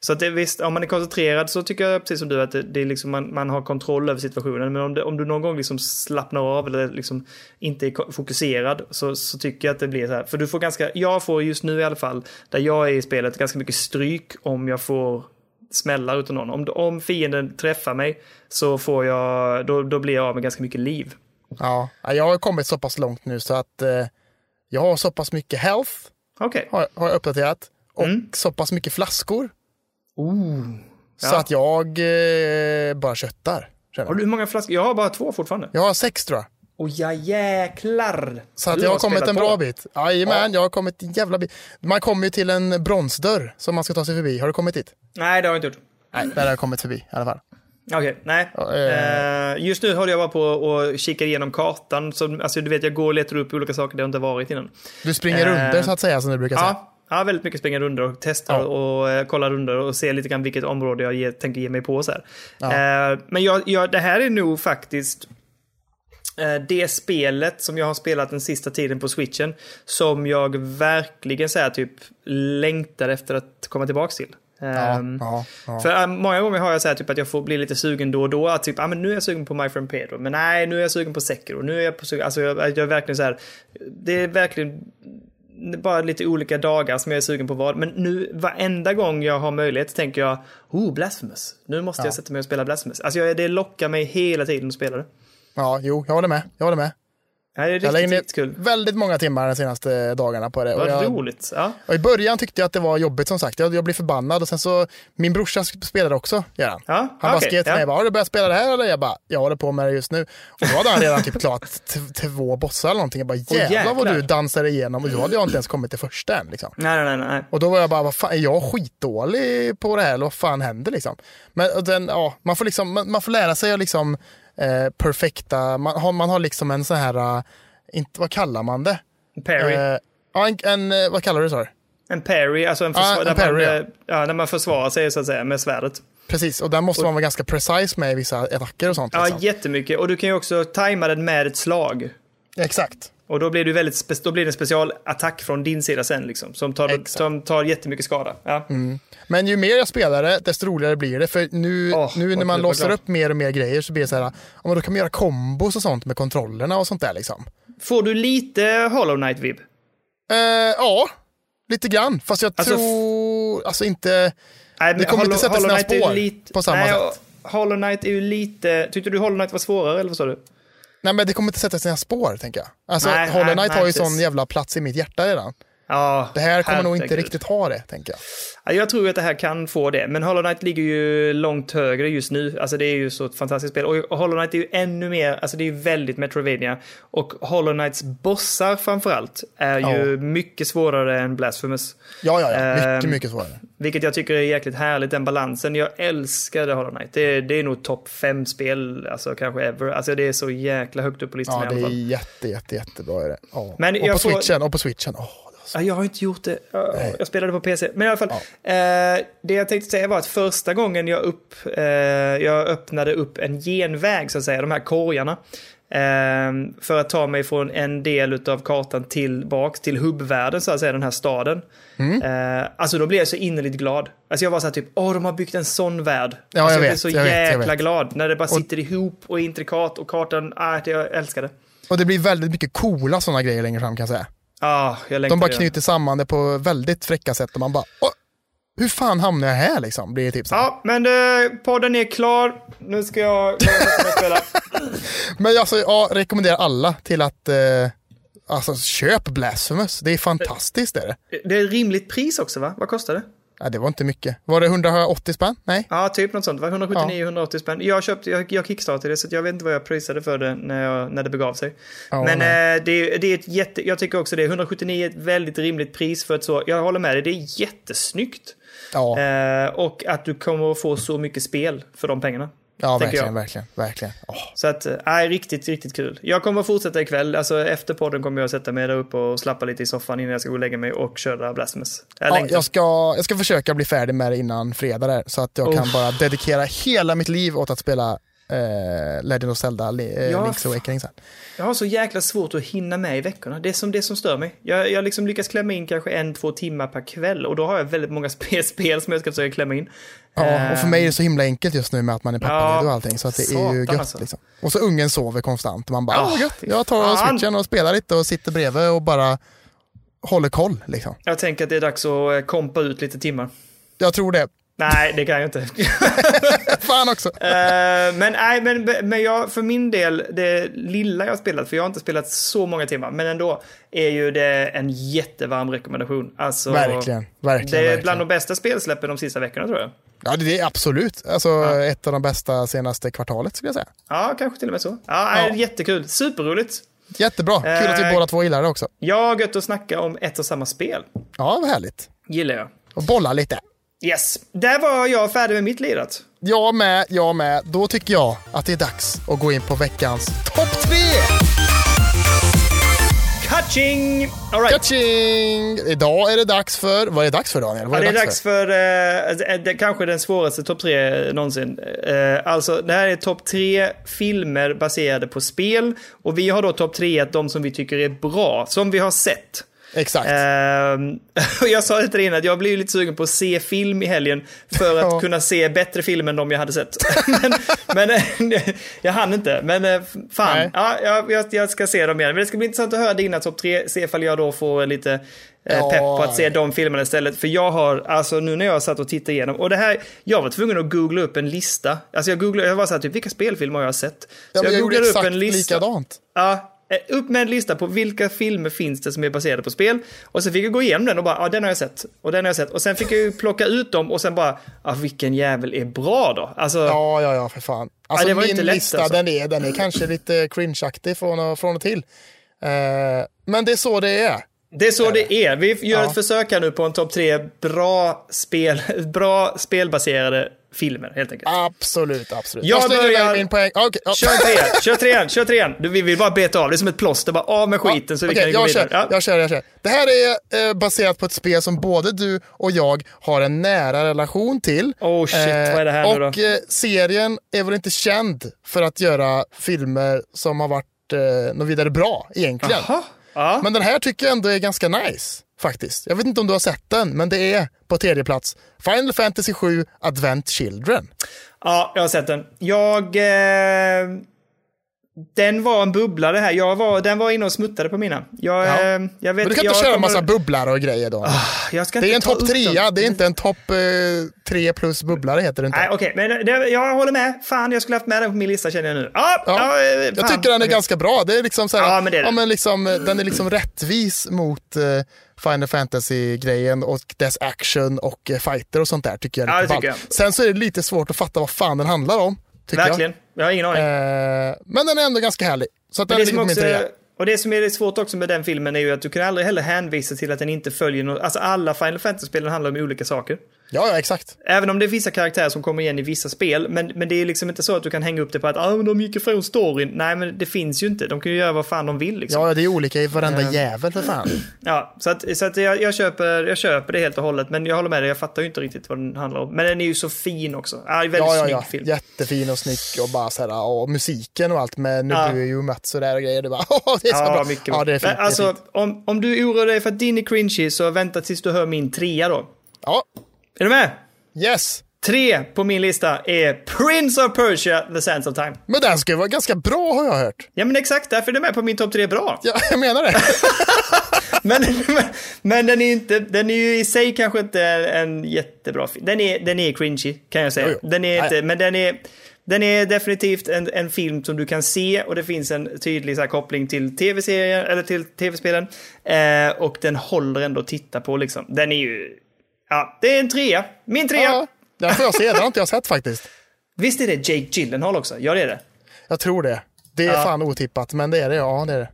så att det, visst, om man är koncentrerad så tycker jag precis som du att det, det är liksom man, man har kontroll över situationen. Men om, det, om du någon gång liksom slappnar av eller liksom inte är ko- fokuserad så, så tycker jag att det blir så här. För du får ganska, jag får just nu i alla fall, där jag är i spelet, ganska mycket stryk om jag får smällar utan någon. Om, om fienden träffar mig så får jag, då, då blir jag av med ganska mycket liv.
Ja, jag har kommit så pass långt nu så att eh, jag har så pass mycket health,
Okej.
har, har jag uppdaterat, och
Mm.
så pass mycket flaskor. Så
Ja.
att jag eh, bara köttar. känner
Har
jag.
du hur många flaskor? Jag har bara två fortfarande.
Jag har sex tror jag.
Och ja jäklar!
Så att
Du
jag har kommit
spelat
en bra
på.
bit. Jajamän, jag har kommit en jävla bit. Man kommer ju till en bronsdörr som man ska ta sig förbi. Har du kommit dit?
Nej, det har jag inte gjort.
Nej, där har jag kommit förbi i alla fall.
Okej, nej.
eh.
Eh, Just nu håller jag bara på och kikar igenom kartan. Så, alltså, du vet, jag går och letar upp olika saker där jag inte varit innan.
Du springer
Eh.
under så att säga som du brukar säga.
Ja, ja, väldigt mycket springa runder och testa
Ja.
och eh, kolla runder och se lite grann vilket område jag ge, tänker ge mig på. Så här. Eh, men jag, jag, det här är nog faktiskt eh, det spelet som jag har spelat den sista tiden på switchen som jag verkligen så här, typ längtar efter att komma tillbaka till. Ehm,
ja, ja.
För eh, många gånger har jag så här, typ att jag får bli lite sugen då och då. Att typ, ah, men nu är jag sugen på My Friend Pedro, men nej, nu är jag sugen på Sekiro. Nu är jag på sugen, alltså jag, jag är verkligen så här, det är verkligen det är bara lite olika dagar som jag är sugen på vad. Men nu varenda gång jag har möjlighet tänker jag, oh, Blasphemous. Nu måste jag sätta mig och spela Blasphemous. Alltså jag, det lockar mig hela tiden att spela det.
Ja, jo, jag håller med. Jag håller med.
Ja, det är
Jag
riktigt,
lägger ner
riktigt kul.
väldigt många timmar de senaste dagarna på det. Och
Vad
jag,
roligt. Ja.
och I början tyckte jag att det var jobbigt som sagt. Jag, jag blev förbannad och sen så, min brorsa sk- spelade också, Göran.
Ja,
han bara
okej,
skrev till
ja.
mig, bara, har du börjat spela det här eller? Jag bara, jag håller på med det just nu. Och då hade han redan typ klart t- två bossar eller någonting. Jag bara, jävlar vad
jäklar."
du dansar igenom och då hade jag inte ens kommit till första än. Liksom.
Nej, nej, nej. nej.
Och då var jag bara, vad fan, är jag skitdålig på det här eller vad fan händer liksom? Men och den, ja, man får liksom, man, man får lära sig att liksom eh, perfekta, man har, man har liksom en sån här, eh, inte, vad kallar man det?
Perry.
Eh, ja, en, en, eh, vad kallar du det sa du?
en Perry, alltså en,
Ja,
försvar-
en
där,
parry,
man,
ja.
eh, ja, där man försvarar sig så att säga med svärdet.
Precis, och där måste man vara ganska precise med i vissa attacker och sånt.
Ja,
Liksom.
jättemycket. Och du kan ju också tajma den med ett slag.
Exakt.
Och då blir, du väldigt spe- då blir det en specialattack från din sida sen liksom. Som tar,
Exakt.
som tar jättemycket skada. Ja.
Men ju mer jag spelar det, desto roligare blir det. För nu,
Åh,
nu
vad
när man
kul, vad
låser
glad.
upp mer och mer grejer så blir det så här, ja, men då kan man göra kombos och sånt med kontrollerna och sånt där liksom.
Får du lite Hollow Knight-vibb?
Eh, ja, lite grann. Fast jag
Alltså, f-
tror, alltså inte,
Nej, men
kommer inte sätta sina
Knight är ju
spår på samma
nej,
sätt.
och Hollow Knight är ju lite... Tyckte du Hollow Knight var svårare eller vad sa du?
nej men det kommer inte sätta sina spår tänker jag. Alltså
Nej,
Hollow
nej,
Knight
nej,
har ju
precis.
sån jävla plats i mitt hjärta redan.
Ja,
Det här kommer nog inte
herregud.
riktigt ha det tänker jag.
Ja, Jag tror att det här kan få det, men Hollow Knight ligger ju långt högre just nu. Alltså det är ju så ett fantastiskt spel. Och Hollow Knight är ju ännu mer, alltså det är ju väldigt Metroidvania. Och Hollow Knights bossar framförallt är ju
Ja.
mycket svårare än Blasphemous.
Ja, ja, ja. Mycket,
Ehm,
mycket svårare.
Vilket jag tycker är jäkligt härligt, den balansen. Jag älskade Hollow Knight. Det, det är nog topp fem spel, alltså kanske ever. Alltså det är så jäkla högt upp på listan i
Ja, det
alla
är
fall.
jätte, jätte, jättebra. Är det. Ja.
Men
och, på
jag får-
switchen, och på switchen. Åh, det var
Ja, jag har inte gjort det. Ja, Jag spelade på PC. Men i alla fall, eh, det jag tänkte säga var att första gången jag, upp, eh, jag öppnade upp en genväg, så att säga, de här korgarna, eh, för att ta mig från en del av kartan tillbaks till hubbvärlden, så att säga, den här staden.
Mm.
Eh, alltså då blev jag så innerligt glad. Alltså jag var så här typ, åh, de har byggt en sån värld.
Ja,
alltså,
jag
blev
vet,
så
jag vet, jag
jäkla
vet.
glad när det bara sitter ihop och är intrikat och kartan, ah, det, jag älskar det.
Och det blir väldigt mycket coola sådana grejer längre fram kan jag säga.
Ah, jag längtar
De bara
redan.
knyter samman det på väldigt fräcka sätt och man bara "Åh, hur fan hamnar jag här liksom? Blir det typ så här.
Ja, men eh, podden är klar. Nu ska jag gå och spela.
Men alltså, ja, rekommenderar alla till att eh, alltså, köp Blasphemous. Det är fantastiskt är det.
Det är ett rimligt pris också, va? Vad kostar det?
Ja, det var inte mycket. Var det 180 spänn? Nej.
Ja, typ något sånt. va? 179-180 spänn. Jag, köpte, jag, jag kickstartade det, så att jag vet inte vad jag prisade för det när, jag, när det begav sig.
Ja,
men
nej.
eh, det, är- det är ett jätte... Jag tycker också det. 179 är ett väldigt rimligt pris för ett så... Jag håller med dig, det är jättesnyggt.
Ja,
Eh, och att du kommer att få så mycket spel för de pengarna.
ja
tänker
verkligen,
jag.
verkligen, verkligen. Åh,
Så att, nej, riktigt, riktigt kul. Jag kommer att fortsätta ikväll. Alltså efter podden kommer jag att sätta mig där uppe och slappa lite i soffan innan jag ska gå och lägga mig och köra Blasphemous. Jag
Ja,
längtar.
jag, ska, jag ska försöka bli färdig med det innan fredag där, så att jag kan bara dedikera hela mitt liv åt att spela eh, Legend of Zelda, li, eh,
Ja,
Link's Awakening sen.
Jag har så jäkla svårt att hinna med i veckorna. Det är som det som stör mig. Jag, jag liksom lyckas klämma in kanske en, två timmar per kväll och då har jag väldigt många sp- spel som jag ska försöka klämma in.
Ja, och för mig är det så himla enkelt just nu med att man är pappaledig
Ehm. Ja,
och allting, så att det är
satan
ju gött
alltså.
liksom. Och så ungen sover konstant, och man bara,
Ja,
"Åh, gött,
fy
jag tar
fan."
switchen och spelar lite och sitter bredvid och bara håller koll liksom.
Jag tänker att det är dags att eh, kompa ut lite timmar.
Jag tror det.
Nej, det kan jag inte.
Fan också!
Eh, men nej, men, men jag, för min del, det lilla jag har spelat, för jag har inte spelat så många timmar, men ändå, är ju det en jättevarm rekommendation. Alltså,
Verkligen, verkligen.
Det är
verkligen.
bland de bästa spelsläppen de sista veckorna tror jag.
Ja, det är absolut. Alltså ett av de bästa senaste kvartalet skulle jag säga.
Ja, kanske till och med så. Ja, nej, Jättekul, superroligt.
Jättebra, kul att vi
Eh,
båda två gillar det också.
Ja, gött att snacka om ett och samma spel.
Ja, vad härligt.
Gillar jag.
Och bolla lite.
Yes, där var jag färdig med mitt lirat.
Jag med, jag med. Då tycker jag att det är dags att gå in på veckans topp tre!
Catching! All right.
Catching! Idag är det dags för, vad är det dags för Daniel? Vad
Ja, det är dags för eh, det, kanske den svåraste topp tre någonsin. Eh, alltså, det här är topp tre filmer baserade på spel. Och vi har då topp tre att de som vi tycker är bra, som vi har sett.
Exakt.
Ehm, och jag sa det till dig innan, att jag blev ju lite sugen på att se film i helgen för att
Ja.
kunna se bättre film än de jag hade sett. men men eh, jag hann inte, men eh, f- fan.
Nej.
Ja, jag, jag, jag ska se dem igen. Men det ska bli intressant att höra dina topp tre, se ifall jag då får lite eh,
Ja.
pepp på att se de filmerna istället. För jag har, alltså nu när jag satt och tittade igenom, och det här, jag var tvungen att googla upp en lista. Alltså jag googlade, jag var så här, typ vilka spelfilmer har jag sett? Så
ja, men jag gjorde
googlade
exakt likadant.
Ja, eh, upp med en lista på vilka filmer finns det som är baserade på spel. Och sen fick jag gå igenom den och bara, ja den har jag sett. Och den har jag sett. Och sen fick jag ju plocka ut dem och sen bara, ja vilken jävel är bra då? Alltså,
Ja, ja, ja, för fan. Alltså
det var
min
inte lätt,
lista,
alltså.
den, är, den är kanske lite cringe-aktig från och, från och till. Eh, men det är så det är.
det är så det är. Vi gör ett försök här nu på en topp tre bra, spel, bra spelbaserade filmer helt enkelt.
Absolut, absolut.
Jag
Jag, slänger iväg
börjar-
min poäng. Ah, okej, ja.
Kör trean, kör trean, kör trean. Du, Vi vill bara beta av, det är som ett plåster, bara av med skiten så vi
Okej,
kan gå
jag,
vidare.
kör,
Ja.
jag kör, jag kör. Det här är eh, baserat på ett spel som både du och jag har en nära relation till.
Oh shit, vad är det här
och,
nu då?
eh, serien är väl inte känd för att göra filmer som har varit eh, något vidare bra egentligen.
Jaha. Ja.
Men den här tycker jag ändå är ganska nice faktiskt. Jag vet inte om du har sett den, men det är på tredje plats Final Fantasy 7 Advent Children.
Ja, jag har sett den. Jag... Eh, den var en bubbla det här. Jag var, den var inne och smuttade på mina. Jag,
Ja.
eh, jag vet
Men du
jag
kan inte köra en
kommer-
massa bubblare och grejer då.
Jag ska
det är
inte
en
ta
topp
upp
trea,
dem.
det är inte en topp eh, tre plus bubblare heter det inte.
Nej, okej. Men det, jag håller med. Fan, jag skulle haft med den på min lista känner jag nu. Ja, ja.
Ja,
eh,
jag
fan.
tycker den är ganska bra. Det är liksom så här,
Ja, men det är
ja,
den.
men liksom, eh, den är liksom rättvis mot eh, Final Fantasy-grejen och dess action och eh, fighter och sånt där tycker jag. är
Ja,
lite
det tycker
ballt. Sen så är det lite svårt att fatta vad fan den handlar om. Tycker
Verkligen. Jag har ingen aning.
Jag. Eh, men den är ändå ganska härlig. Så att den
det
är
som
liksom min trea.
också, och det som är svårt också med den filmen är ju att du kan aldrig heller hänvisa till att den inte följer något. Alltså alla Final Fantasy-spelen handlar om olika saker.
Ja, ja, exakt.
Även om det är vissa karaktärer som kommer igen i vissa spel, men, men det är liksom inte så att du kan hänga upp det på att ah, men de gick ifrån storyn. Nej, men det finns ju inte. De kan ju göra vad fan de vill liksom.
Ja, ja, det är olika i varenda
Eh,
jävel för fan.
Ja, så att, så att jag, jag, köper, jag köper det helt och hållet, men jag håller med dig, jag fattar ju inte riktigt vad den handlar om. Men den är ju så fin också. Ja, det är väldigt
Ja, ja,
snygg
ja.
film.
Jättefin och snygg och bara så här, och musiken och allt med nu
Ja.
blir ju Mats och där och grejer. Det är bara, åh, det är så bra.
Ja, mycket
ja, det är fint.
Men alltså,
det är fint.
Om, om du oroar dig för att din är cringy, så vänta tills du hör min trea då.
Ja,
Är du med?
yes.
Tre på min lista är Prince of Persia, The Sands of Time.
Men den ska ju vara ganska bra har jag hört.
Ja men exakt, därför är den med på min topp tre bra.
Ja, jag menar det.
Men, men, men den, är ju inte, den är ju i sig kanske inte en jättebra film. Den är, den är cringy kan jag säga.
Jo, jo.
Den är
Ja,
inte,
ja.
men den är, den är definitivt en, en film som du kan se och det finns en tydlig så här, koppling till tv-serien eller till tv-spelen. Eh, och den håller ändå att titta på liksom. Den är ju, ja, det är en trea. Min trea.
Ja, den får jag se, den har inte jag sett faktiskt.
Visst är det Jake Gyllenhaal också? Ja det är det.
Jag tror det. Det är fan otippat, men det är det. Ja, det är det.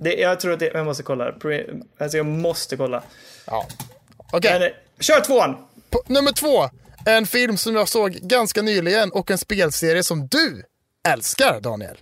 det jag tror att det, jag måste kolla. Pre- Alltså jag måste kolla.
Ja. Okej,
Men, eh, kör tvåan!
på- nummer två. En film som jag såg ganska nyligen och en spelserie som du älskar, Daniel.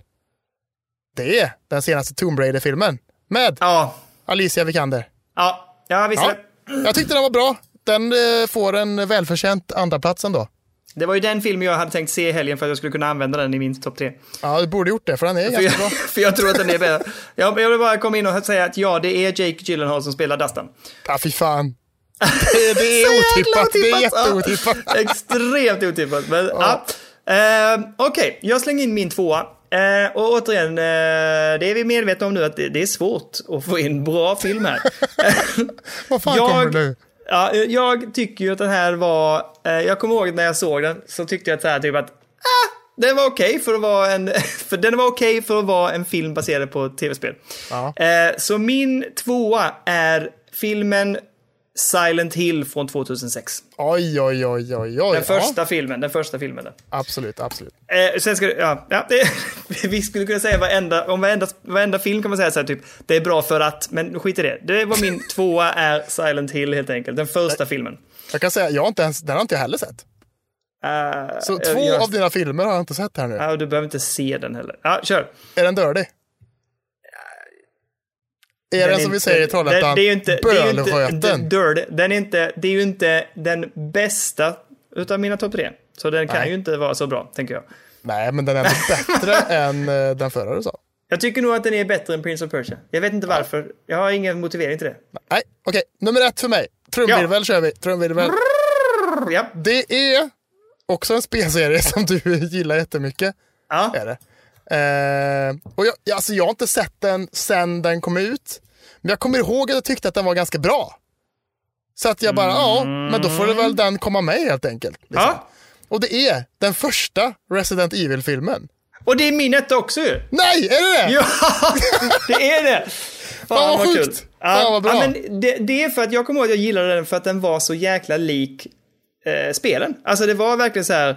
Det är den senaste Tomb Raider-filmen med
Ja,
Alicia Vikander.
ja, ja visst är
Ja.
det.
Jag tyckte den var bra. Den eh, får en välförtjänt andraplats ändå.
Det var ju den filmen jag hade tänkt se i helgen för att jag skulle kunna använda den i min topp tre.
Ja, du borde gjort det, för den är
För jag,
ganska bra.
för jag tror att den är bättre. Jag, jag vill bara komma in och säga att ja, det är Jake Gyllenhaal som spelar Dustin.
Ja, fy fan. Det, det är
Så jäkla
otippat. Det är
otippat.
jätteotippat.
Ja, extremt otippat. Men, ja. Eh, Okej, jag slänger in min tvåa. Eh, och återigen, eh, det är vi medvetna om nu att det, det är svårt att få in bra film här.
Vad fan
Jag-
kommer nu?
Ja, eh, jag tycker ju att den här var, eh, jag kommer ihåg när jag såg den så tyckte jag så här typ att ah, den var okej för att vara en, för den var okej för att vara en film baserad på ett tv-spel.
Ja.
Eh, så min tvåa är filmen Silent Hill från 2006.
Oj, oj, oj, oj, oj.
Den första filmen, den första filmen. Där.
Ja, absolut, absolut.
Eh, sen ska du, ja, ja det, vi skulle kunna säga varenda, om varenda, varenda film kan man säga så här typ, det är bra för att, men skit i det. Det var min tvåa är Silent Hill helt enkelt, den första filmen.
Jag kan säga, jag har inte ens, den har inte jag heller sett.
Eh,
Så
jag-
två
jag-
av dina filmer har jag inte sett här nu.
Ja, och du behöver inte se den heller. Ja, kör.
Är den dirty? Är den som vi säger i Trollhättan,
det, det är ju inte, det är ju inte,
bölröten?
Dirty. den är inte, Det är ju inte den bästa utav mina topp tre. Så den kan
Nej.
ju inte vara så bra, tänker jag.
Nej, men den är ändå bättre än eh, den förra du sa.
Jag tycker nog att den är bättre än Prince of Persia. Jag vet inte varför. Jag har ingen motivering till det.
Nej, okej. Nummer ett för mig. Trumvirvel kör vi. Trumvirvel.
Ja.
Det är också en spelserie som du gillar jättemycket.
Ja.
Är det. Eh, och jag, jag- alltså jag har inte sett den sen den kom ut. Men jag kommer ihåg att jag tyckte att den var ganska bra. Så att jag bara, ja, men då får det väl den komma med helt enkelt. liksom.
Mm. ja.
Och det är den första Resident Evil-filmen.
Och det är min etta också ju.
Nej, är det det?
Ja, det är det. Fan,
vad sjukt.
Ja,
Fan, vad bra.
Ja, men det, det är för att jag kommer ihåg att jag gillade den för att den var så jäkla lik eh, spelen. Alltså det var verkligen så här.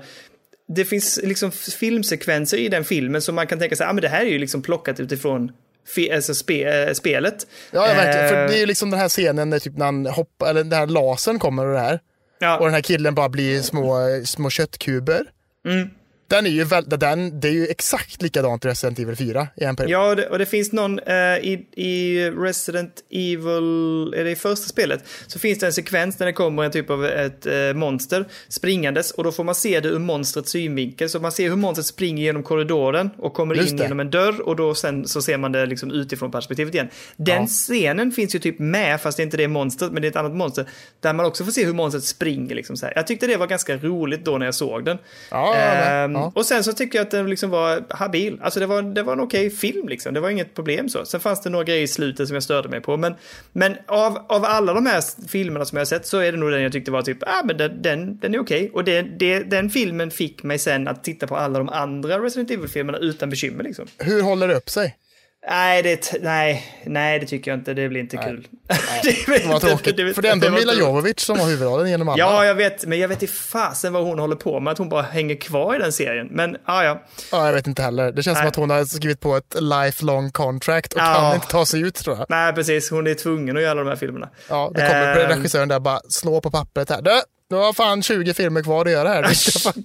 Det finns liksom filmsekvenser i den filmen som man kan tänka sig, ah, men det här är ju liksom plockat utifrån fi- alltså spe, eh, spelet.
Ja, ja, verkligen. För
Eh,
det är ju liksom den här scenen där typ när han hoppar, eller den här lasern kommer och det här.
ja.
Och den här killen bara blir små, små köttkuber.
Mm.
Den är ju väl, den, det är ju exakt likadant i Resident Evil 4 i en period.
Ja, och det, och det finns någon eh, i, i Resident Evil, är det i första spelet, så finns det en sekvens när det kommer en typ av ett eh, monster springandes och då får man se det ur monstrets synvinkel. Så man ser hur monstret springer genom korridoren och kommer
Just
in
det.
genom en dörr och då sen så ser man det liksom utifrån perspektivet igen. Den scenen finns ju typ med, fast det är inte det monstret, men det är ett annat monster, där man också får se hur monstret springer liksom så här. Jag tyckte det var ganska roligt då när jag såg den.
Ja,
Ehm,
ja.
Och sen så tycker jag att den liksom var habil. Alltså det var, det var en okej film liksom. Det var inget problem så. Sen fanns det några grejer i slutet som jag störde mig på. Men, men av, av alla de här s- filmerna som jag har sett så är det nog den jag tyckte var typ, ah men den, den, den är okej. Och det, det, den filmen fick mig sen att titta på alla de andra Resident Evil-filmerna utan bekymmer liksom.
Hur håller det upp sig?
Nej, det, t- nej, nej, det tycker jag inte. Det blir inte kul. det blir
Det var
inte-
tråkigt.
det blir-
För det är ändå
det var
Mila
inte-
Jovovich som har huvudrollen genom alla.
Ja, jag vet, men jag vet i fasen vad hon håller på med, att hon bara hänger kvar i den serien. Men, ah, ja.
Ja, jag vet inte heller. Det känns som
Nej.
att hon har skrivit på ett lifelong contract och
Ja.
kan inte ta sig ut tror jag.
Nej, precis. Hon är tvungen att göra de här filmerna.
Ja, det kommer
Ehm,
regissören där bara slå på pappret här. Du, Du har fan 20 filmer kvar att göra här. Du ska fan-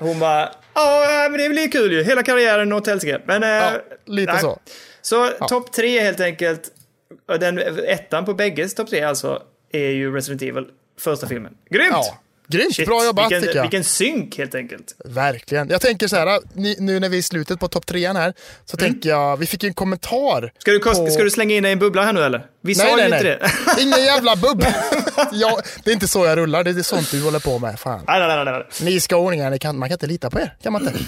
Hon bara, ja men det blir kul ju, hela karriären åt helsike. Men,
Ja,
eh,
lite
nej.
så.
Så topp tre helt enkelt, Och den ettan på bägges topp tre alltså, är ju Resident Evil, första filmen. Grymt!
Ja, grymt.
Shit,
Bra jobbat
vilken,
tycker jag.
Vilken synk helt enkelt.
Verkligen. Jag tänker så här, ni, nu när vi är i slutet på topp trean här, så tänker jag, vi fick ju en kommentar.
Mm. Ska du, kost,
på-
ska du slänga in dig i en bubbla här nu eller? Vi sa ju inte det.
Ingen jävla bubb. jag, det är inte så jag rullar, det är sånt du håller på med. Fan.
nej, nej, nej, nej, nej.
Ni skåningar, ni kan, man kan inte lita på er. Kan man inte?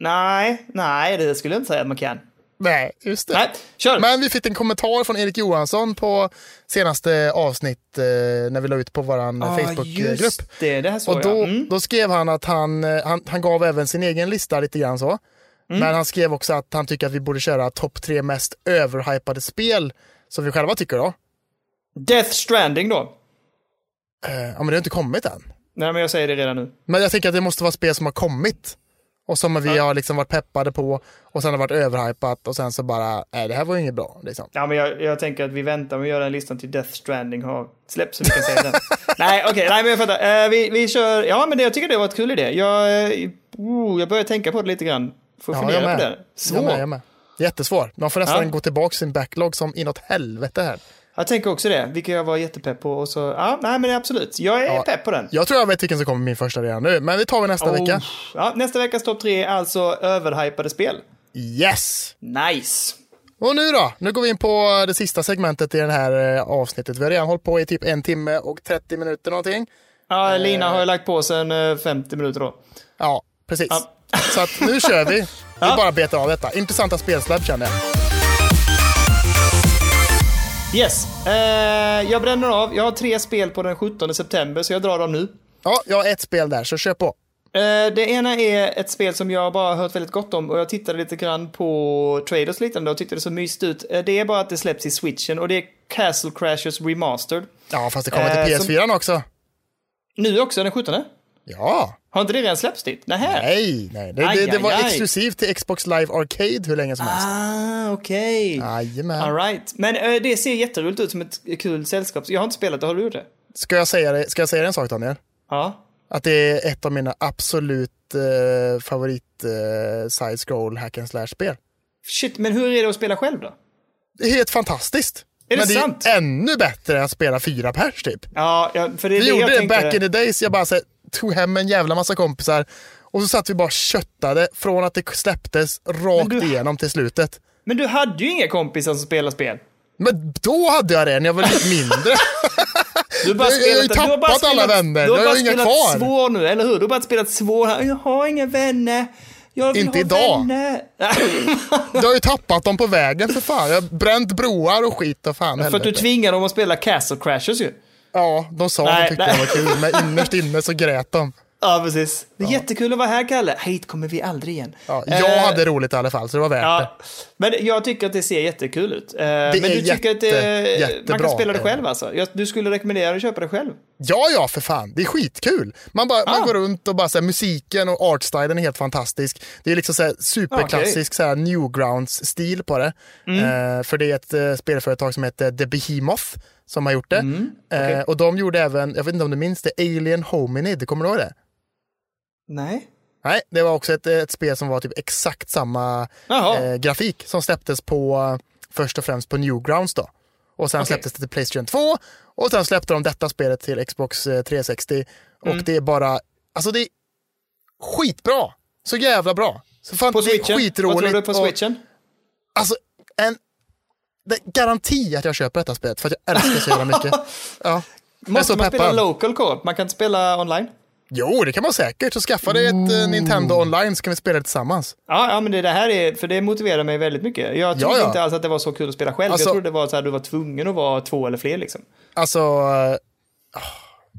Nej, nej, det skulle jag inte säga att man kan.
Nej, just det.
Nej, kör!
Men vi fick en kommentar från Erik Johansson på senaste avsnitt eh, när vi la ut på vår Facebookgrupp.
Ah, just det, det här såg
Och då,
jag. Mm.
då skrev han att han, eh, han, han gav även sin egen lista lite grann så.
Mm.
Men han skrev också att han tycker att vi borde köra topp tre mest överhypade spel som vi själva tycker då.
Death Stranding då.
Eh, ja men det har inte kommit än.
Nej, men jag säger det redan nu.
Men jag tänker att det måste vara spel som har kommit. Och som vi har liksom varit peppade på och sen har varit överhypat och sen så bara, nej det här var ju inget bra. Liksom.
Ja, men jag, jag tänker att vi väntar med att göra den listan till Death Stranding har släppts så vi kan säga den. nej, okej, nej, men jag fattar. Eh, vi, vi kör, ja, men det, jag tycker det var ett kul idé. Jag, eh, oh, jag börjar tänka på det lite grann. Får
Ja, jag
fundera
med.
på det. Svår.
Jag med, jag med. Jättesvår. Man får nästan
Ja.
gå tillbaka sin backlog som inåt helvete här.
Jag tänker också det, vilket jag var jättepepp på. Och så, ja, nej, men absolut. Jag är
Ja.
pepp på den. Oh,
Jag tror jag vet vilken som kommer min första redan nu, men vi tar vi nästa vecka.
Ja, nästa veckas topp tre är alltså överhypade spel.
Yes!
Nice!
Och nu då? Nu går vi in på eh, det sista segmentet i det här eh, avsnittet. Vi har redan hållit på i typ en timme och 30 minuter någonting.
Ja, Lina har ju lagt på sen eh, 50 minuter då.
Ja, precis. Så att nu kör vi. Vi bara betar av detta. Intressanta spelsläpp känner jag.
Yes, eh, jag bränner av. Jag har tre spel på den 17 september, så jag drar dem nu.
Ja, jag har ett spel där, så kör på.
Eh, det ena är ett spel som jag bara har hört väldigt gott om och jag tittade lite grann på trailers och liknande och tyckte det så mysigt ut. Eh, det är bara att det släpps i switchen och det är Castle Crashers Remastered.
Ja, fast det kommer till
Eh,
PS4 också.
Nu också, den 17?
Ja,
Har inte det redan släppts dit? Nähä?
nej, nej. Det,
Aj,
det, det var
aj, aj.
exklusivt till Xbox Live Arcade hur länge som helst.
Ah, okej.
Jajamän.
All right. Men eh, det ser jätteroligt ut som ett kul sällskap. Jag har inte spelat det, har du gjort det?
Ska jag säga, det- ska jag säga en sak Daniel?
Ja.
Att det är ett av mina absolut eh, favorit eh, side-scroll hack and slash-spel.
Shit, men hur är det att spela själv då?
Det är helt fantastiskt.
Är det
Men det
sant?
är ännu bättre att spela fyra pers typ.
Ja, ja, för det är
Vi
det jag
gjorde det
tänkte.
back in the days. Jag bara så här, tog hem en jävla massa kompisar och så satt vi bara och köttade från att det släpptes rakt
du-
igenom till slutet.
Men du hade ju inga kompisar som spelar spel.
Men då hade jag det när jag var lite mindre.
Du har bara
Jag- jag har ju
spelat, du har bara
tappat alla
spelat,
vänner.
Du har
Jag
bara
har inga
spelat
kvar.
svår nu, eller hur? Du har bara spelat svår. här. Jag har inga vänner. Jag vill
Inte
ha
idag.
Vänner.
jag har ju tappat dem på vägen för fan. Jag har bränt broar och skit och fan
För att du
helvete.
tvingar dem att spela Castle Crashers ju.
Ja, de sa att
Nej,
de tyckte
nej.
det var kul, men innerst inne så grät de.
Ja, precis. Det är jättekul att vara här, Kalle. Hit kommer vi aldrig igen.
Ja, jag
Eh,
hade roligt i alla fall, så det var värt det.
Ja, men jag tycker att det ser jättekul ut. Det men
är
du tycker att det,
jätte-
man
jättebra.
kan spela det själv alltså? Jag, du skulle rekommendera att köpa det själv?
Ja, ja, för fan. Det är skitkul. Man, bara, man går runt och bara så här, musiken och artstylen är helt fantastisk. Det är liksom så här, superklassisk så här, newgrounds-stil på det. Eh, för det är ett eh, spelföretag som heter The Behemoth som har gjort det. eh, och de gjorde även, jag vet inte om du minns det, Alien Hominid. Kommer du ihåg det?
Nej.
Nej, det var också ett, ett spel som var typ exakt samma
Jaha.
eh, grafik som släpptes på eh, först och främst på Newgrounds då. Och sen släpptes det till Playstation 2 och sen släppte de detta spelet till Xbox eh, 360 och
Mm.
det är bara, alltså det är skitbra! Så jävla bra! Så fan,
På
det är
switchen?
skitroligt
Vad tror du på
och-
switchen?
Alltså, en det är garanti att jag köper detta spelet för att jag älskar det så jävla mycket. Ja. Jag är
Måste
så
man spela
peppad.
local co-op? Man kan inte spela online?
Jo, det kan man säkert. Så skaffa dig ett eh, Nintendo online så kan vi spela det tillsammans.
Ja, ja, men det, det här är, för det motiverar mig väldigt mycket. Jag trodde
ja.
inte alls att det var så kul att spela själv.
Alltså-
jag trodde det var så här, du var tvungen att vara två eller fler liksom.
Alltså, eh, ah,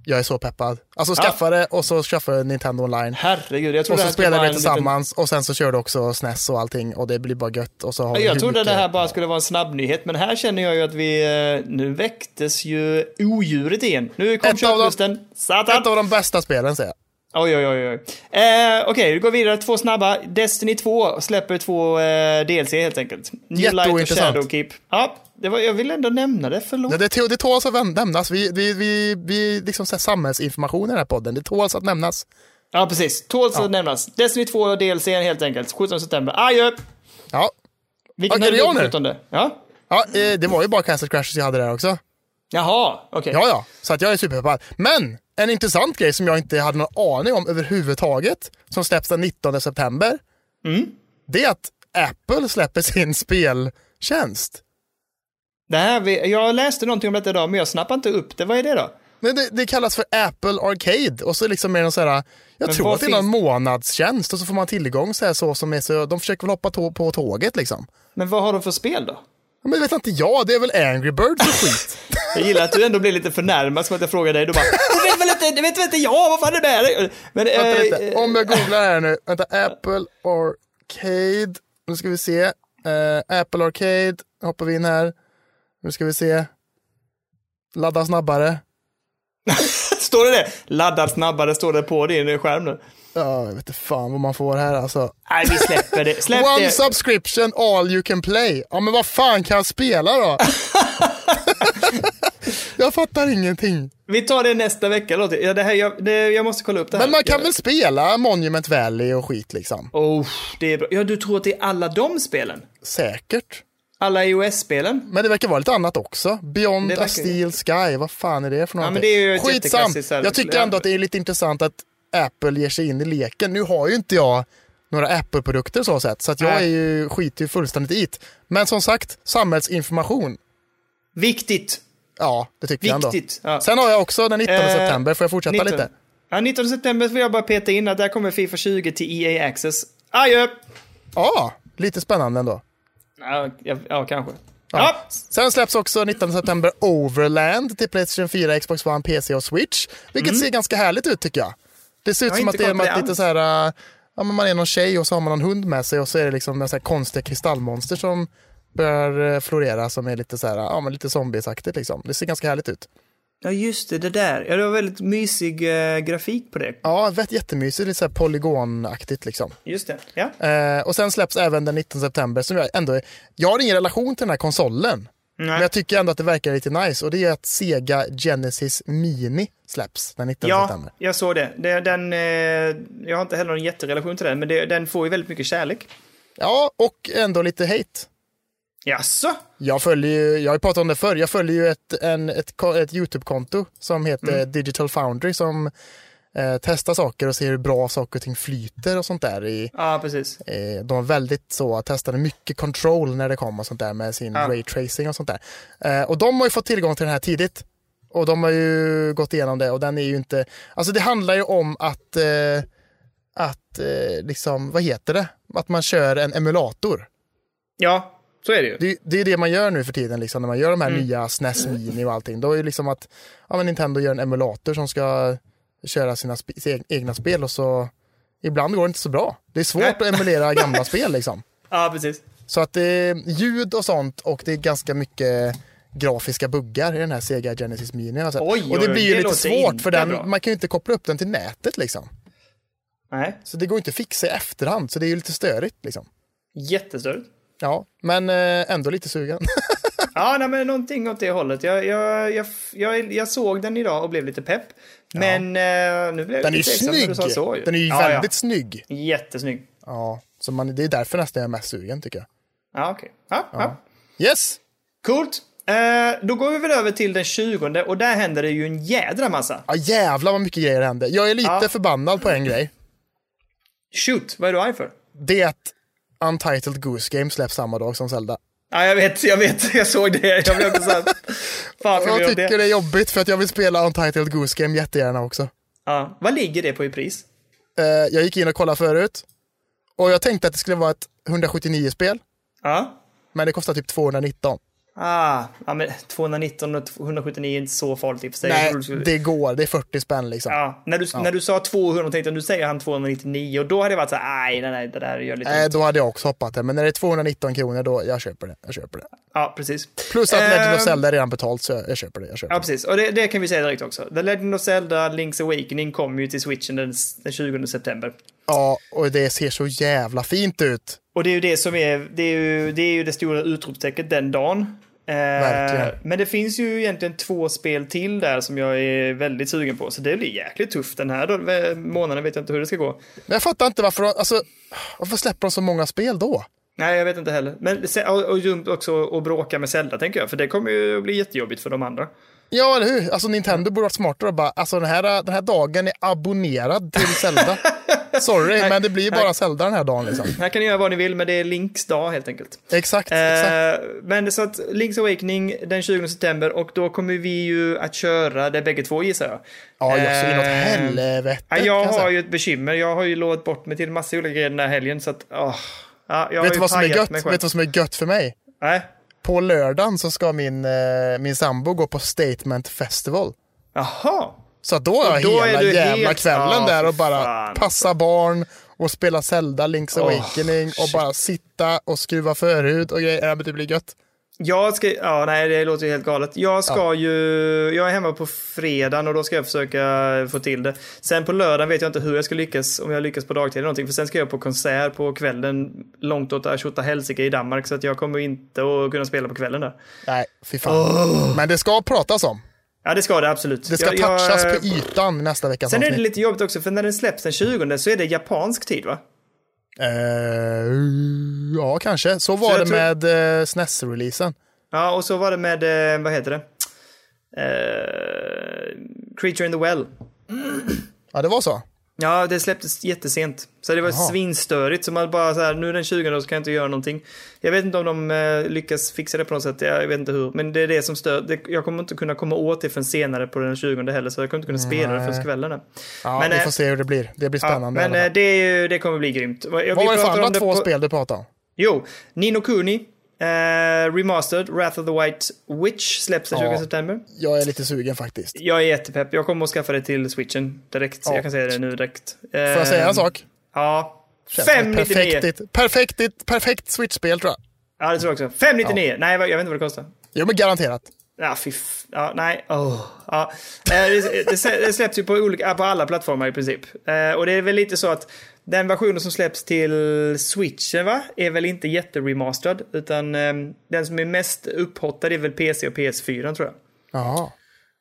jag är så peppad. Alltså skaffa det och så skaffa Nintendo online.
Herregud, jag
Och
trodde
så
det här skulle
spelar
vara
vi
en liten
tillsammans och sen så kör du också SNES och allting och det blir bara gött. Och så har vi
Jag trodde det
huvudgrej.
här bara skulle vara en snabb nyhet men här känner jag ju att vi... eh, Nu väcktes ju odjuret igen. Nu
Ett
kom
av de-
köttlusten.
Ett av
Satan!
de bästa spelen säger jag.
Oj, oj, oj. oj. Eh, Okej, vi går vidare. Två snabba. Destiny 2 släpper två eh, DLC helt enkelt. New Light och
Jätteintressant.
Shadowkeep. Ja, det var, jag ville ändå nämna det. Förlåt.
Ja, det, tå- det tåls att vän- nämnas. Vi, vi, vi, vi liksom så här samhällsinformation i den här podden. Det tåls att nämnas.
Ja, precis. Tåls att nämnas. Destiny 2 och DLC helt enkelt. 17 september. Adjö!
Ja.
Vilken
Okej, det är jag nu.
17? Ja.
Ja, eh, det var ju bara Castle Crashes jag hade där också.
Jaha, okej.
Ja, ja. Så att jag är superpeppad. Men en intressant grej som jag inte hade någon aning om överhuvudtaget, som släpps den 19 september,
Mm.
det är att Apple släpper sin speltjänst.
Det här, vi- jag läste någonting om detta idag, men jag snappade inte upp det. Vad är det då?
Men det, det kallas för Apple Arcade och så liksom är det någon så här, jag
Men
tror
vad
att det är någon
finns-
månadstjänst och så får man tillgång så här så som är så, de försöker väl hoppa tå- på tåget liksom.
Men vad har de för spel då?
Men det vet inte jag, det är väl Angry Birds och skit.
Jag gillar att du ändå blir lite förnärmad som att jag frågar dig. Du bara, det vet väl inte, det vet väl inte jag, vad fan är det med dig? Men,
Vänta
eh,
lite. Om jag googlar här nu. Vänta, Apple Arcade. Nu ska vi se. Eh, Apple Arcade. Hoppar vi in här. Nu ska vi se. Ladda snabbare.
Står det det? Laddad snabbare står det på din skärm nu.
Ja, jag vet inte fan vad man får här alltså.
Nej, vi släpper det. Släpp
One
det.
subscription, all you can play. Ja, men vad fan kan jag spela då? jag fattar ingenting.
Vi tar det nästa vecka. låter det. Ja, det här, jag, det, jag måste kolla upp det här.
Men man kan väl spela Monument Valley och skit liksom?
Oh, det är bra. Ja, du tror att det är alla de spelen?
Säkert.
Alla iOS-spelen?
Men det verkar vara lite annat också. Beyond
Det verkar-
a Steel Sky, vad fan är det för någonting?
men det är ju ett
Skitsam!
jätteklassiskt här-
Jag tycker ändå att det är lite intressant att Apple ger sig in i leken. Nu har ju inte jag några Apple-produkter så sett, så att jag
Nej.
är ju, skiter ju fullständigt i det. Men som sagt, samhällsinformation.
Viktigt.
Ja, det tycker jag ändå.
Viktigt, ja.
Sen har jag också den 19
Eh,
september, får jag fortsätta
19.
lite?
Ja, 19 september vill jag bara peta in att där kommer Fifa 20 till EA Access. Adjö!
Ja, lite spännande ändå.
Ja, ja, ja kanske. Ja.
Sen släpps också 19 september Overland till Playstation 4, Xbox One, PC och Switch. Vilket ser ganska härligt ut tycker jag. Det ser ut
Mm. har
som
inte
att det är
kollat på
man,
det
lite
alls.
så här, äh, ja, men man är någon tjej och så har man någon hund med sig och så är det liksom några så här konstiga kristallmonster som börjar eh, florera som är lite så här, ja men lite zombiesaktigt liksom. Det ser ganska härligt ut.
ja, just det, det där. Ja, det var väldigt mysig eh, grafik på det.
Ja, vet, jättemysigt, lite så här polygonaktigt liksom.
Just det. Ja.
Eh, och sen släpps även den 19 september som jag ändå, jag har ingen relation till den här konsolen. Men jag tycker ändå att det verkar lite nice och det är att Sega Genesis Mini släpps den 19
Ja,
september.
jag såg det. det den, eh, jag har inte heller någon jätterelation till den, men det, den får ju väldigt mycket kärlek.
Ja, och ändå lite hate.
Jaså?
Jag följer ju, jag har ju pratat om det förr, jag följer ju ett, en, ett, ko- ett YouTube-konto som heter Digital Foundry som eh, testar saker och ser hur bra saker och ting flyter och sånt där i,
Ja, precis.
Eh, De var väldigt så, testade mycket control när det kom och sånt där med sin
Ja.
ray tracing och sånt där. Eh, Och de har ju fått tillgång till den här tidigt. Och de har ju gått igenom det och den är ju inte, alltså det handlar ju om att, eh, att eh, liksom, vad heter det? Att man kör en emulator.
Ja, så är det ju.
Det, är- det är det man gör nu för tiden, liksom, när man gör de här nya SNES Mini och allting. Då är det liksom att ja, men Nintendo gör en emulator som ska köra sina sp- sina egna spel och så ibland går det inte så bra. Det är svårt att emulera gamla spel liksom.
Ja, precis.
Så att det är ljud och sånt och det är ganska mycket grafiska buggar i den här Sega Genesis Mini. jag har sett.
Oj,
och det
oj,
blir ju
det
lite
låter
svårt
inte
för den,
bra.
man kan ju inte koppla upp den till nätet liksom.
Nej,
Så det går inte att fixa i efterhand, så det är ju lite störigt liksom.
jättestörigt.
Ja, men eh, ändå lite sugen.
Ja, nej, men någonting åt det hållet. Jag, jag, jag, jag, jag såg den idag och blev lite pepp. Men eh, nu blev jag
Den är ju
lite tveksam när
snygg!
du sa så ju.
Den är ju
ja,
väldigt snygg.
ja. Jättesnygg.
Ja, så man, det är därför nästan jag är mest sugen tycker jag.
Ja, okej. Ja, ja.
Yes!
Coolt. Eh, då går vi väl över till den 20 och där händer det ju en jädra massa.
Ja, jävlar vad mycket grejer det hände. Jag är lite
Ja.
förbannad på en grej.
Shoot, vad är du arg för?
Det är att Untitled Goose Game släpps samma dag som Zelda.
Ja, jag vet, jag vet, jag såg det. Jag blev också såhär, fan ska vi
Jag
göra det?
tycker det är jobbigt för att jag vill spela Untitled Goose Game jättegärna också.
Ja. Vad ligger det på i pris?
Eh, jag gick in och kollade förut och jag tänkte att det skulle vara ett 179-spel,
Ja.
men det kostar typ 219.
Ah, ja, men 219 och 179 är inte så farligt i och för sig. Jag
Nej,
trodde du skulle-
det går. Det är 40 spänn liksom.
Ja, när, du, när du sa 200 tänkte jag nu säger han 299 och då hade jag varit så här, nej, nej, nej, det där gör lite
Nej,
ont.
Eh, då hade jag också hoppat det. Men när det är 219 kronor, då jag köper det. Jag köper det.
Ja, precis.
Plus att Legend of
Ehm,
Zelda är redan betalt, så jag, jag köper det. Jag köper
Ja, precis. Och det, det kan vi säga direkt också. The Legend of Zelda Link's Awakening kommer ju det till Switchen den, den 20 september.
det. ja, och det ser så jävla fint ut.
Och det är ju det som är, det är ju det, är ju det stora utropstecknet den dagen. Eh,
Verkligen.
men det finns ju egentligen två spel till där som jag är väldigt sugen på, så det blir jäkligt tufft den här då, eh, månaden. vet jag inte hur det ska gå.
Men jag fattar inte varför de, alltså, varför släpper de så många spel då?
Nej, jag vet inte heller. Men se- och, och dumt också att bråka med Zelda, tänker jag, för det kommer ju att bli jättejobbigt för de andra.
Ja, eller hur? Alltså Nintendo borde varit smartare och bara, alltså den här, den här dagen är abonnerad till Zelda. Sorry, men det blir bara Zelda den här dagen liksom.
Här kan ni göra vad ni vill, men det är Links dag helt enkelt.
Exakt, exakt.
Eh, men så att Link's Awakening den 20 september och då kommer vi ju att köra det bägge två gissar jag.
Ja, jag ser inåt
eh,
helvete.
Ja,
kan
jag
säga.
har ju ett bekymmer. Jag har ju lovat bort mig till massa olika grejer den här helgen så att... åh. Ja, jag har
Vet du
ju
vad som är
pajat
gött?
mig
Vet
själv.
du vad som är gött för mig?
Nej.
På lördagen så ska min, eh, min sambo gå på Statement Festival.
Jaha.
Så att då har jag
då är
hela
du
jävla
helt-
kvällen
Ja,
där och
för
bara
fan.
passa barn och spela Zelda, Link's
Åh,
Awakening och bara sitta och skruva förhud och grejer. Ja, men Det blir gött.
Jag ska, ja nej det låter ju helt galet. Jag ska ju, jag är hemma på fredagen och då ska jag försöka få till det. Sen på lördagen vet jag inte hur jag ska lyckas, om jag lyckas på dagtid eller någonting. För sen ska jag på konsert på kvällen långt åt tjotta helsike i Danmark. Så att jag kommer inte att kunna spela på kvällen där.
Nej, fy fan. Men det ska pratas om.
Ja det ska det absolut.
Det ska
Jag- jag-
touchas på ytan nästa vecka.
Sen är det lite jobbigt också för när den släpps den 20 så är det japansk tid va?
Eh, ja, kanske. Så var
jag
det
tror-
med eh, SNES-releasen.
Ja och så var det med, eh, vad heter det? Eh, Creature in the Well.
Ja, det var så.
Ja, det släpptes jättesent. Så det var svinstörigt. Så man bara så här, nu den 20 då så kan jag inte göra någonting. Jag vet inte om de eh, lyckas fixa det på något sätt. Jag vet inte hur. Men det är det som stör. Det, jag kommer inte kunna komma åt det förrän senare på den 20 heller. Så jag kommer inte kunna spela det förrän kvällen.
Ja,
Men,
vi
eh,
får se hur det blir. Det blir
Ja,
spännande. i
men
alla fall.
eh, det, är ju- det kommer bli grymt. Vad
Vad var det för andra två spel du pratade om?
Jo, Nino Kuni. Eh, remastered, Wrath of the White Witch släpps den 20
Ja.
september.
Jag är lite sugen faktiskt.
Jag är jättepepp. Jag kommer att skaffa det till switchen direkt.
Ja.
Jag kan säga det nu direkt. Ehm,
Får jag säga en sak?
Ja.
Känns som ett
599!
Perfekt, perfekt, perfekt Switch-spel tror jag.
Ja, det tror jag också. 599! Nej, vad- jag vet inte vad det kostar.
Jo, men garanterat.
Ja, fy f- ja, Nej, oh. ja. Eh, det, det, slä- det släpps ju på, olika, på alla plattformar i princip. Eh, och det är väl lite så att den versionen som släpps till switchen va, är väl inte jätteremasterad. Utan ehm, den som är mest upphottad är väl PC och PS4 tror jag.
Jaha.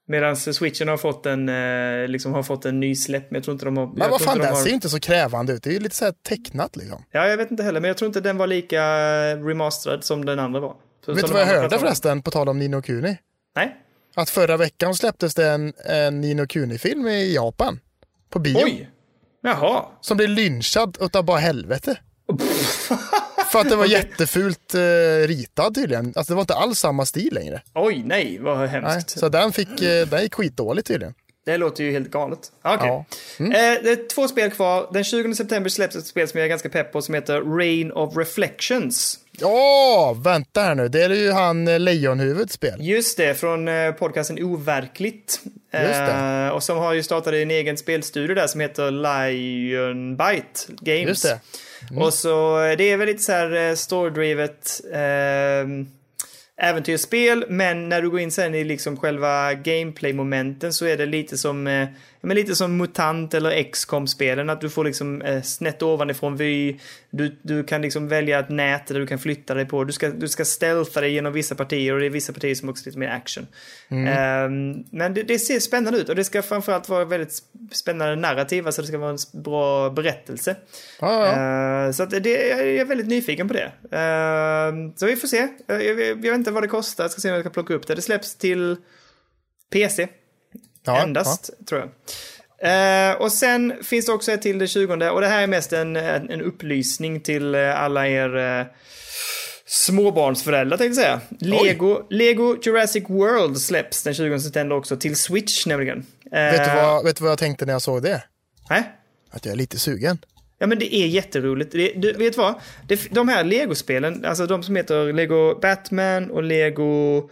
Medan switchen har fått en, eh, liksom har fått en ny släpp, men jag tror inte de har... jag
Men
tror
vad fan,
inte
det
de
här
har-
ser ju inte så krävande ut. Det är ju lite så här tecknat liksom.
Ja, jag vet inte heller, men jag tror inte den var lika remasterad som den andra var. Så-
Vet
som de
du vad jag
andra
hörde
plattformarna.
förresten, på tal om Nino Kuni?
Nej.
Att förra veckan släpptes det en, en Nino Kuni-film i Japan. På bio.
Oj! Jaha.
Som blev lynchad utav bara helvete. För att det var jättefult eh, ritad tydligen. Alltså det var inte alls samma stil längre.
Oj, nej, vad
Nej.
hemskt.
Så den, fick, eh, den gick skitdåligt tydligen.
Det låter ju helt galet. Ah, Okej.
Ja. Mm.
Eh, det är två spel kvar. Den 20 september släpps ett spel som jag är ganska pepp på som heter Rain of Reflections.
Ja, vänta här nu. Det är ju han eh, Lejonhuvuds spel.
Just det, från eh, podcasten Overkligt.
Just det.
Eh, och som har ju startat en egen spelstudio där som heter Lion Bite Games.
Just det. Mm.
Och så eh, det är väl lite så här eh, storydrivet ehm, äventyrsspel, men när du går in sen i liksom själva gameplay-momenten så är det lite som, eh, men lite som MUTANT eller xcom spelen att du får liksom eh, snett ovanifrån vy, du, du kan liksom välja ett nät där du kan flytta dig på, du ska, du ska stealtha dig genom vissa partier och det är vissa partier som också är lite mer action. Ehm, men det, det ser spännande ut och det ska framförallt vara väldigt spännande narrativ, alltså det ska vara en s- bra berättelse.
Ja, ja.
Eh, Så att det, jag är väldigt nyfiken på det. Eh, Så vi får se. Eh, Jag, jag, jag vet inte vad det kostar. Jag ska se om jag kan plocka upp det. Det släpps till PC
Ja,
endast, tror jag. Eh, och sen finns det också ett till den 20 och det här är mest en, en, en upplysning till eh, alla er eh, småbarnsföräldrar tänkte jag säga. Lego, Lego Jurassic World släpps den 20 september också till Switch nämligen. Eh,
Ja. Vet, du vad, vet du vad jag tänkte när jag såg det?
Nej?
Att jag är lite sugen.
Ja men det är jätteroligt. Det, du, vet vad? Det, de här legospelen, alltså de som heter Lego Batman och Lego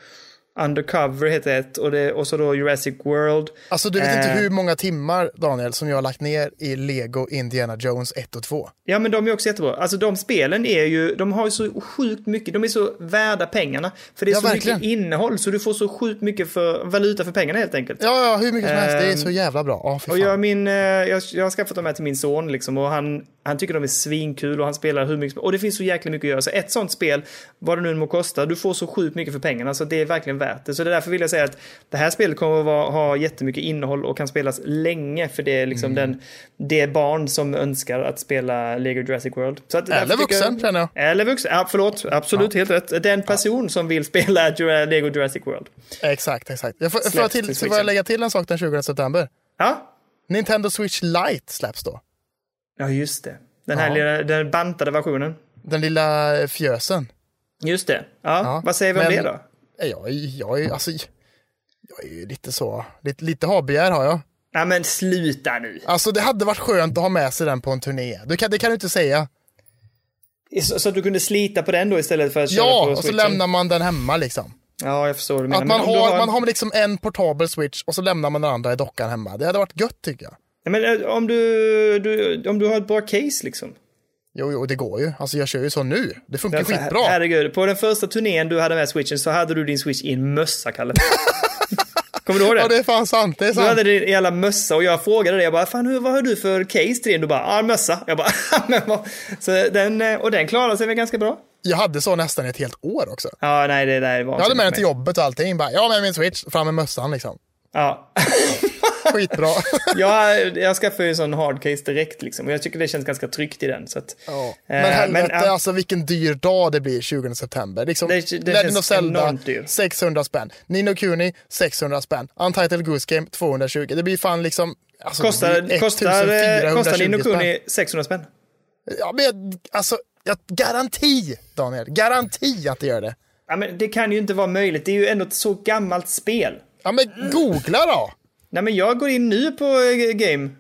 Undercover heter ett och, det, och så då Jurassic World.
Alltså du vet inte
Eh.
hur många timmar, Daniel, som jag har lagt ner i Lego Indiana Jones 1 och 2.
Ja men de är också jättebra. Alltså de spelen är ju, de har ju så sjukt mycket, de är så värda pengarna. För det är
Ja,
så
verkligen.
mycket innehåll så du får så sjukt mycket för valuta för pengarna helt enkelt.
Ja, ja, hur mycket som helst. Det är
Ehm,
så jävla bra. Ja, fy
Och
fan.
jag, min, eh, jag, jag har skaffat dem här till min son liksom, och han, han tycker de är svinkul och han spelar hur mycket som- Och det finns så jäkla mycket att göra. Så ett sånt spel, vad det nu må kosta, du får så sjukt mycket för pengarna så det är verkligen värt det. Så det är därför vill jag säga att det här spelet kommer att vara, ha jättemycket innehåll och kan spelas länge för det är liksom
Mm.
den, det är barn som önskar att spela Lego Jurassic World. Så att därför
Eller
tycker
vuxen, känner jag.
Eller vuxen, ja, förlåt, absolut, helt rätt. Den person som vill spela Jura- Lego Jurassic World.
Exakt, exakt. Jag får, får, jag
Släpps
till,
till
får jag
Switchen.
lägga till en sak den 20 september?
Ja,
Nintendo Switch Lite släpps då.
ja just det. Den här
Ja.
lilla, den bantade versionen.
Den lilla eh, fjösen.
Just det. Ja,
Ja,
vad säger vi om
men-
det då?
Eh, Jag, är- jag, är- alltså, jag är ju lite så, lite, lite habegär har jag.
Ja, men sluta nu.
Alltså det hade varit skönt att ha med sig den på en turné. Du kan, det kan du inte säga.
Så, så att du kunde slita på den då istället för att köra på
Ja, och så
switchen?
lämnar man den hemma liksom.
Ja, jag förstår vad du menar.
Att man
Men om du
har,
en-
man har liksom en portabel switch och så lämnar man den andra i dockan hemma. Det hade varit gött tycker jag.
Ja, men eh, om du, du, om du har ett bra case liksom.
Jo, jo, det går ju. Alltså jag kör ju så nu. Det funkar
Alltså, her-
skitbra.
Herregud, på den första turnén du hade med switchen så hade du din switch i en mössa, Kalle. Kommer du ihåg det?
Ja, det är fan sant. Det är
Du hade
sant.
din jävla mössa och jag frågade dig, jag bara, fan hur, vad har du för case till din? Du bara, ah, en mössa. Jag bara, men vad? Så den, eh, och den klarade sig väl ganska bra?
Jag hade så nästan ett helt år också.
Ja, nej, det där var
Jag hade med den till jobbet och allting. Bara, jag har med min switch, fram med mössan liksom.
Ja.
Skitbra.
jag, jag skaffade ju en sån hardcase direkt liksom. Och jag tycker det känns ganska tryggt i den. Så att,
Ja.
Eh,
Men helvete,
ja,
alltså vilken dyr dag det blir 20 september. Liksom,
Det- det
Legend
känns
of Zelda,
enormt dyr.
600 spänn. Nino Kuni, 600 spänn. Untitled Goose Game, 220. Det blir fan liksom... Alltså, det
kostar,
blir
kostar, eh,
1420
kostar din och
spänn.
Kuni 600 spänn?
Ja, men jag, alltså, jag, garanti, Daniel. Garanti att det gör det.
Ja, men det kan ju inte vara möjligt. Det är ju ändå ett så gammalt spel.
Ja, men googla då.
Nej, men jag går in nu på eh, Game.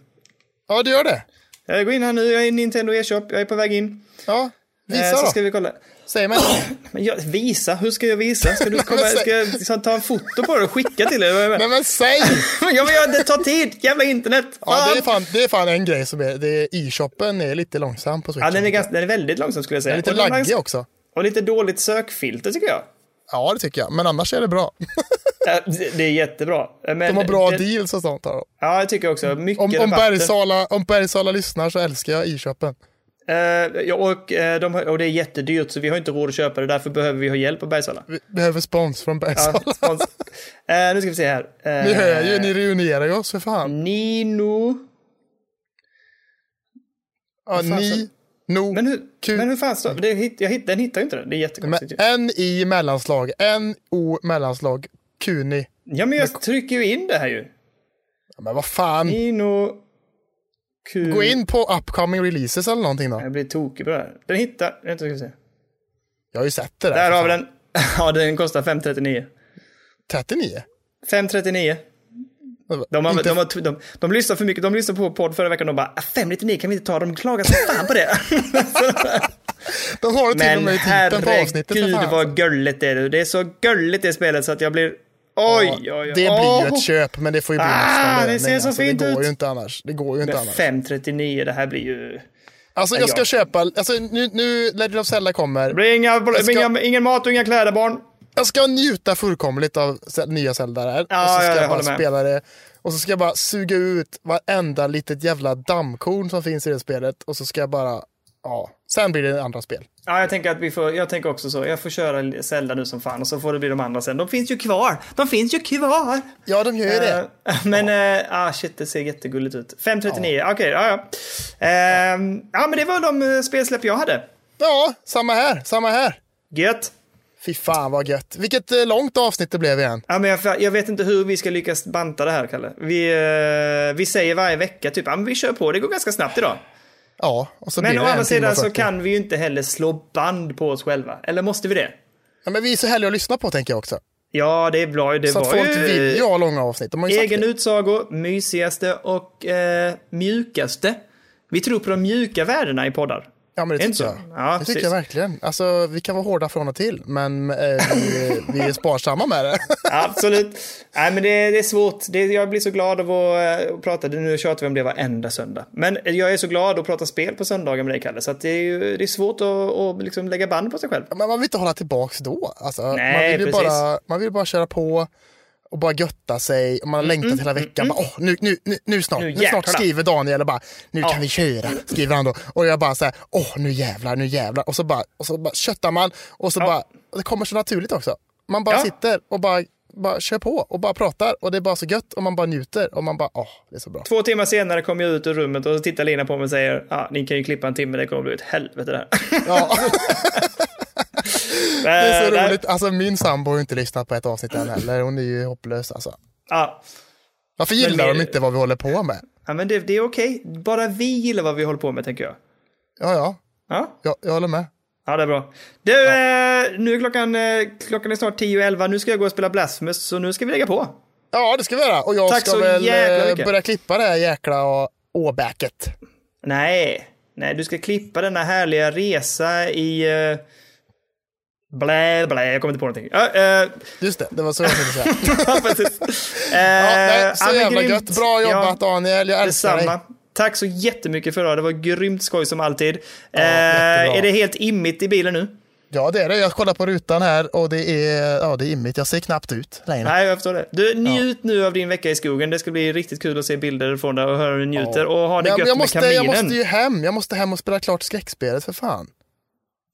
Ja, du gör det.
Jag går in här nu, jag är i Nintendo e-shop, jag är på väg in.
Ja,
Eh, så
visa
ska
då.
vi kolla.
Säg mig.
Men jag, visa? Hur ska jag visa? Ska du
men
komma,
säg-
ska jag liksom ta en foto på det och skicka till dig? Vad är det?
Nej, men säg.
Ja, men jag, det tar tid! Jävla internet!
Ja, det, är
Fan.
fan, det är fan en grej som är... Det är e-shoppen är lite långsam på Switch.
Ja, den är, ganska, den är väldigt långsam skulle jag säga.
lite
Och den har-
laggig också.
Och lite dåligt sökfilter tycker jag.
Ja, det tycker jag. Men annars är det bra.
Ja, det- Det är jättebra. Eh, Men
De har bra
det,
deals och sånt. Här. då.
Ja, jag tycker också. Mycket
Om, om,
rabatter.
Bergsala, om Bergsala lyssnar så älskar jag e-shoppen.
Eh, ja, och, eh, de, har- och det är jättedyrt så vi har inte råd att köpa det. Därför behöver vi ha hjälp av Bergsala.
Vi behöver spons från Bergsala.
Ja, spons. Eh, nu ska vi se här. Eh, Mm.
Ni hör ju, ni reunionerar ju oss för fan.
Nino...
Ja,
fan,
ni, no,
Men hur,
Kul.
men hur fan står det? Hit, jag hit, den hittar ju inte den. Det är jättekonstigt. ju.
med en i mellanslag, en o mellanslag, kuni.
Ja, men jag trycker ju in det här ju.
Ja, men
Mm.
vad fan.
Nino... Q...
Gå in på upcoming releases eller någonting då.
Jag blir tokig på det här. Den hittar... Vänta, ska vi se.
Jag har ju sett det där.
Där
för
har vi
fan.
den. Ja, den kostar 539.
39.
539. De, har, de, har, de, de lyssnar för mycket, de lyssnar på podd förra veckan och de bara "Ah, 599 kan vi inte ta, de klagar som fan på det.
De har det till och
Men
med i titeln på avsnittet. för
herregud
fan. alltså.
vad gulligt det är du. Det är så gulligt det spelet så att jag blir... Oj, oj, oj.
Alltså, Det blir ju
Åh.
ett köp, men det får ju bli
Ah,
nästan
det ser så fint
det går
ut.
ju inte annars. Det går ju inte
Men
annars.
539, det här blir ju...
Alltså jag ska
jag-
köpa, alltså nu, nu Legend of Zelda kommer.
Det blir inga,
ska-
inga, ingen mat och inga kläder barn.
Jag ska njuta fullkomligt av se- nya Zelda här.
Ja,
och så ska
ja, jag
jag bara
håller med.
spela det. Och så ska jag bara suga ut varenda litet jävla dammkorn som finns i det spelet. Och så ska jag bara, ja. Sen blir det andra spel.
Ja, jag tänker att vi får, jag tänker också så. Jag får köra Zelda nu som fan och så får det bli de andra sen. De finns ju kvar! De finns ju kvar!
Ja, de gör ju det.
Eh, Men eh, ah, shit, det ser jättegulligt ut. 5.39, okej, ja ja. Ehm, ja men det var de eh, spelsläpp jag hade.
Ja, samma här, samma här.
Gött!
Fy fan vad gött. Vilket eh, långt avsnitt det blev igen.
Ja, men jag, jag vet inte hur vi ska lyckas banta det här, Kalle. Vi, eh, vi säger varje vecka typ, ja men vi kör på, det går ganska snabbt idag.
Ja, och så
Men
blir
å
det en
andra
timme
sidan
och
så
40.
kan vi ju inte heller slå band på oss själva. Eller måste vi det?
Ja, men vi är så härliga att lyssna på tänker jag också.
Ja, det är bra. Det
Så att
var
folk
ju...
vill ju ha långa avsnitt. De har ju sagt
Egen
det.
utsago, mysigaste och eh, mjukaste Vi tror på de mjuka värdena i poddar.
Ja, men det
Inte
tycker jag.
så? Ja,
det tycker
precis.
jag verkligen. Alltså, vi kan vara hårda från och till, men eh, vi, vi är sparsamma med det.
Absolut. Nej, men det, det är svårt. Det, jag blir så glad av att eh, att prata. Nu tjatar vi om det varenda söndag. Men jag är så glad att prata spel på söndagar med dig, Kalle. Så att det, är ju, det är svårt att, att liksom lägga band på sig själv.
Men man vill inte hålla tillbaks då. Alltså,
Nej,
man, vill ju
precis.
bara, man vill bara köra på och bara götta sig. Och man har längtat hela veckan. Bara, åh, nu, nu, nu, nu snart,
Mm, Nu
nu snart
jäklar.
skriver Daniel och bara, nu kan vi köra, skriver han då. Och jag bara så här, åh nu jävlar, nu jävlar. Och så bara, och så bara köttar man och så bara, och det kommer så naturligt också. Man bara
Ja.
sitter och bara, bara kör på och bara pratar och det är bara så gött och man bara njuter och man bara, åh, det är så bra.
Två timmar senare kom jag ut ur rummet och så tittar Lina på mig och säger ja, ni kan ju klippa en timme, det kommer bli ett helvete det här.
Ja. Det är
Eh,
så
nej.
roligt. Alltså min sambo har ju inte lyssnat på ett avsnitt än heller. Hon är ju hopplös alltså.
Ja.
Varför gillar
Men-
de inte vad vi håller på med?
ja, men det, det är okej. Bara vi gillar vad vi håller på med, tänker jag.
Ja, ja,
Ja.
jag, jag håller med.
Ja, det är bra. Du, eh, nu är klockan, eh, klockan är snart 10.11. Nu ska jag gå och spela Blasphemous, så nu ska vi lägga på.
Ja, det ska vi göra. Och jag
Tack
ska
så
väl
jäkla
eh,
mycket.
börja klippa det här jäkla å- åbäket.
Nej, nej, du ska klippa denna härliga resa i... Uh, blä, blä, jag kommer inte på någonting. Ja, eh,
Just det, det var så jag tänkte säga.
ja, precis. Eh,
Ja, nej, så
men
jävla
grymt.
gött. Bra
Ja.
jobbat Daniel, jag älskar
Detsamma.
dig.
Tack så jättemycket för idag. Det var grymt skoj som alltid. eh,
jättebra.
är det helt immigt i bilen nu?
Ja, det är det. Jag kollar på rutan här och det är, ja, det är immigt. Jag ser knappt ut längre.
Nej, jag förstår det. Du, njut nu av din vecka i skogen. Det ska bli riktigt kul att se bilder från dig och höra hur du njuter. Och ha det
Men
gött
jag, måste,
med
jag
kaminen.
måste ju hem. Jag måste hem och spela klart skräckspelet för fan.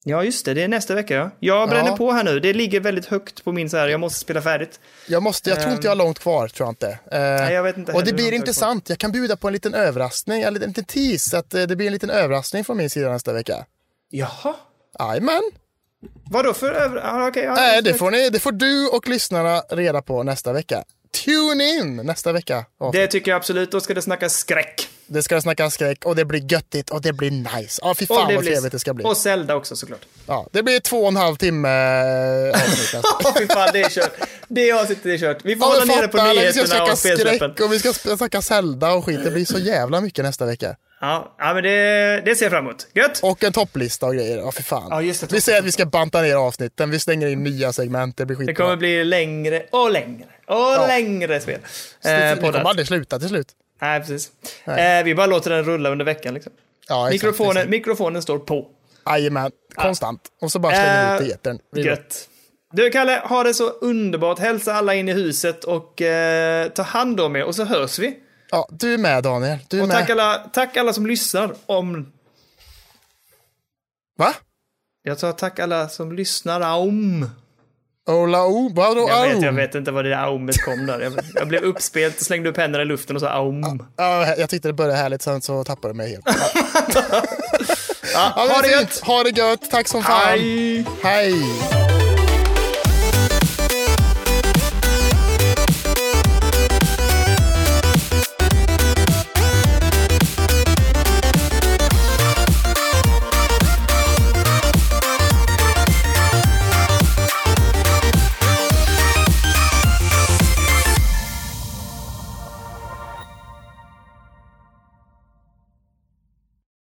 Ja, just det. Det är nästa vecka, ja. Jag bränner på här nu. Det ligger väldigt högt på min så här, jag måste spela färdigt.
Jag, måste, jag tror inte jag har långt kvar, tror jag inte. Eh,
Ehm. jag vet inte
och det
heller hur
blir
långt
intressant. Jag kan bjuda på en liten överraskning, eller en liten tease. Så Att eh, det blir en liten överraskning från min sida nästa vecka.
Jaha.
Jajamän.
Vad då för över... Ah, okay, ja,
Nej, det får, ni, det får du och lyssnarna reda på nästa vecka. Tune in nästa vecka. Ja,
det tycker jag absolut. Då ska det snackas skräck.
Det ska snackas skräck och det blir göttigt och det blir nice. Ja, fy fan
det
vad trevligt det ska bli.
Och Zelda också såklart.
Ja, det blir två och en halv timme eh, avsnitt nästa.
Åh, fy fan, det är kört. Det avsnittet är kört. Vi får
Ja,
hålla
men
nere på
fatta, eller vi ska
nyheterna
snacka
och spelsläppen.
skräck och vi ska sp- snacka Zelda och skit. Det blir så jävla mycket nästa vecka.
Ja, ja, men det, det ser jag fram emot. Gött!
Och en topplista och grejer. Ja, för fan.
Ja, just det,
vi säger att vi ska banta ner avsnitten. Vi stänger in nya segment. Det blir skitbra.
Det kommer bli längre och längre och längre spel. Eh,
det kommer
poddar.
aldrig sluta till slut.
Nej, precis. Eh, vi bara låter den rulla under veckan. Liksom.
Ja, exakt,
mikrofonen,
exakt.
mikrofonen står på.
Jajamän, konstant. Och så bara slänger vi ut i etern. Det är bra.
Eh, Gött. Du, Kalle, ha det så underbart. Hälsa alla in i huset och eh, ta hand om er och så hörs vi.
Ja, du är med Daniel. Du är
Och
med.
tack alla, tack alla som lyssnar om...
Va?
Jag sa tack alla som lyssnar om.
Ola O, vadå
Jag vet,
au?
jag vet inte vad det där aumet kom där. Jag, jag blev uppspelt och slängde upp händerna i luften och sa aum.
Ja, jag tyckte det började härligt, sen så tappade det mig helt. Ja,
Ja,
men
ha det
fint.
gött!
Ha det gött, tack som fan.
Hej!
Hej.